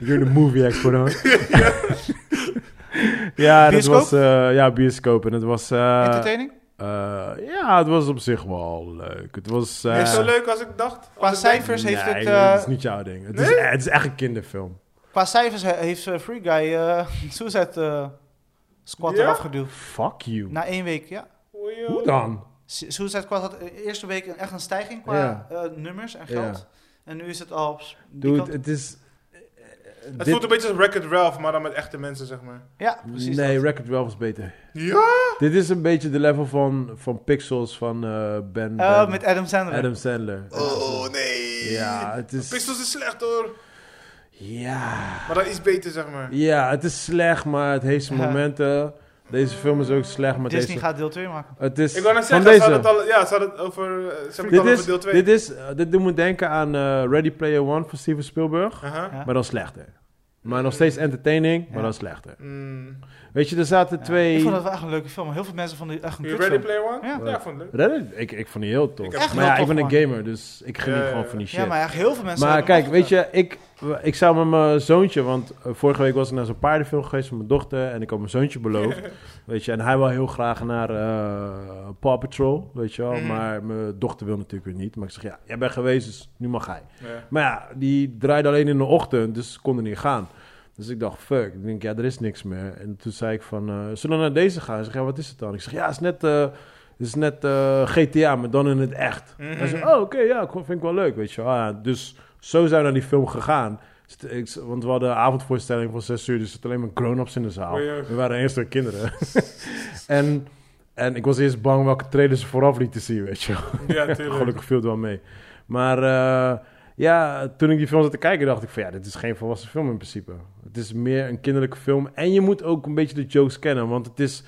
You're the movie expert, hoor. ja, dat Bioscoop? was... eh, ja, bioscoop. En het was... eh, Entertaining? eh, ja, het was op zich wel leuk. Het was... eh, Niet zo leuk als ik dacht. Als Qua ik dacht- cijfers heeft nee, het... eh, dat is niet jouw ding. Het, is, Nee? eh, het is echt een kinderfilm. Qua cijfers he- heeft eh, Free Guy eh Suicide eh, Squad Ja? eraf geduwd. Fuck you. Na één week, ja. Oei, joh. Hoe dan? Su- Suicide Squad had de eerste week een- echt een stijging qua Ja. eh, nummers en geld. Ja. En nu is het al... pss, die Dude, kant- het is... eh, Het voelt een beetje als Wreck-It Ralph, maar dan met echte mensen, zeg maar. Ja, precies. Nee, dat. Record Ralph is beter. Ja! Dit is een beetje de level van, van Pixels van eh, ben, Eh, Ben- met Adam Sandler. Adam Sandler. Oh, nee! Ja, het is... Pixels is slecht, hoor. Ja. Maar dat is beter, zeg maar. ja, het is slecht, maar het heeft zijn Ja. momenten. Deze film is ook slecht, maar Disney deze... gaat deel 2 maken. Het is Ik wou net van zeggen, ze deze. hadden het al, ja, ze hadden het over, eh, ze hebben het Dit al is, over deel 2. dit is, eh, dit doet me denken aan eh, Ready Player One van Steven Spielberg. Aha. Ja. Maar dan slechter. Maar nog steeds entertaining, maar Ja. dan slechter. Mm. Weet je, er zaten Ja. twee... Ik vond dat wel echt een leuke film. maar Heel veel mensen vonden het echt een You kutfilm. Ready Player One? Ja. ja ik vond het leuk. Dat is- ik, ik vond die heel tof. Ik heb- Echt maar heel ja, ik tof, ben een man. gamer, dus ik geniet Ja, ja, gewoon ja. van die shit. Ja, maar echt heel veel mensen... maar hadden kijk, hem weet afgezet. je, ik, ik zou met mijn zoontje, want eh, vorige week was ik naar zo'n paardenfilm geweest van mijn dochter en ik had mijn zoontje beloofd. weet je, en hij wil heel graag naar eh, Paw Patrol, weet je wel. Mhm. Maar mijn dochter wil natuurlijk weer niet. Maar ik zeg, ja, jij bent geweest, dus nu mag hij. Ja. Maar ja, die draaide alleen in de ochtend, dus ze konden niet gaan. Dus ik dacht, fuck. Ik denk, ja, er is niks meer. En toen zei ik van, eh, zullen we naar deze gaan? Ze zegt, ja, wat is het dan? Ik zeg, ja, het is net, eh, het is net eh, GTA, maar dan in het echt. Mhm. Hij zei, oh, oké, ja, ik- vind ik wel leuk, weet je wel. Ah, dus zo zijn we naar die film gegaan. Dus t- ik- Want we hadden een avondvoorstelling van zes uur, dus er zitten alleen maar grown-ups in de zaal. Oei, oei. We waren eerst twee kinderen. en, en ik was eerst bang welke trailers ze vooraf lieten zien, weet je wel. Ja, Ja, tuurlijk. Gelukkig viel het wel mee. Maar eh, ja, toen ik die film zat te kijken, dacht ik van ja, dit is geen volwassen film in principe. Het is meer een kinderlijke film. En je moet ook een beetje de jokes kennen, want het is,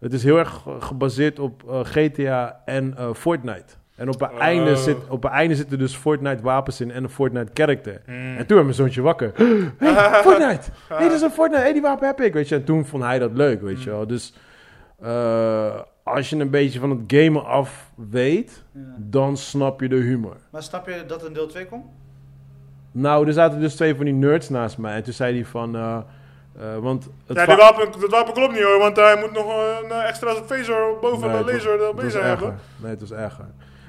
het is heel erg ge- gebaseerd op eh, GTA en eh, Fortnite. En op het, Oh. einde zit, op het einde zitten dus Fortnite wapens in en een Fortnite character. Mm. En toen werd mijn zoontje wakker. Hey, Fortnite! Hey, dat is een Fortnite. Hey, die wapen heb ik, weet je. En toen vond hij dat leuk, weet je wel. Dus eh, als je een beetje van het gamen af weet, Ja. dan snap je de humor. Maar snap je dat een deel 2 komt? Nou, er zaten dus twee van die nerds naast mij. En toen zei hij van... eh, eh, want het Ja, va- die wapen, dat wapen klopt niet hoor, want hij moet nog een eh, extra phaser boven Nee, de het was- laser eh, het was bezig hebben. erger. Nee, het was erger.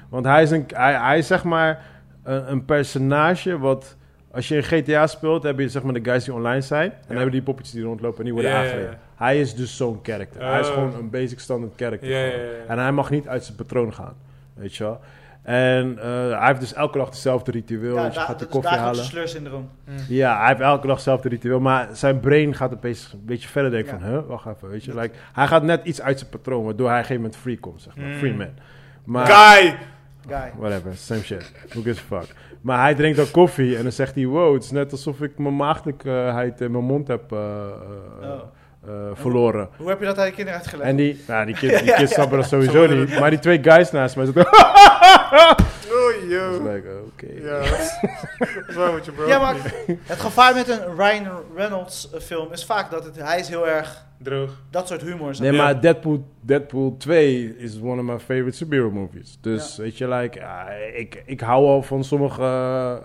Want hij is, een, hij, hij is zeg maar een, een personage wat... Als je in GTA speelt, heb je zeg maar de guys die online zijn. En dan hebben die poppetjes die rondlopen en die worden Ja, ja, ja. aangereden. Hij is dus zo'n character. Hij is Oh. gewoon een basic standard character. Ja, ja, gewoon. ja, ja. En hij mag niet uit zijn patroon gaan. Weet je wel. En eh, hij heeft dus elke dag hetzelfde ritueel. ja, dus je da- gaat de dat koffie is halen. dagelijks slursyndroom. Ja, hij heeft elke dag hetzelfde ritueel. Maar zijn brain gaat opeens een beetje verder denken Ja. van... Huh, wacht even, weet je. Like, hij gaat net iets uit zijn patroon, waardoor hij op een gegeven moment free komt, zeg maar. Mm. Free man. Maar, Guy! Guy. whatever, same shit. Who gives a fuck. Maar hij drinkt dan koffie en dan zegt hij... Wow, het is net alsof ik mijn maagdelijkheid in mijn mond heb eh, eh, Oh. eh, verloren. Hoe heb je dat aan je kinderen uitgelegd? En die, nou, die kids, die kids snappen dat sowieso Sorry. niet. Maar die twee guys naast mij zitten... Oh, Ik yo. was like, oké. Ja, dat is- dat is waar met je bro. Ja, maar het gevaar met een Ryan Reynolds eh, film is vaak dat het, hij is heel erg Droog. dat soort humor. is. Nee, Ja. maar Deadpool, Deadpool 2 is one of my favorite superhero movies. Dus weet je, like, ah, ik, ik hou al van sommige eh, eh,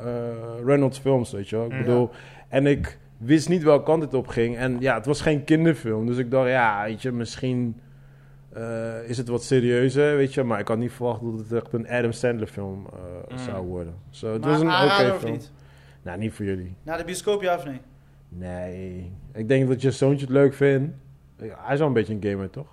Reynolds films, weet je wel. Ik Mm. bedoel, en ik wist niet welke kant het op ging. En ja, het was geen kinderfilm. Dus ik dacht, ja, weet je, misschien eh, is het wat serieuzer, weet je. Maar ik had niet verwacht dat het echt een Adam Sandler film eh, Mm. zou worden. Zo, het maar was een oké aanrader of film. niet? Nou, niet voor jullie. Naar de bioscoop, ja of nee? Nee. Ik denk dat je zoontje het leuk vindt. Ja, hij is wel een beetje een gamer, toch?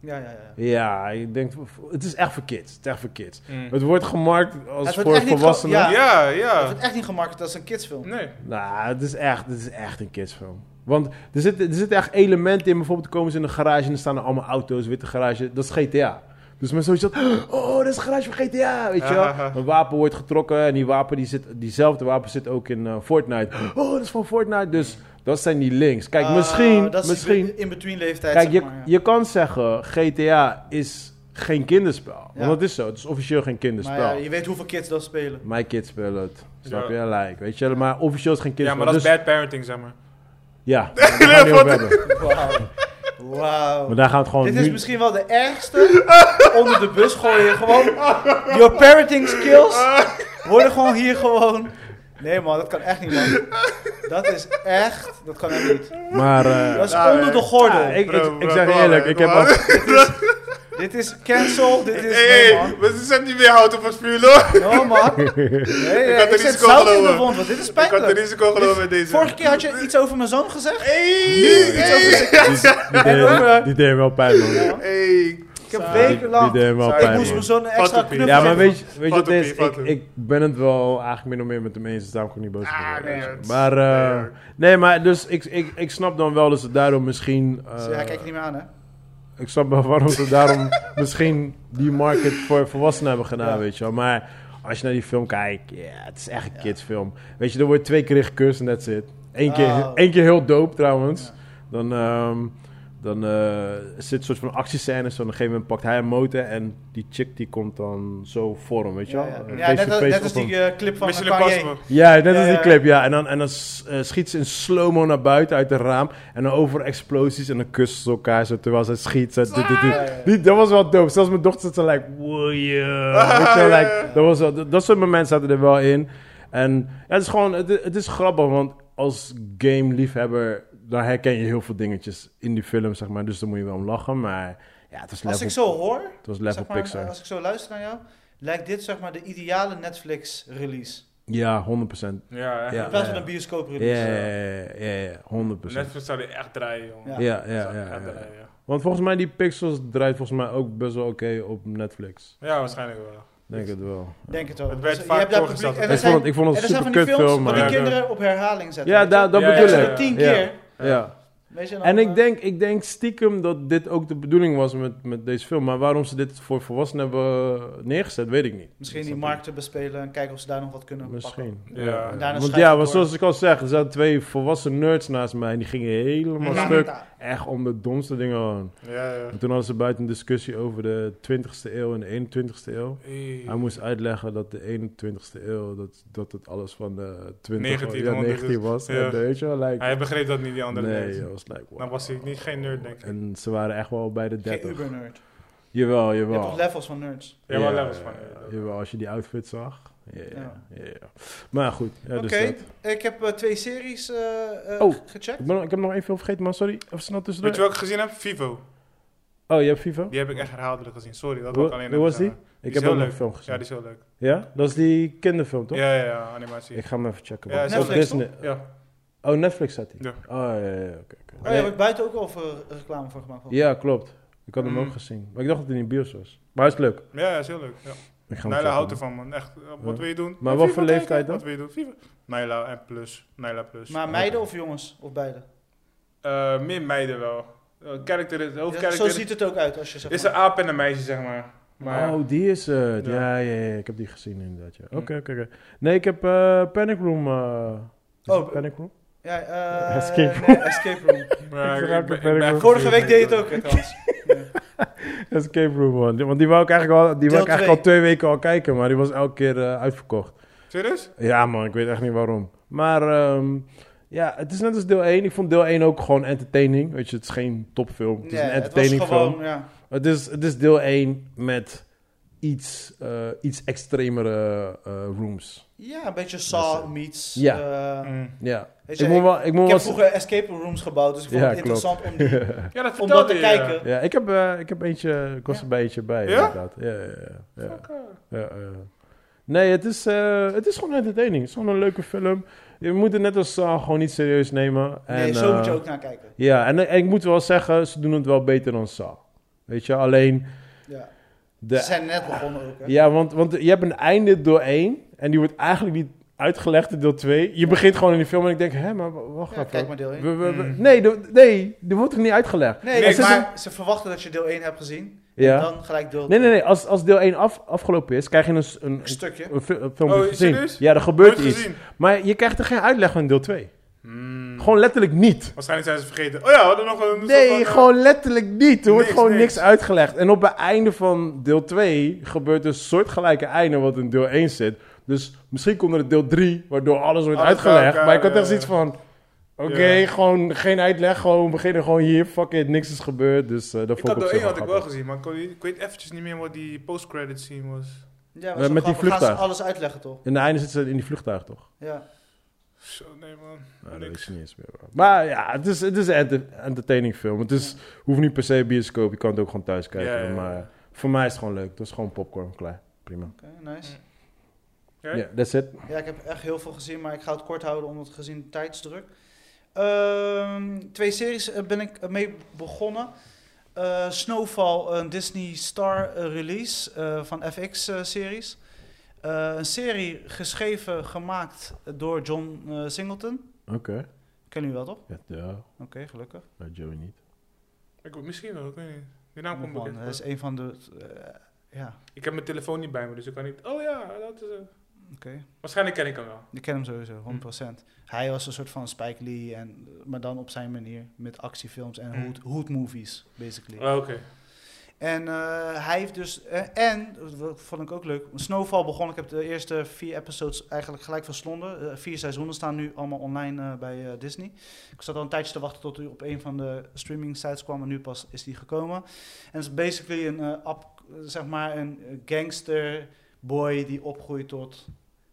Ja, ja, ja. Ja, ik denk, het is echt voor kids. Het is echt voor kids. Mm. Het wordt gemarkt Het als wordt voor echt niet ge- volwassenen. ja. Ja, Ik ja. vind het echt niet gemarket als een kidsfilm. Nee. Nou, het is, echt, het is echt een kidsfilm. Want er zitten er zitten echt elementen in. Bijvoorbeeld komen ze in een garage en er staan er allemaal auto's, witte garage. Dat is GTA. Dus mensen zoiets dat, oh, dat is een garage van GTA, weet je wel. Ahaha. Een wapen wordt getrokken en die wapen, die zit, diezelfde wapen zit ook in eh, Fortnite. Oh, dat is van Fortnite. Dus dat zijn die links. Kijk, Ah, misschien, dat is misschien, in between leeftijd. Kijk, zeg je, maar, ja. je kan zeggen GTA is geen kinderspel. Ja. Want dat is zo. Het is officieel geen kinderspel. maar ja, je weet hoeveel kids dat spelen. Mijn kids spelen het. Snap je? Ja. Like, weet je? Maar officieel is geen Ja, kinderspel. maar dat is dus, bad parenting, zeg maar. Ja, daar gaan we het niet over hebben. Wauw. Wauw. Maar daar gaan we het gewoon Dit is nu- misschien wel de ergste onder de bus gooien. Gewoon, your parenting skills worden gewoon hier gewoon... Nee man, dat kan echt niet man. Dat is echt, dat kan echt niet. Maar... eh, Dat is Ja, onder nee. de gordel. ja, ik, ik, Bro, ik bro, zeg je bro, eerlijk, bro, ik heb bro. al... Dit is cancel, dit is... Hé, Nee hey, man, we zijn niet meer hout op het vuur, hoor. no, man. Nee, Ik ik, had ik er zet risico zout in de gelopen. wond, want dit is Ik had de pijnlijk. risico genomen met deze. Vorige keer had je iets over mijn zoon gezegd. Hey, hey, Die deed- Die deed wel pijn, man. hey. Ik heb Sorry. Die wekenlang... deed wel Sorry. Ik pijn, moest man. mijn zoon een extra Fatsoen. knuffel Ja, maar geven. weet je, weet je wat het is? Fatsoen, Ik, fatsoen. ik ben het wel eigenlijk min of meer met hem eens. Dus daarom kan ik niet boos Ah, worden, nee, weet je. het is- Maar, eh, nee, hoor. nee, maar dus ik, ik, ik snap dan wel dat ze daarom misschien... eh, Ja, kijk je niet meer aan hè. ik snap wel waarom ze daarom misschien die market voor volwassenen hebben gedaan, Ja. weet je wel. Maar als je naar die film kijkt, ja, het is echt een kidsfilm. Weet je, er wordt twee keer gekust en that's it. Eén keer, Oh. één keer heel dope trouwens. Dan, ehm, dan eh, zit een soort van actiescènes. Van op een gegeven moment pakt hij een motor en die chick die komt dan zo voor hem, weet je Ja, wel. ja. Eh, Ja, face net, to als- face net op als hem. die eh, clip van Mission Kanye. Impossible. Ja, net Ja, als die ja. clip, ja. En dan, en dan s- eh, schiet ze in slow-mo naar buiten uit het raam. En dan over explosies en dan kussen ze elkaar zo terwijl ze schiet. Zo, dit, dit, dit. Ja, ja, ja. Die- dat was wel dope. Zelfs mijn dochter zat zo like, wow, yeah. Weet je wel, like, dat, was wel- dat, dat soort momenten zaten er wel in. En ja, het is gewoon, het, het is grappig, want als game-liefhebber, dan herken je heel veel dingetjes in die film, zeg maar. Dus daar moet je wel om lachen, maar ja, het was level, Als ik zo hoor, het was level zeg maar, Pixar. als ik zo luister naar jou, lijkt dit zeg maar de ideale Netflix release. Ja, 100%. Ja, Ja. In plaats van een bioscoop Ja, release. ja, ja, ja, ja, 100%. Netflix zou die echt draaien, jongen. Ja. ja, ja, ja, Zou die ja, echt ja. draaien, ja. Want volgens mij, die Pixels draait volgens mij ook best wel oké op Netflix. Ja, waarschijnlijk wel. Denk het wel. Denk het ook. Dus Het werd je vaak hebt daar voorgesteld. publiek- en er Ik Ik zijn- vond het, ik vond en er het zijn een van super die kut films film, waar maar- die Ja, maar... kinderen op herhaling zetten. Ja, weet je. daar- dat Ja, ja, bedoel ja, ik. ja. Tien Ja, keer. ja. Weet je, En dan, ik denk, ik denk stiekem dat dit ook de bedoeling was met, met deze film. Maar waarom ze dit voor volwassenen hebben neergezet, weet ik niet. eh, Misschien die markten bespelen en kijken of ze daar nog wat kunnen pakken. Misschien. Ja. En daarna Want schuift ja, het want door. zoals ik al zeg, er zaten twee volwassen nerds naast mij en die gingen helemaal Ja. stuk. echt om de domste dingen aan. Ja, ja. En toen hadden ze buiten een discussie over de 20ste eeuw en de 21ste eeuw. Hey. Hij moest uitleggen dat de 21ste eeuw, dat, dat het alles van de 20 1900 ja, 19 was. Ja. En weet je wel, like, Hij begreep dat niet, die andere nee, nee, I was like, wow. Dan was hij niet geen nerd, denk ik. En ze waren echt wel bij de Geen 30. uber-nerd. Jawel, Je hebt toch jawel. levels van nerds? Ja, wel levels van. Jawel, als je die outfit zag. Ja, ja. Ja. ja. Maar goed, ja, dus Oké. dat. Ik heb eh, twee series eh, eh, Oh. ge- gecheckt. Ik, ben, ik heb nog één film vergeten, man. Sorry, even snel tussendoor. Weet je wat ik gezien heb? Vivo. Oh, je hebt FIFA? Die heb ik echt herhaaldelijk gezien. Sorry, dat Hoe- was alleen hoe was even die? zeggen. ik is heb heel ook nog leuk. een film Ja, gezien. Ja, die is heel leuk. Dat is die kinderfilm, toch? Ja, ja, ja, animatie. Ik ga hem even checken. Ja, man. Is dat Netflix, toch? Disney? Ja. Oh, Netflix staat die. Ja. Oh, ja, ja, ja, oké. oké. Oh, ja, heb ik buiten ook over reclame voor gemaakt. Ja, klopt. Ik had hem Mm. ook gezien. Maar ik dacht dat hij in de bios was. Maar hij is leuk. Ja, ja, is heel leuk. Ja. Ik ga hem Naila checken, houdt man. ervan, man. Echt, eh, Ja. wat wil je doen? Maar Eh, wat FIFA voor leeftijd kijken? dan? Wat wil je doen? FIFA. Naila en plus. Naila plus. Maar meiden of jongens? Of beide? Eh, meer meiden wel. Eh, character, de Ja, zo hoofdcharacter ziet het ook uit als je zegt... is een aap en een meisje, zeg maar. Maar Oh, die is het. Ja. Ja. Ja, ja, Ik heb die gezien inderdaad. ja. Oké, Mm. oké, oké. Nee, ik heb eh, Panic Room. eh, is Oh, het Panic Room? Ja, eh, Escape nee, escape room. maar Ik ik raak ben- het ik ben werk echt- Vorige week deed het ook, hè, trouwens. Escape Room, man. Want die wou ik eigenlijk al, die wou ik Deel eigenlijk al twee weken al kijken, maar die was elke keer eh, uitverkocht. Serieus? Ja, man, ik weet echt niet waarom. Maar ehm, ja, het is net als deel 1. Ik vond deel 1 ook gewoon entertaining. Weet je, het is geen topfilm. Het is Ja, een het was entertaining film. gewoon, ja. Het is, het is deel 1 met iets, eh, iets extremere eh, rooms. Ja, een beetje Saw meets... Ja. eh, Mm. Ja. weet je, Ik moet wel... Ik moet ik heb wel vroeger escape rooms gebouwd, dus ik vond Ja, het klopt. interessant om, die, Ja, dat om vertelde dat te je. kijken. ja, ik heb, eh, ik heb eentje... Ik was Ja. er bij eentje bij, Ja? inderdaad. Ja, ja, ja. ja. Fuck, eh. Ja, eh. Nee, het is, eh, het is gewoon entertaining. Het is gewoon een leuke film. Je moet het net als Saw gewoon niet serieus nemen. En, nee, zo moet je eh, ook naar kijken. Ja, en, en ik moet wel zeggen, ze doen het wel beter dan Saw. Weet je, alleen... Ja. De Ze zijn net begonnen ook, hè. Ja, want, want je hebt een einde door één. En die wordt eigenlijk niet uitgelegd in deel 2. Je begint gewoon in die film en ik denk, hè, maar w- wacht Ja, even. kijk maar deel één. We- we- we- Mm. nee, de- nee, die wordt toch niet uitgelegd? Nee, Nee, ze- maar- ze, ze verwachten dat je deel 1 hebt gezien. Ja. En dan gelijk deel Nee, nee, nee. Als, als deel 1 af, afgelopen is, krijg je een, s- een, Een stukje. een, fi- een film Oh, gezien. serieus? Ja, er gebeurt Nooit iets. gezien. Maar je krijgt er geen uitleg van in deel 2. Mm. Gewoon letterlijk niet. Waarschijnlijk zijn ze vergeten. Oh ja, we hadden nog een... Nee, eh, gewoon letterlijk niet. Er wordt niks, gewoon niks. niks. uitgelegd. En op het einde van deel 2 gebeurt een soortgelijke einde wat in deel 1 zit. Dus misschien komt er een deel 3, waardoor alles wordt Alles bij uitgelegd. elkaar, maar ik had ja, echt ja. zoiets van... Oké, Ja. gewoon geen uitleg. Gewoon we beginnen gewoon hier. Fuck it, niks is gebeurd. Dus eh Ik dat vond had ik op door zich één wel had ik wel grappig. gezien, maar ik, kon niet- ik weet eventjes niet meer wat die post-credit scene was. Ja, Eh, maar zo met grappig gaan die ze vliegtuig. alles uitleggen, toch? In de einde zitten ze in die vliegtuig, toch? Ja. Zo, nee man. Nou, dat weet Niks. je niet eens meer. bro. Maar ja, het is, het is een enter- entertaining film. Het is, hoeft niet per se bioscoop. Je kan het ook gewoon thuis kijken. Ja, ja, ja. Maar voor mij is het gewoon leuk. Het is gewoon popcorn, klaar. Prima. Oké, nice. Ja? Ja, that's it. Ja, ik heb echt heel veel gezien, maar ik ga het kort houden omdat gezien de tijdsdruk. Ehm, twee series eh, ben ik eh, mee begonnen. Eh, Snowfall, een Disney Star eh, release eh, van FX-series. een serie geschreven, gemaakt door John eh, Singleton. Oké. Kennen jullie wel, toch? Ja, ja. Oké, gelukkig. Nou, Joey niet. Ik, misschien wel, ik weet niet. Die naam komt Man, dat bekend. is voor. een van de... eh, ja, Ik heb mijn telefoon niet bij me, dus ik kan niet... Oh ja, dat is... eh. oké. Waarschijnlijk ken ik hem wel. Ik ken hem sowieso, 100%. Hij was een soort van Spike Lee, en, eh, maar dan op zijn manier. Met actiefilms en Mm. hood, hood movies, basically. Oh, Oké. En eh, hij heeft dus... eh, en, dat vond ik ook leuk, Snowfall begon. Ik heb de eerste vier episodes eigenlijk gelijk verslonden. Eh, vier seizoenen staan nu allemaal online eh, bij eh, Disney. Ik zat al een tijdje te wachten tot hij op een van de streaming sites kwam. En nu pas is die gekomen. En het is basically een, eh, ap- eh, zeg maar een eh, gangster boy die opgroeit tot...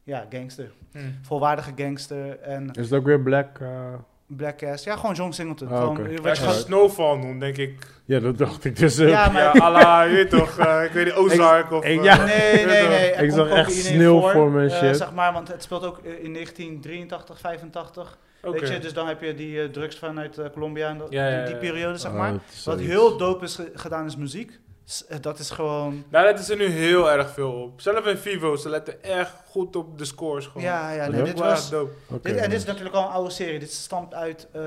Ja, gangster. Hm. Volwaardige gangster en Is het ook weer Black? eh? Black Cast. Ja, gewoon John Singleton. Ah, Gewoon, oké. eh, Ja, weet ik je ga wel. Alright. Snowfall noemen, denk ik. Ja, dat dacht ik dus ook. Ja, maar... Ja, ala, je weet toch, eh, ik weet niet, Ozark of... ik- eh, ja. Nee, nee, nee. Er Ik komt zag echt cocaïne in sneeuw voor me en eh, shit. zeg maar, want het speelt ook eh, in 1983, 85. Oké. Weet je, dus dan heb je die eh, drugs vanuit eh, Colombia en dat- Ja, ja, die, die ja. periode, zeg Ah, maar. het is Wat zoiets. heel dope is ge- gedaan is muziek. S- eh, Dat is gewoon... Daar Nou, letten ze nu heel erg veel op. Zelf in Vivo, ze letten echt goed op de scores gewoon. Ja, ja, Dat nee, is dit Wel echt was... dope. Oké, Dit, en dit is man. natuurlijk al een oude serie. Dit stamt uit eh,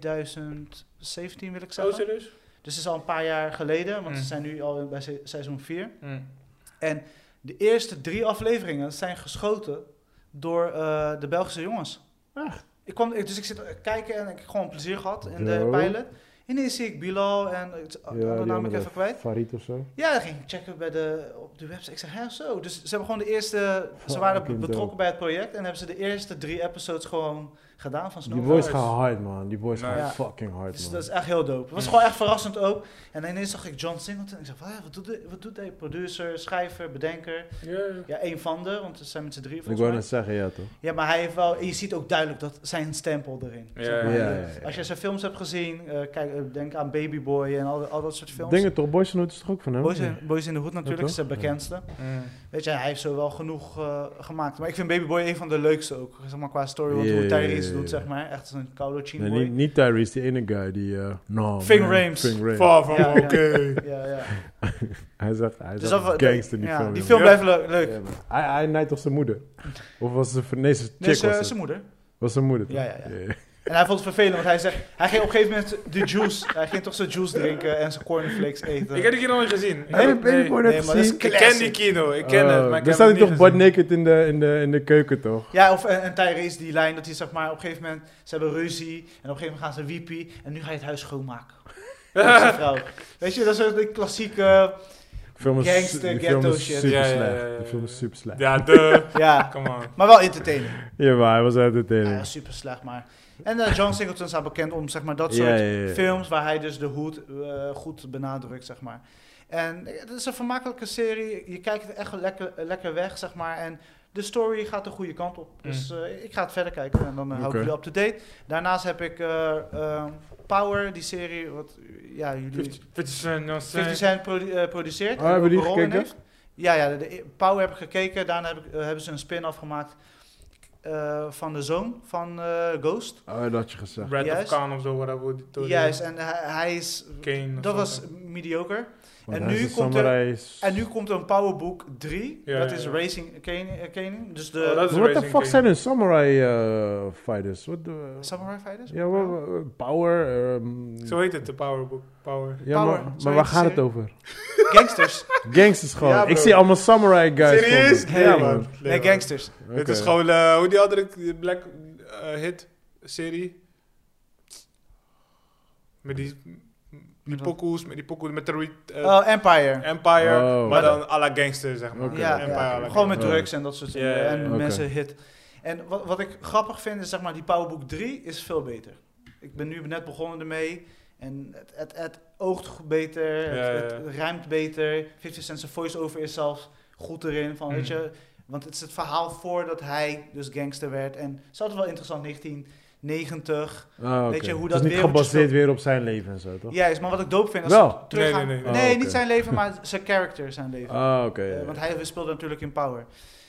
2017, wil Oh, ik Zo zeggen. Oh, serieus? Dus het is al een paar jaar geleden, want Mm. ze zijn nu al bij se- seizoen 4. Hm. De eerste drie afleveringen zijn geschoten door eh, de Belgische jongens. Echt? eh, Ik kwam, ik- dus ik zit te kijken en ik heb gewoon plezier gehad in de Yo. pilot. Ineens zie ik Bilal en het oh, Ja, die andere naam ik andere even kwijt. Farid of zo. Ja, dan ging ik checken bij de, op de website. Ik zeg, hè, zo. Dus ze hebben gewoon de eerste... Ze waren Fucking betrokken dope. bij het project en hebben ze de eerste drie episodes gewoon gedaan van Die Snow. boys Nice. gaan hard, man. Die boys Nice. gaan Ja. fucking hard, Dus man. dat is echt heel dope. Het was gewoon echt verrassend ook. En ineens zag ik John Singleton. Ik zeg, "Hè, wat doet, hij- wat doet hij? Producer, schrijver, bedenker. Ja, één van de, want ze zijn met z'n drieën Ik volgens wou mij. net zeggen, ja, toch? Ja, maar hij heeft wel... en Je ziet ook duidelijk dat zijn stempel erin. Ja, Zeg maar, ja, ja, eh, ja. Als je zijn films hebt gezien, eh, kijk, eh, denk aan Baby Boy en al, al dat soort films. Dingen toch? Boys Note is toch ook van hem? Boys, in, Boys in the Hood natuurlijk, Ja, is toch? zijn bekendste. Mm. Weet je, hij heeft zo wel genoeg eh, gemaakt. Maar ik vind Baby Boy een van de leukste ook. Zeg maar qua story, want Ja, hoe ja, Tyrese ja, doet, ja. zeg maar. Echt zo'n koude chin Nee, boy. niet, niet Tyrese, die ene guy die... eh no, Ving man, Rames. Ving Rames. Far from Ja, ja. okay. Ja, ja. Hij zegt, hij Dus zegt dat wa- gangster in die ja, film. Die joh. film Ja. blijft le- leuk. Ja, man. hij, hij nijdt toch zijn moeder? Of was ze... Nee, zijn chick Nee, was zijn het. Dus, eh, zijn moeder. Was zijn moeder, toch? Ja, ja, ja. En hij vond het vervelend, want hij zei... Hij ging op een gegeven moment de juice... Hij ging toch zijn juice drinken en zijn cornflakes eten. Ik heb die kino nooit gezien. Ik Heb je heb- Baby Boy net nee, maar dat is gezien? Ik ken Classic. die kino, ik ken het, maar ik daar heb Oh, staat het hij toch niet butt gezien. naked in de, in, de, in de keuken, toch? Ja, of, en, en Tyrese die lijn dat hij zeg maar op een gegeven moment, ze hebben ruzie en op een gegeven moment gaan ze wiepie en nu ga je het huis schoonmaken. Dat is een vrouw. Weet je, dat is ook de klassieke, Die film is, Gangster die film ghetto is shit. super Ja, ja, ja, slecht. ja, ja. Die film is super slecht. Ja, Ja, de. ja, Come on. maar wel entertaining. maar hij was uit het Ja, hele. super slecht maar. En eh, John Singleton staat bekend om zeg maar dat Ja, soort ja, ja, ja. films waar hij dus de hoed eh, goed benadrukt zeg maar. En eh, het is een vermakkelijke serie, je kijkt het echt lekker, eh, lekker weg zeg maar en de story gaat de goede kant op. Dus eh, ik ga het verder kijken en dan eh, hou Mm. Oké. ik jullie up-to-date. Daarnaast heb ik eh, eh, Power, die serie, wat eh, ja, jullie 50 Cent, no 50 cent. Cent produ- eh, produceert. Ah, en hebben ook die een rol in gekeken? heeft. Ja, ja, de, de- Power heb ik gekeken. Daarna heb ik, eh, hebben ze een spin-off gemaakt eh, van de zoon van eh, Ghost. Oh, dat had je gezegd. Red of Juist. Khan of zo, whatever. die- die- Juist, en hij, hij is... Kane of Dat was zo. mediocre. Want En hij is nu een komt er- samurai s- En nu komt er een Powerbook 3. Ja, dat ja, is ja. Racing Kane. eh, Kane dus de Oh, dat is What the Racing fuck King. zijn hun samurai eh, fighters? What the... Samurai Fighters? Ja, wa- wa- power. ehm, Zo heet het, de Power Book. Power. ja, Power, maar, zo maar heet waar de gaat het serie. over? Gangsters. Gangsters gewoon. Ja, ik bro. zie allemaal samurai guys. Serieus? voor me. Ja, man. Nee, gangsters. Dit Oké. is gewoon, eh, hoe die andere die Black eh, Hit serie. Met die, die Met wat? pokoes, met die pokoes, met de re- eh, Oh, Empire. Empire, Oh. maar dan à la gangster, zeg maar. Oké. Ja, Empire à la ja, gewoon met Ja. drugs en dat soort dingen. Ja, ja, ja. En Oké. mensen hit. En wat, wat ik grappig vind is, zeg maar, die Powerbook 3 is veel beter. Ik ben nu net begonnen ermee. En het, het, het oogt goed beter, Ja, het, ja. het ruimt beter. 50 Cent's voice-over is zelfs goed erin. Van, weet Mm. je, want het is het verhaal voordat hij dus gangster werd. En ze hadden wel interessant, 1990. Ah, oké. Weet je hoe Het dat is niet wereldje gebaseerd speelt? weer op zijn leven en zo, toch? Ja, is maar wat ik dope vind. Als Wel. ze Nee, teruggaan- nee, nee. Oh, oké. niet zijn leven, maar zijn character, zijn leven. Ah, oké. ja, Eh, ja. want hij speelde natuurlijk in Power.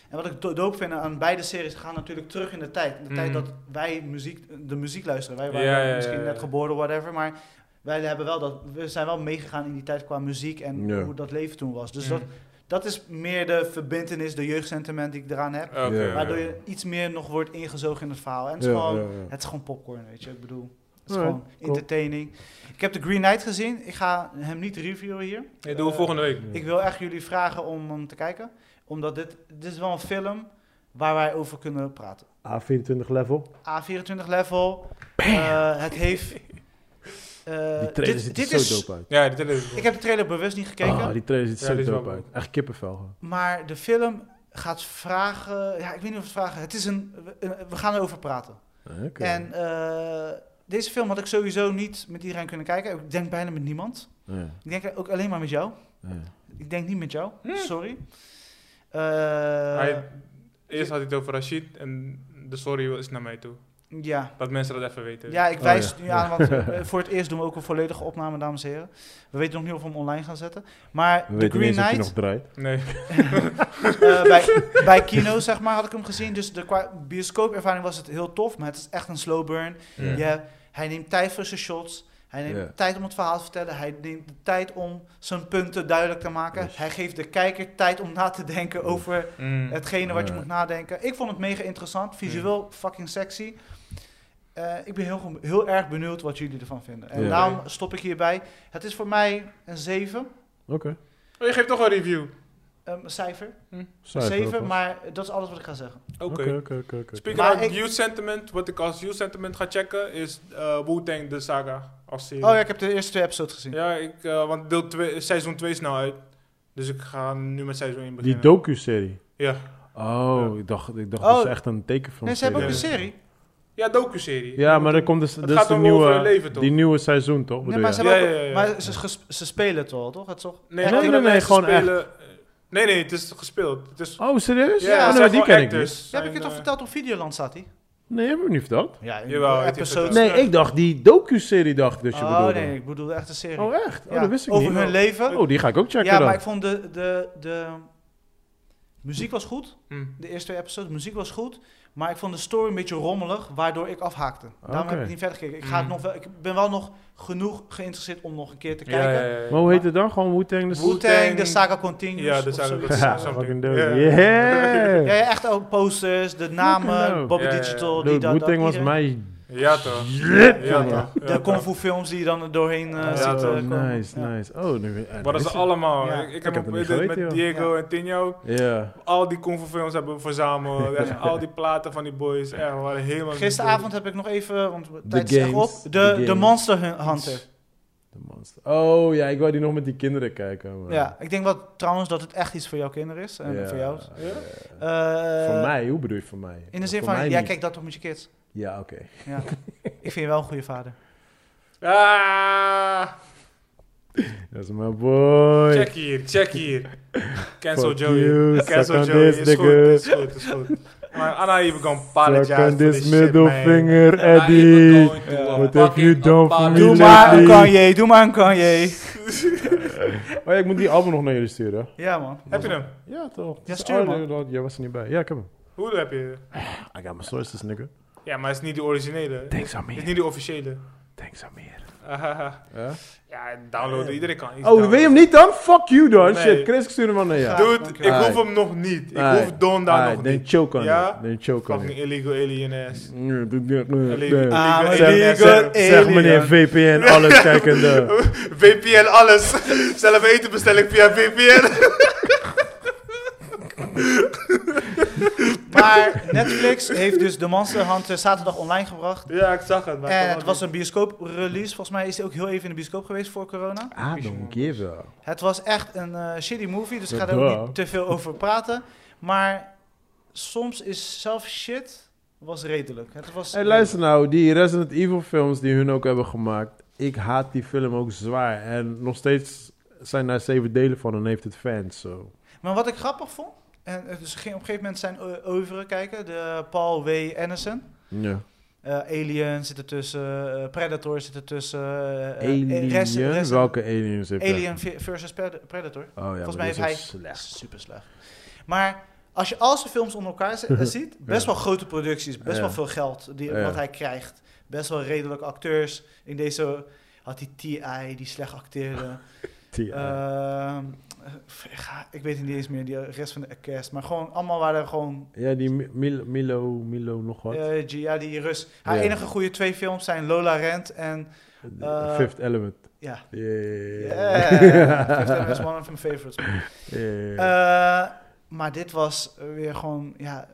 En wat ik do- dope vind aan beide series, ze gaan natuurlijk terug in de tijd. In de tijd Mm. dat wij muziek, de muziek luisteren. Wij Ja, waren ja, ja, misschien ja. net geboren, whatever. Maar wij hebben wel dat, we zijn wel meegegaan in die tijd qua muziek en Ja. hoe dat leven toen was. Dus Mm. dat, dat is meer de verbindenis, de jeugdsentiment die ik eraan heb. Oké, Ja. oké. Waardoor je iets meer nog wordt ingezogen in het verhaal. En het is, Ja, gewoon, ja, ja. Het is gewoon popcorn, weet je. Ik bedoel, het is Alright, gewoon cool. entertaining. Ik heb The Green Knight gezien. Ik ga hem niet reviewen hier. Nee, doen we Eh, volgende week. ik wil echt jullie vragen om hem te kijken. Omdat dit, dit is wel een film waar wij over kunnen praten. A24 level. Eh, A24 level. eh, het heeft... eh, die trailer dit- ziet dit er is- zo dope uit. Ja, dit is Ik heb de trailer bewust niet gekeken. Ah, die trailer ziet Ja, er die zo is dope wel uit. Echt kippenvel. gewoon. Maar de film gaat vragen... Ja, ik weet niet of het vragen... Het is een... we- We gaan erover praten. Oké. En eh, deze film had ik sowieso niet met iedereen kunnen kijken. Ik denk bijna met niemand. Ja, Ik denk ook alleen maar met jou. ja. Ik denk niet met jou. Hm. Sorry. Eh, Hij- Eerst had hij het over Rashid en de sorry is naar mij toe. Eh, ja. Dat mensen dat even weten. Ja, ik Oh, wijs ja. het nu aan, want eh, voor het eerst doen we ook een volledige opname, dames en heren. We weten nog niet of we hem online gaan zetten. Maar We The weten niet Green eens of hij nog Knight, draait. Nee. eh, bij, bij Kino zeg maar, had ik hem gezien. Dus de qua bioscoopervaring was het heel tof, maar het is echt een slow burn. Ja. Je hebt- hij neemt tijd voor zijn shots. Hij neemt Ja. tijd om het verhaal te vertellen. Hij neemt de tijd om zijn punten duidelijk te maken. Yes. Hij geeft de kijker tijd om na te denken over Mm. hetgene wat je Ja. moet nadenken. Ik vond het mega interessant, visueel Hm. fucking sexy. Eh, ik ben heel, ge- heel erg benieuwd wat jullie ervan vinden. En Ja. daarom stop ik hierbij. Het is voor mij een 7. Oké. Oh, je geeft toch een review. Ehm, cijfer. Cijfer ook 7, al. maar dat is alles wat ik ga zeggen. Oké. Oké, oké, oké, oké. Speaking Maar about ik- youth sentiment, wat ik als youth sentiment ga checken is eh Wu-Tang de Saga als serie. Oh ja, ik heb de eerste twee episodes gezien. Ja, ik, eh, want deel twee, seizoen 2 is nou uit. Dus ik ga nu met seizoen 1 Die beginnen. docu-serie. Ja, Oh, ik dacht, ik dacht Oh. dat is echt een tekenfilm. Nee, ze hebben ook een Ja. serie. ja docu-serie. Ja, maar er komt dus, Het dus gaat de om over hun nieuwe, leven, toch? die nieuwe seizoen, toch? Nee, bedoel maar je? ze, Ja, hebben ook- ja, ja, ja. Maar ze, ges- ze spelen het wel, toch? Het is toch? Nee, Nee, nee, nee, nee, nee, gewoon Nee, nee, het is gespeeld. Het is... Oh, serieus? Ja, Ja, het nee, zijn die gewoon ken ik dus. actors. niet. Ja, heb ik Zijn, je toch eh, verteld op Videoland staat hij? Nee, hebben we niet verteld? Ja, in Jawel, heeft hij episode. verteld. Nee, ik dacht die docu-serie dacht ik dat Dus je Oh bedoelde. nee, ik bedoel echt een serie. Oh, echt? Oh, Ja, dat wist ik Over niet. hun leven. Oh, die ga ik ook checken ja, dan. maar ik vond de, de, de muziek was goed. Hm. De eerste twee episodes, de muziek was goed. Maar ik vond de story een beetje rommelig, waardoor ik afhaakte. Daarom Oké. heb ik niet verder gekeken. Ik, ga het Mm. nog wel, ik ben wel nog genoeg geïnteresseerd om nog een keer te Ja, kijken. ja, ja, ja. Maar hoe heet het dan? Gewoon Wu-Tang? de- Wu- Wu-Tang, de Wu-Tang. saga continues. Ja, de of Saga zoiets. Continues. Ja, Something. fucking dope. Ja. Yeah! Ja, ja, echt ook posters, de namen, Fucking Bobby Ja, ja, ja. Digital. Dude, Die, dat, dat, nou. Wu-Tang was iedereen. mijn... Ja, toch. Shit, Ja, jongen. toch. Ja, De kung toch. fu films die je dan er doorheen eh, Ja, ziet eh, dat- Oh, komen. nice, Ja. nice. Oh, nu... eh, Maar dat is is het. allemaal. Ja. Ik, ik heb Ik heb ook het niet met, geweten, met joh. Diego en Tino Ja. al die kung fu films hebben we verzameld. Echt, al die platen van die boys. Echt, we waren helemaal... Gisteravond heb ik nog even, want de tijd The is echt games, op, the de, de games. Monster Hun- Hunter. De monster. Oh, ja, ik wou die nog met die kinderen kijken. man. Ja, ik denk wel trouwens dat het echt iets voor jouw kinderen is en Ja. voor jou. Ja? Eh, Voor mij? Hoe bedoel je voor mij? In de zin Voor van, mij jij niet. kijkt dat toch met je kids? Ja, oké. Ja. ik vind je wel een goede vader. Ah, Dat is mijn boy. check hier, check hier. Cancel Fuck Joey. you, suck Cancel on Joey. this, Is goed, nigga. is goed, is goed. Maar I'm not even gonna apologize Suck on for this this shit, middle man. finger, I'm not even Eddie. going to What have you fucking done for me apologize. Doe Lately. maar een Kanye, doe maar een Kanye. Oh ja, ik moet die album nog naar jullie sturen. Ja man. Heb je hem? Ja, toch? Het Ja, is stuur ouder maar. dan- Jij was er niet bij. Ja, ik heb hem. Hoe heb je? I got my sources, nigga. Ja, maar het is niet de originele. Het Thanks, Amir. is niet de officiële. Thanks, Amir. Ahaha. Ja, downloaden. Iedereen kan iets Oh, wil je hem niet dan? Fuck you dan. Nee. Shit, Chris, ik stuur hem eh, wel naar jou. Doe- Dude, ik hoef hem nog niet. Ik hoef Don daar nog Dan niet. choke on Ja? it. Dan choke on Fucking it. illegal alien ass. Nee. Ah, Ah, maar Zeg, zeg, zeg meneer VPN, alles kijkende. VPN alles. Zelf eten bestel ik via VPN. Maar Netflix heeft dus de Monster Hunter zaterdag online gebracht. Ja, ik zag Eh, het. Maar En het was een bioscoop-release. Volgens mij is hij ook heel even in de bioscoop geweest voor corona. I don't give a... Het was echt een eh, shitty movie, dus ik ga Ja, daar ook duh. niet te veel over praten. Maar soms is zelf shit was redelijk. Het was Hey, luister nou, die Resident Evil films die hun ook hebben gemaakt. Ik haat die film ook zwaar. En nog steeds zijn daar zeven delen van en heeft het fans. zo. Maar wat ik grappig vond, en het is geen- op een gegeven moment zijn o- overen kijken, de Paul W. Anderson. Ja. Eh, Alien zit ertussen, eh, Predator zit ertussen. eh, eh, Alien? Res- Res- Welke aliens heeft hij? Alien v- versus Pred- Predator. Oh ja, Volgens maar mij heeft die hij... is ook slecht. Super slecht. Maar als je al zijn films onder elkaar z- ziet... best wel grote producties, best Ja. wel veel geld die, Ja. wat hij krijgt. Best wel redelijke acteurs. In deze had hij T.I. die slecht Ah, acteerde. Die- Ehm, eh, ga- ik weet niet eens meer die rest van de cast. Maar gewoon allemaal waren gewoon... ja, die Mi- Mil- Milo, Milo nog wat. eh, G- ja, die Rus. Haar Ja. enige goede twee films zijn Lola Rent en... De- eh, Fifth Element. ja. Yeah. Yeah. Fifth Element is one of my favorites. Yeah. Eh, maar dit was weer gewoon, ja,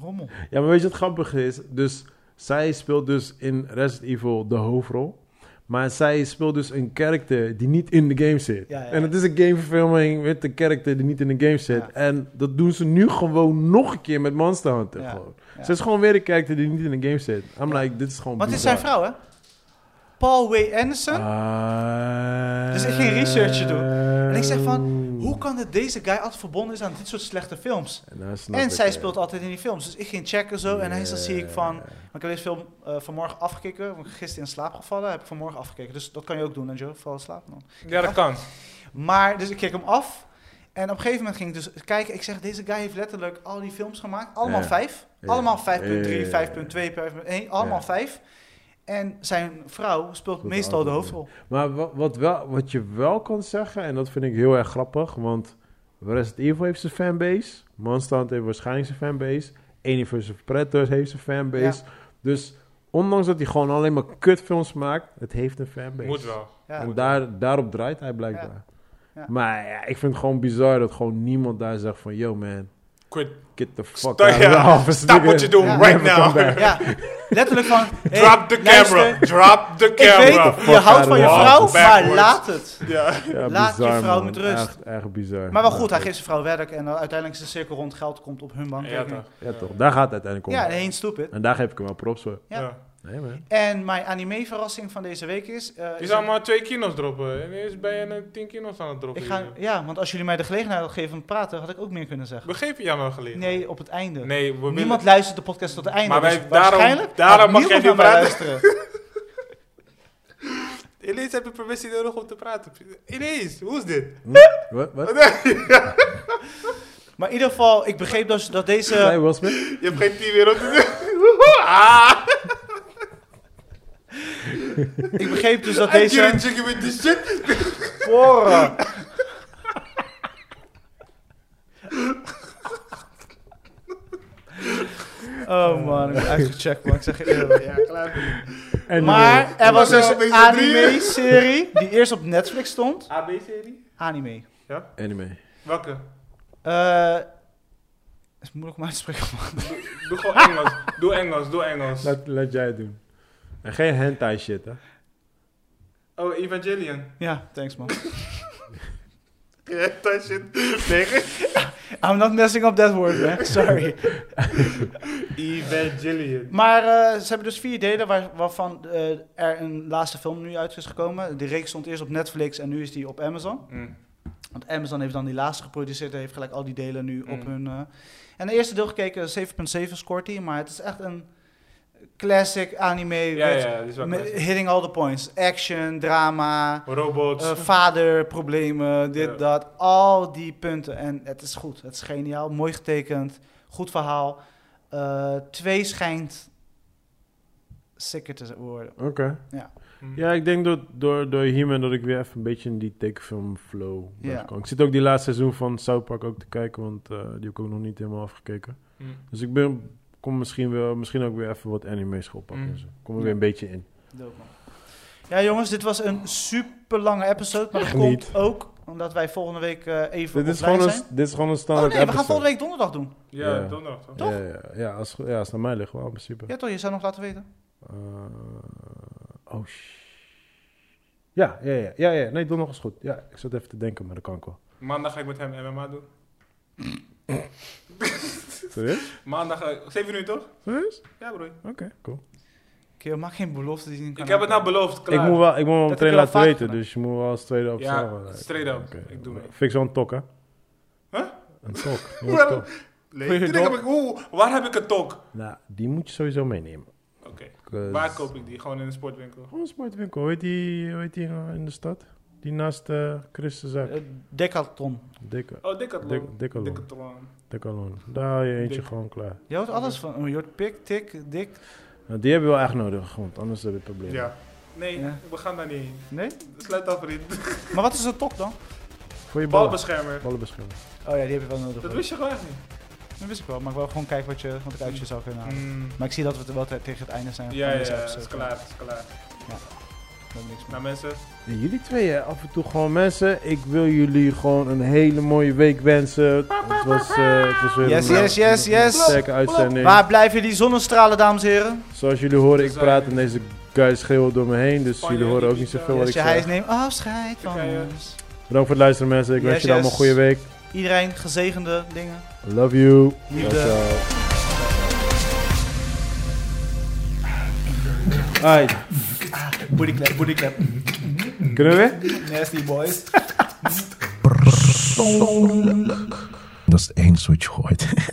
rommel. Ja, maar weet je wat grappig is? Dus zij speelt dus in Resident Evil de hoofdrol. Maar zij speelt dus een karakter die niet in de game zit. Ja, ja. En het is een gameverfilming met een karakter die niet in de game zit. Ja. En dat doen ze nu gewoon nog een keer met Monster Hunter. Ja, Gewoon. ja. Ze is gewoon weer een karakter die niet in de game zit. I'm like, dit is gewoon Want het is bizar. zijn vrouw, hè? Paul W. Anderson. Ah. Dus ik ging researchen doen. En ik zeg van, Hoe kan het deze guy altijd verbonden is aan dit soort slechte films? En, nou snap En ik zij het. speelt altijd in die films. Dus ik ging checken zo. En hij dan zie ik van... Yeah. want Ik heb deze film eh, vanmorgen afgekeken. want ik ben gisteren in slaap gevallen. Heb ik vanmorgen afgekeken. Dus dat kan je ook doen, hè, Joe? Val in slaap, man. Ja, dat kan. Maar, dus ik keek hem af. En op een gegeven moment ging ik dus kijken. Ik zeg, deze guy heeft letterlijk al die films gemaakt. Allemaal Ja. vijf. Ja. Allemaal 5.3, Ja. 5.2, 5.1. Allemaal Ja. vijf. En zijn vrouw speelt Speelt meestal de altijd hoofdrol. Maar wat, wat, wel, wat je wel kan zeggen, en dat vind ik heel erg grappig, want Resident Evil heeft zijn fanbase, Monster Hunter heeft waarschijnlijk zijn fanbase, Universal Predators heeft zijn fanbase. Dus ondanks dat hij gewoon alleen maar kutfilms maakt, het heeft een fanbase. Moet wel. Ja. En daar, daarop draait hij blijkbaar. Ja. Maar ja, ik vind het gewoon bizar dat gewoon niemand daar zegt van... Yo man, Quit. get the fuck Stop, out of ja. the office. Stop what nigga. you're doing Ja. right Never come now. back. Ja, letterlijk van... hey, Drop the luister, camera. Drop the Ik camera. weet, je houdt van je Walk vrouw, maar backwards. laat het. Ja. Ja, Laat je bizar, vrouw man. met rust. Echt, echt bizar. Maar wel goed, Ja, hij geeft zijn vrouw werk en dan uiteindelijk is de cirkel rond geld komt op hun Ja, bankrekening. toch. Ja toch, daar gaat het uiteindelijk om. Ja, heen stupid. En daar geef ik hem wel props voor. Ja. Ja. Nee man. En mijn anime-verrassing van deze week is... eh, Je is zou een- maar twee kino's droppen. En eerst ben je een tien kino's aan het droppen. ik ga, hier. ja, want als jullie mij de gelegenheid hadden gegeven om te praten, had ik ook meer kunnen zeggen. We geven jou nog geleden. Nee, op het einde. Nee, we willen- Niemand luistert de podcast tot het einde. Maar dus wij- daarom- waarschijnlijk daarom gaat mag niemand jij nu naar mij praten. luisteren. Ineens heb je permissie nodig om te praten. Ineens, hoe is dit? Hm? Wat? Wat? Maar in ieder geval, ik begreep dus dat Zei deze... Will Smith? Je hebt geen 10 euro te doen. ah, Ik begreep dus dat I get a deze... chicken with this shit. Porra. Oh man, ik ben uitgecheckt man. Ik zeg je eerlijk. Ja, klaar. En Maar er was dus Maar een zo met z'n drieën. anime-serie die eerst op Netflix stond. AB-serie? Anime. Anime. Welke? Eh, is moeilijk om uit te spreken. man. Doe gewoon Engels. Doe Engels, doe Engels. Laat, laat jij het doen. En geen hentai shit, hè? Oh, Evangelion. Ja, thanks man. Ja, dat shit. Nee. I'm not messing up that word, man. Sorry. Evangelion. Maar eh, ze hebben dus vier delen waar, waarvan eh, er een laatste film nu uit is gekomen. De reeks stond eerst op Netflix en nu is die op Amazon. Mm. Want Amazon heeft dan die laatste geproduceerd en heeft gelijk al die delen nu op Mm. hun... eh, en de eerste deel gekeken, 7.7 scoort hij, maar het is echt een classic anime. Ja, met- ja, dat is wel met klaar. hitting all the points. Action, drama, Robots. eh, vaderproblemen, dit, Ja. dat. Al die punten. En het is goed. Het is geniaal. Mooi getekend. Goed verhaal. Eh, twee schijnt sicker te worden. Oké. Hm. Mm. Ja, ik denk dat door, door He-Man dat ik weer even een beetje in die tekenfilm flow ben Ja. gekomen. Ik zit ook die laatste seizoen van South Park ook te kijken, want eh, die heb ik ook nog niet helemaal afgekeken. Hm. Mm. Dus ik ben, kom misschien, wel, misschien ook weer even wat anime's gaan oppakken. Mm. Hm. en zo. Kom er weer een beetje in. Dope, man. Ja, jongens, dit was een super lange episode. Maar dat Echt komt niet. ook omdat wij volgende week eh, even Dit is, offline gewoon een, zijn. dit is gewoon een Oh nee, standaard we gaan volgende week donderdag doen. Ja, Ja. donderdag. toch? toch? Ja, ja, ja, als, ja, als het aan mij ligt wel, in principe. Ja toch, je zou nog laten weten. Eh, oh, sh- ja, ja, ja, ja, ja. Nee, donderdag is goed. Ja, ik zat even te denken, maar dat kan ik wel. Maandag ga ik met hem MMA doen. Serieus? Maandag, eh, 7 uur toch? Serieus? Ja, bro. Oké, cool. Oké, eh, maak geen belofte die je niet kan Ik heb het nou nakomen. beloofd, Ik klaar. moet wel, ik moet wel heb meteen je wel laten vaker weten, gedaan. dus je moet wel als tweede op Ja, zelf, eh, straight up. oké. Ik doe mee. Fix wel een tok, hè? Huh? Een tok. Een Wel- tok. Nee, Goeie toen dag. heb ik, oeh, waar heb ik een tok? Nou, die moet je sowieso meenemen. Oké, Cause- Oh, waar koop ik die? Gewoon in een sportwinkel. Gewoon een sportwinkel. Hoe heet die, hoe heet die nou in de stad? Die naast eh Christenzaak. nou- Eh, Decathlon. Dikke. Oh, Decathlon. Dec- Decathlon. Decathlon. Decathlon. Daar haal je eentje Dik. gewoon klaar. Je houdt alles van. Oh, Je hoort pik, tik, dik. Nou, die heb je wel echt nodig, want anders heb je problemen. Ja. Nee, Ja. we gaan daar niet heen. Nee? Sluit af, vriend. Maar wat is een tok dan? Voor je ballen. Balbeschermer. Ballen beschermen. Oh ja, die heb je wel nodig. Dat wist je gewoon echt niet. Dat wist ik wel, maar ik wil gewoon kijken wat, je, wat ik uit je zou kunnen halen. Mm. Maar ik zie dat we het wel te- tegen het einde zijn Ja, van ja, deze ja, episode. is klaar, is klaar. Dat is niks meer. Nou mensen, En jullie twee, hè, af en toe gewoon mensen. Ik wil jullie gewoon een hele mooie week wensen. Het was, eh, het was weer Yes, een, yes, yes, een yes. sterke uitzending. Waar blijven die zonnestralen, dames en heren? Zoals jullie horen, ik Dus, praat eh, en deze guys schreeuwen door me heen. Dus Spanje, jullie horen ook niet Ibiza. zoveel wat Als ik je hijs zeg. neemt afscheid van Turkije. ons. Bedankt voor het luisteren mensen. Ik wens Yes, jullie allemaal yes. een goede week. Iedereen gezegende dingen. Love you. Liefde. Ciao, ciao. Hai, Bodyclap, bodyclap. kunnen we weer? Nasty boys. persoonlijk. Dat is één switch gooit.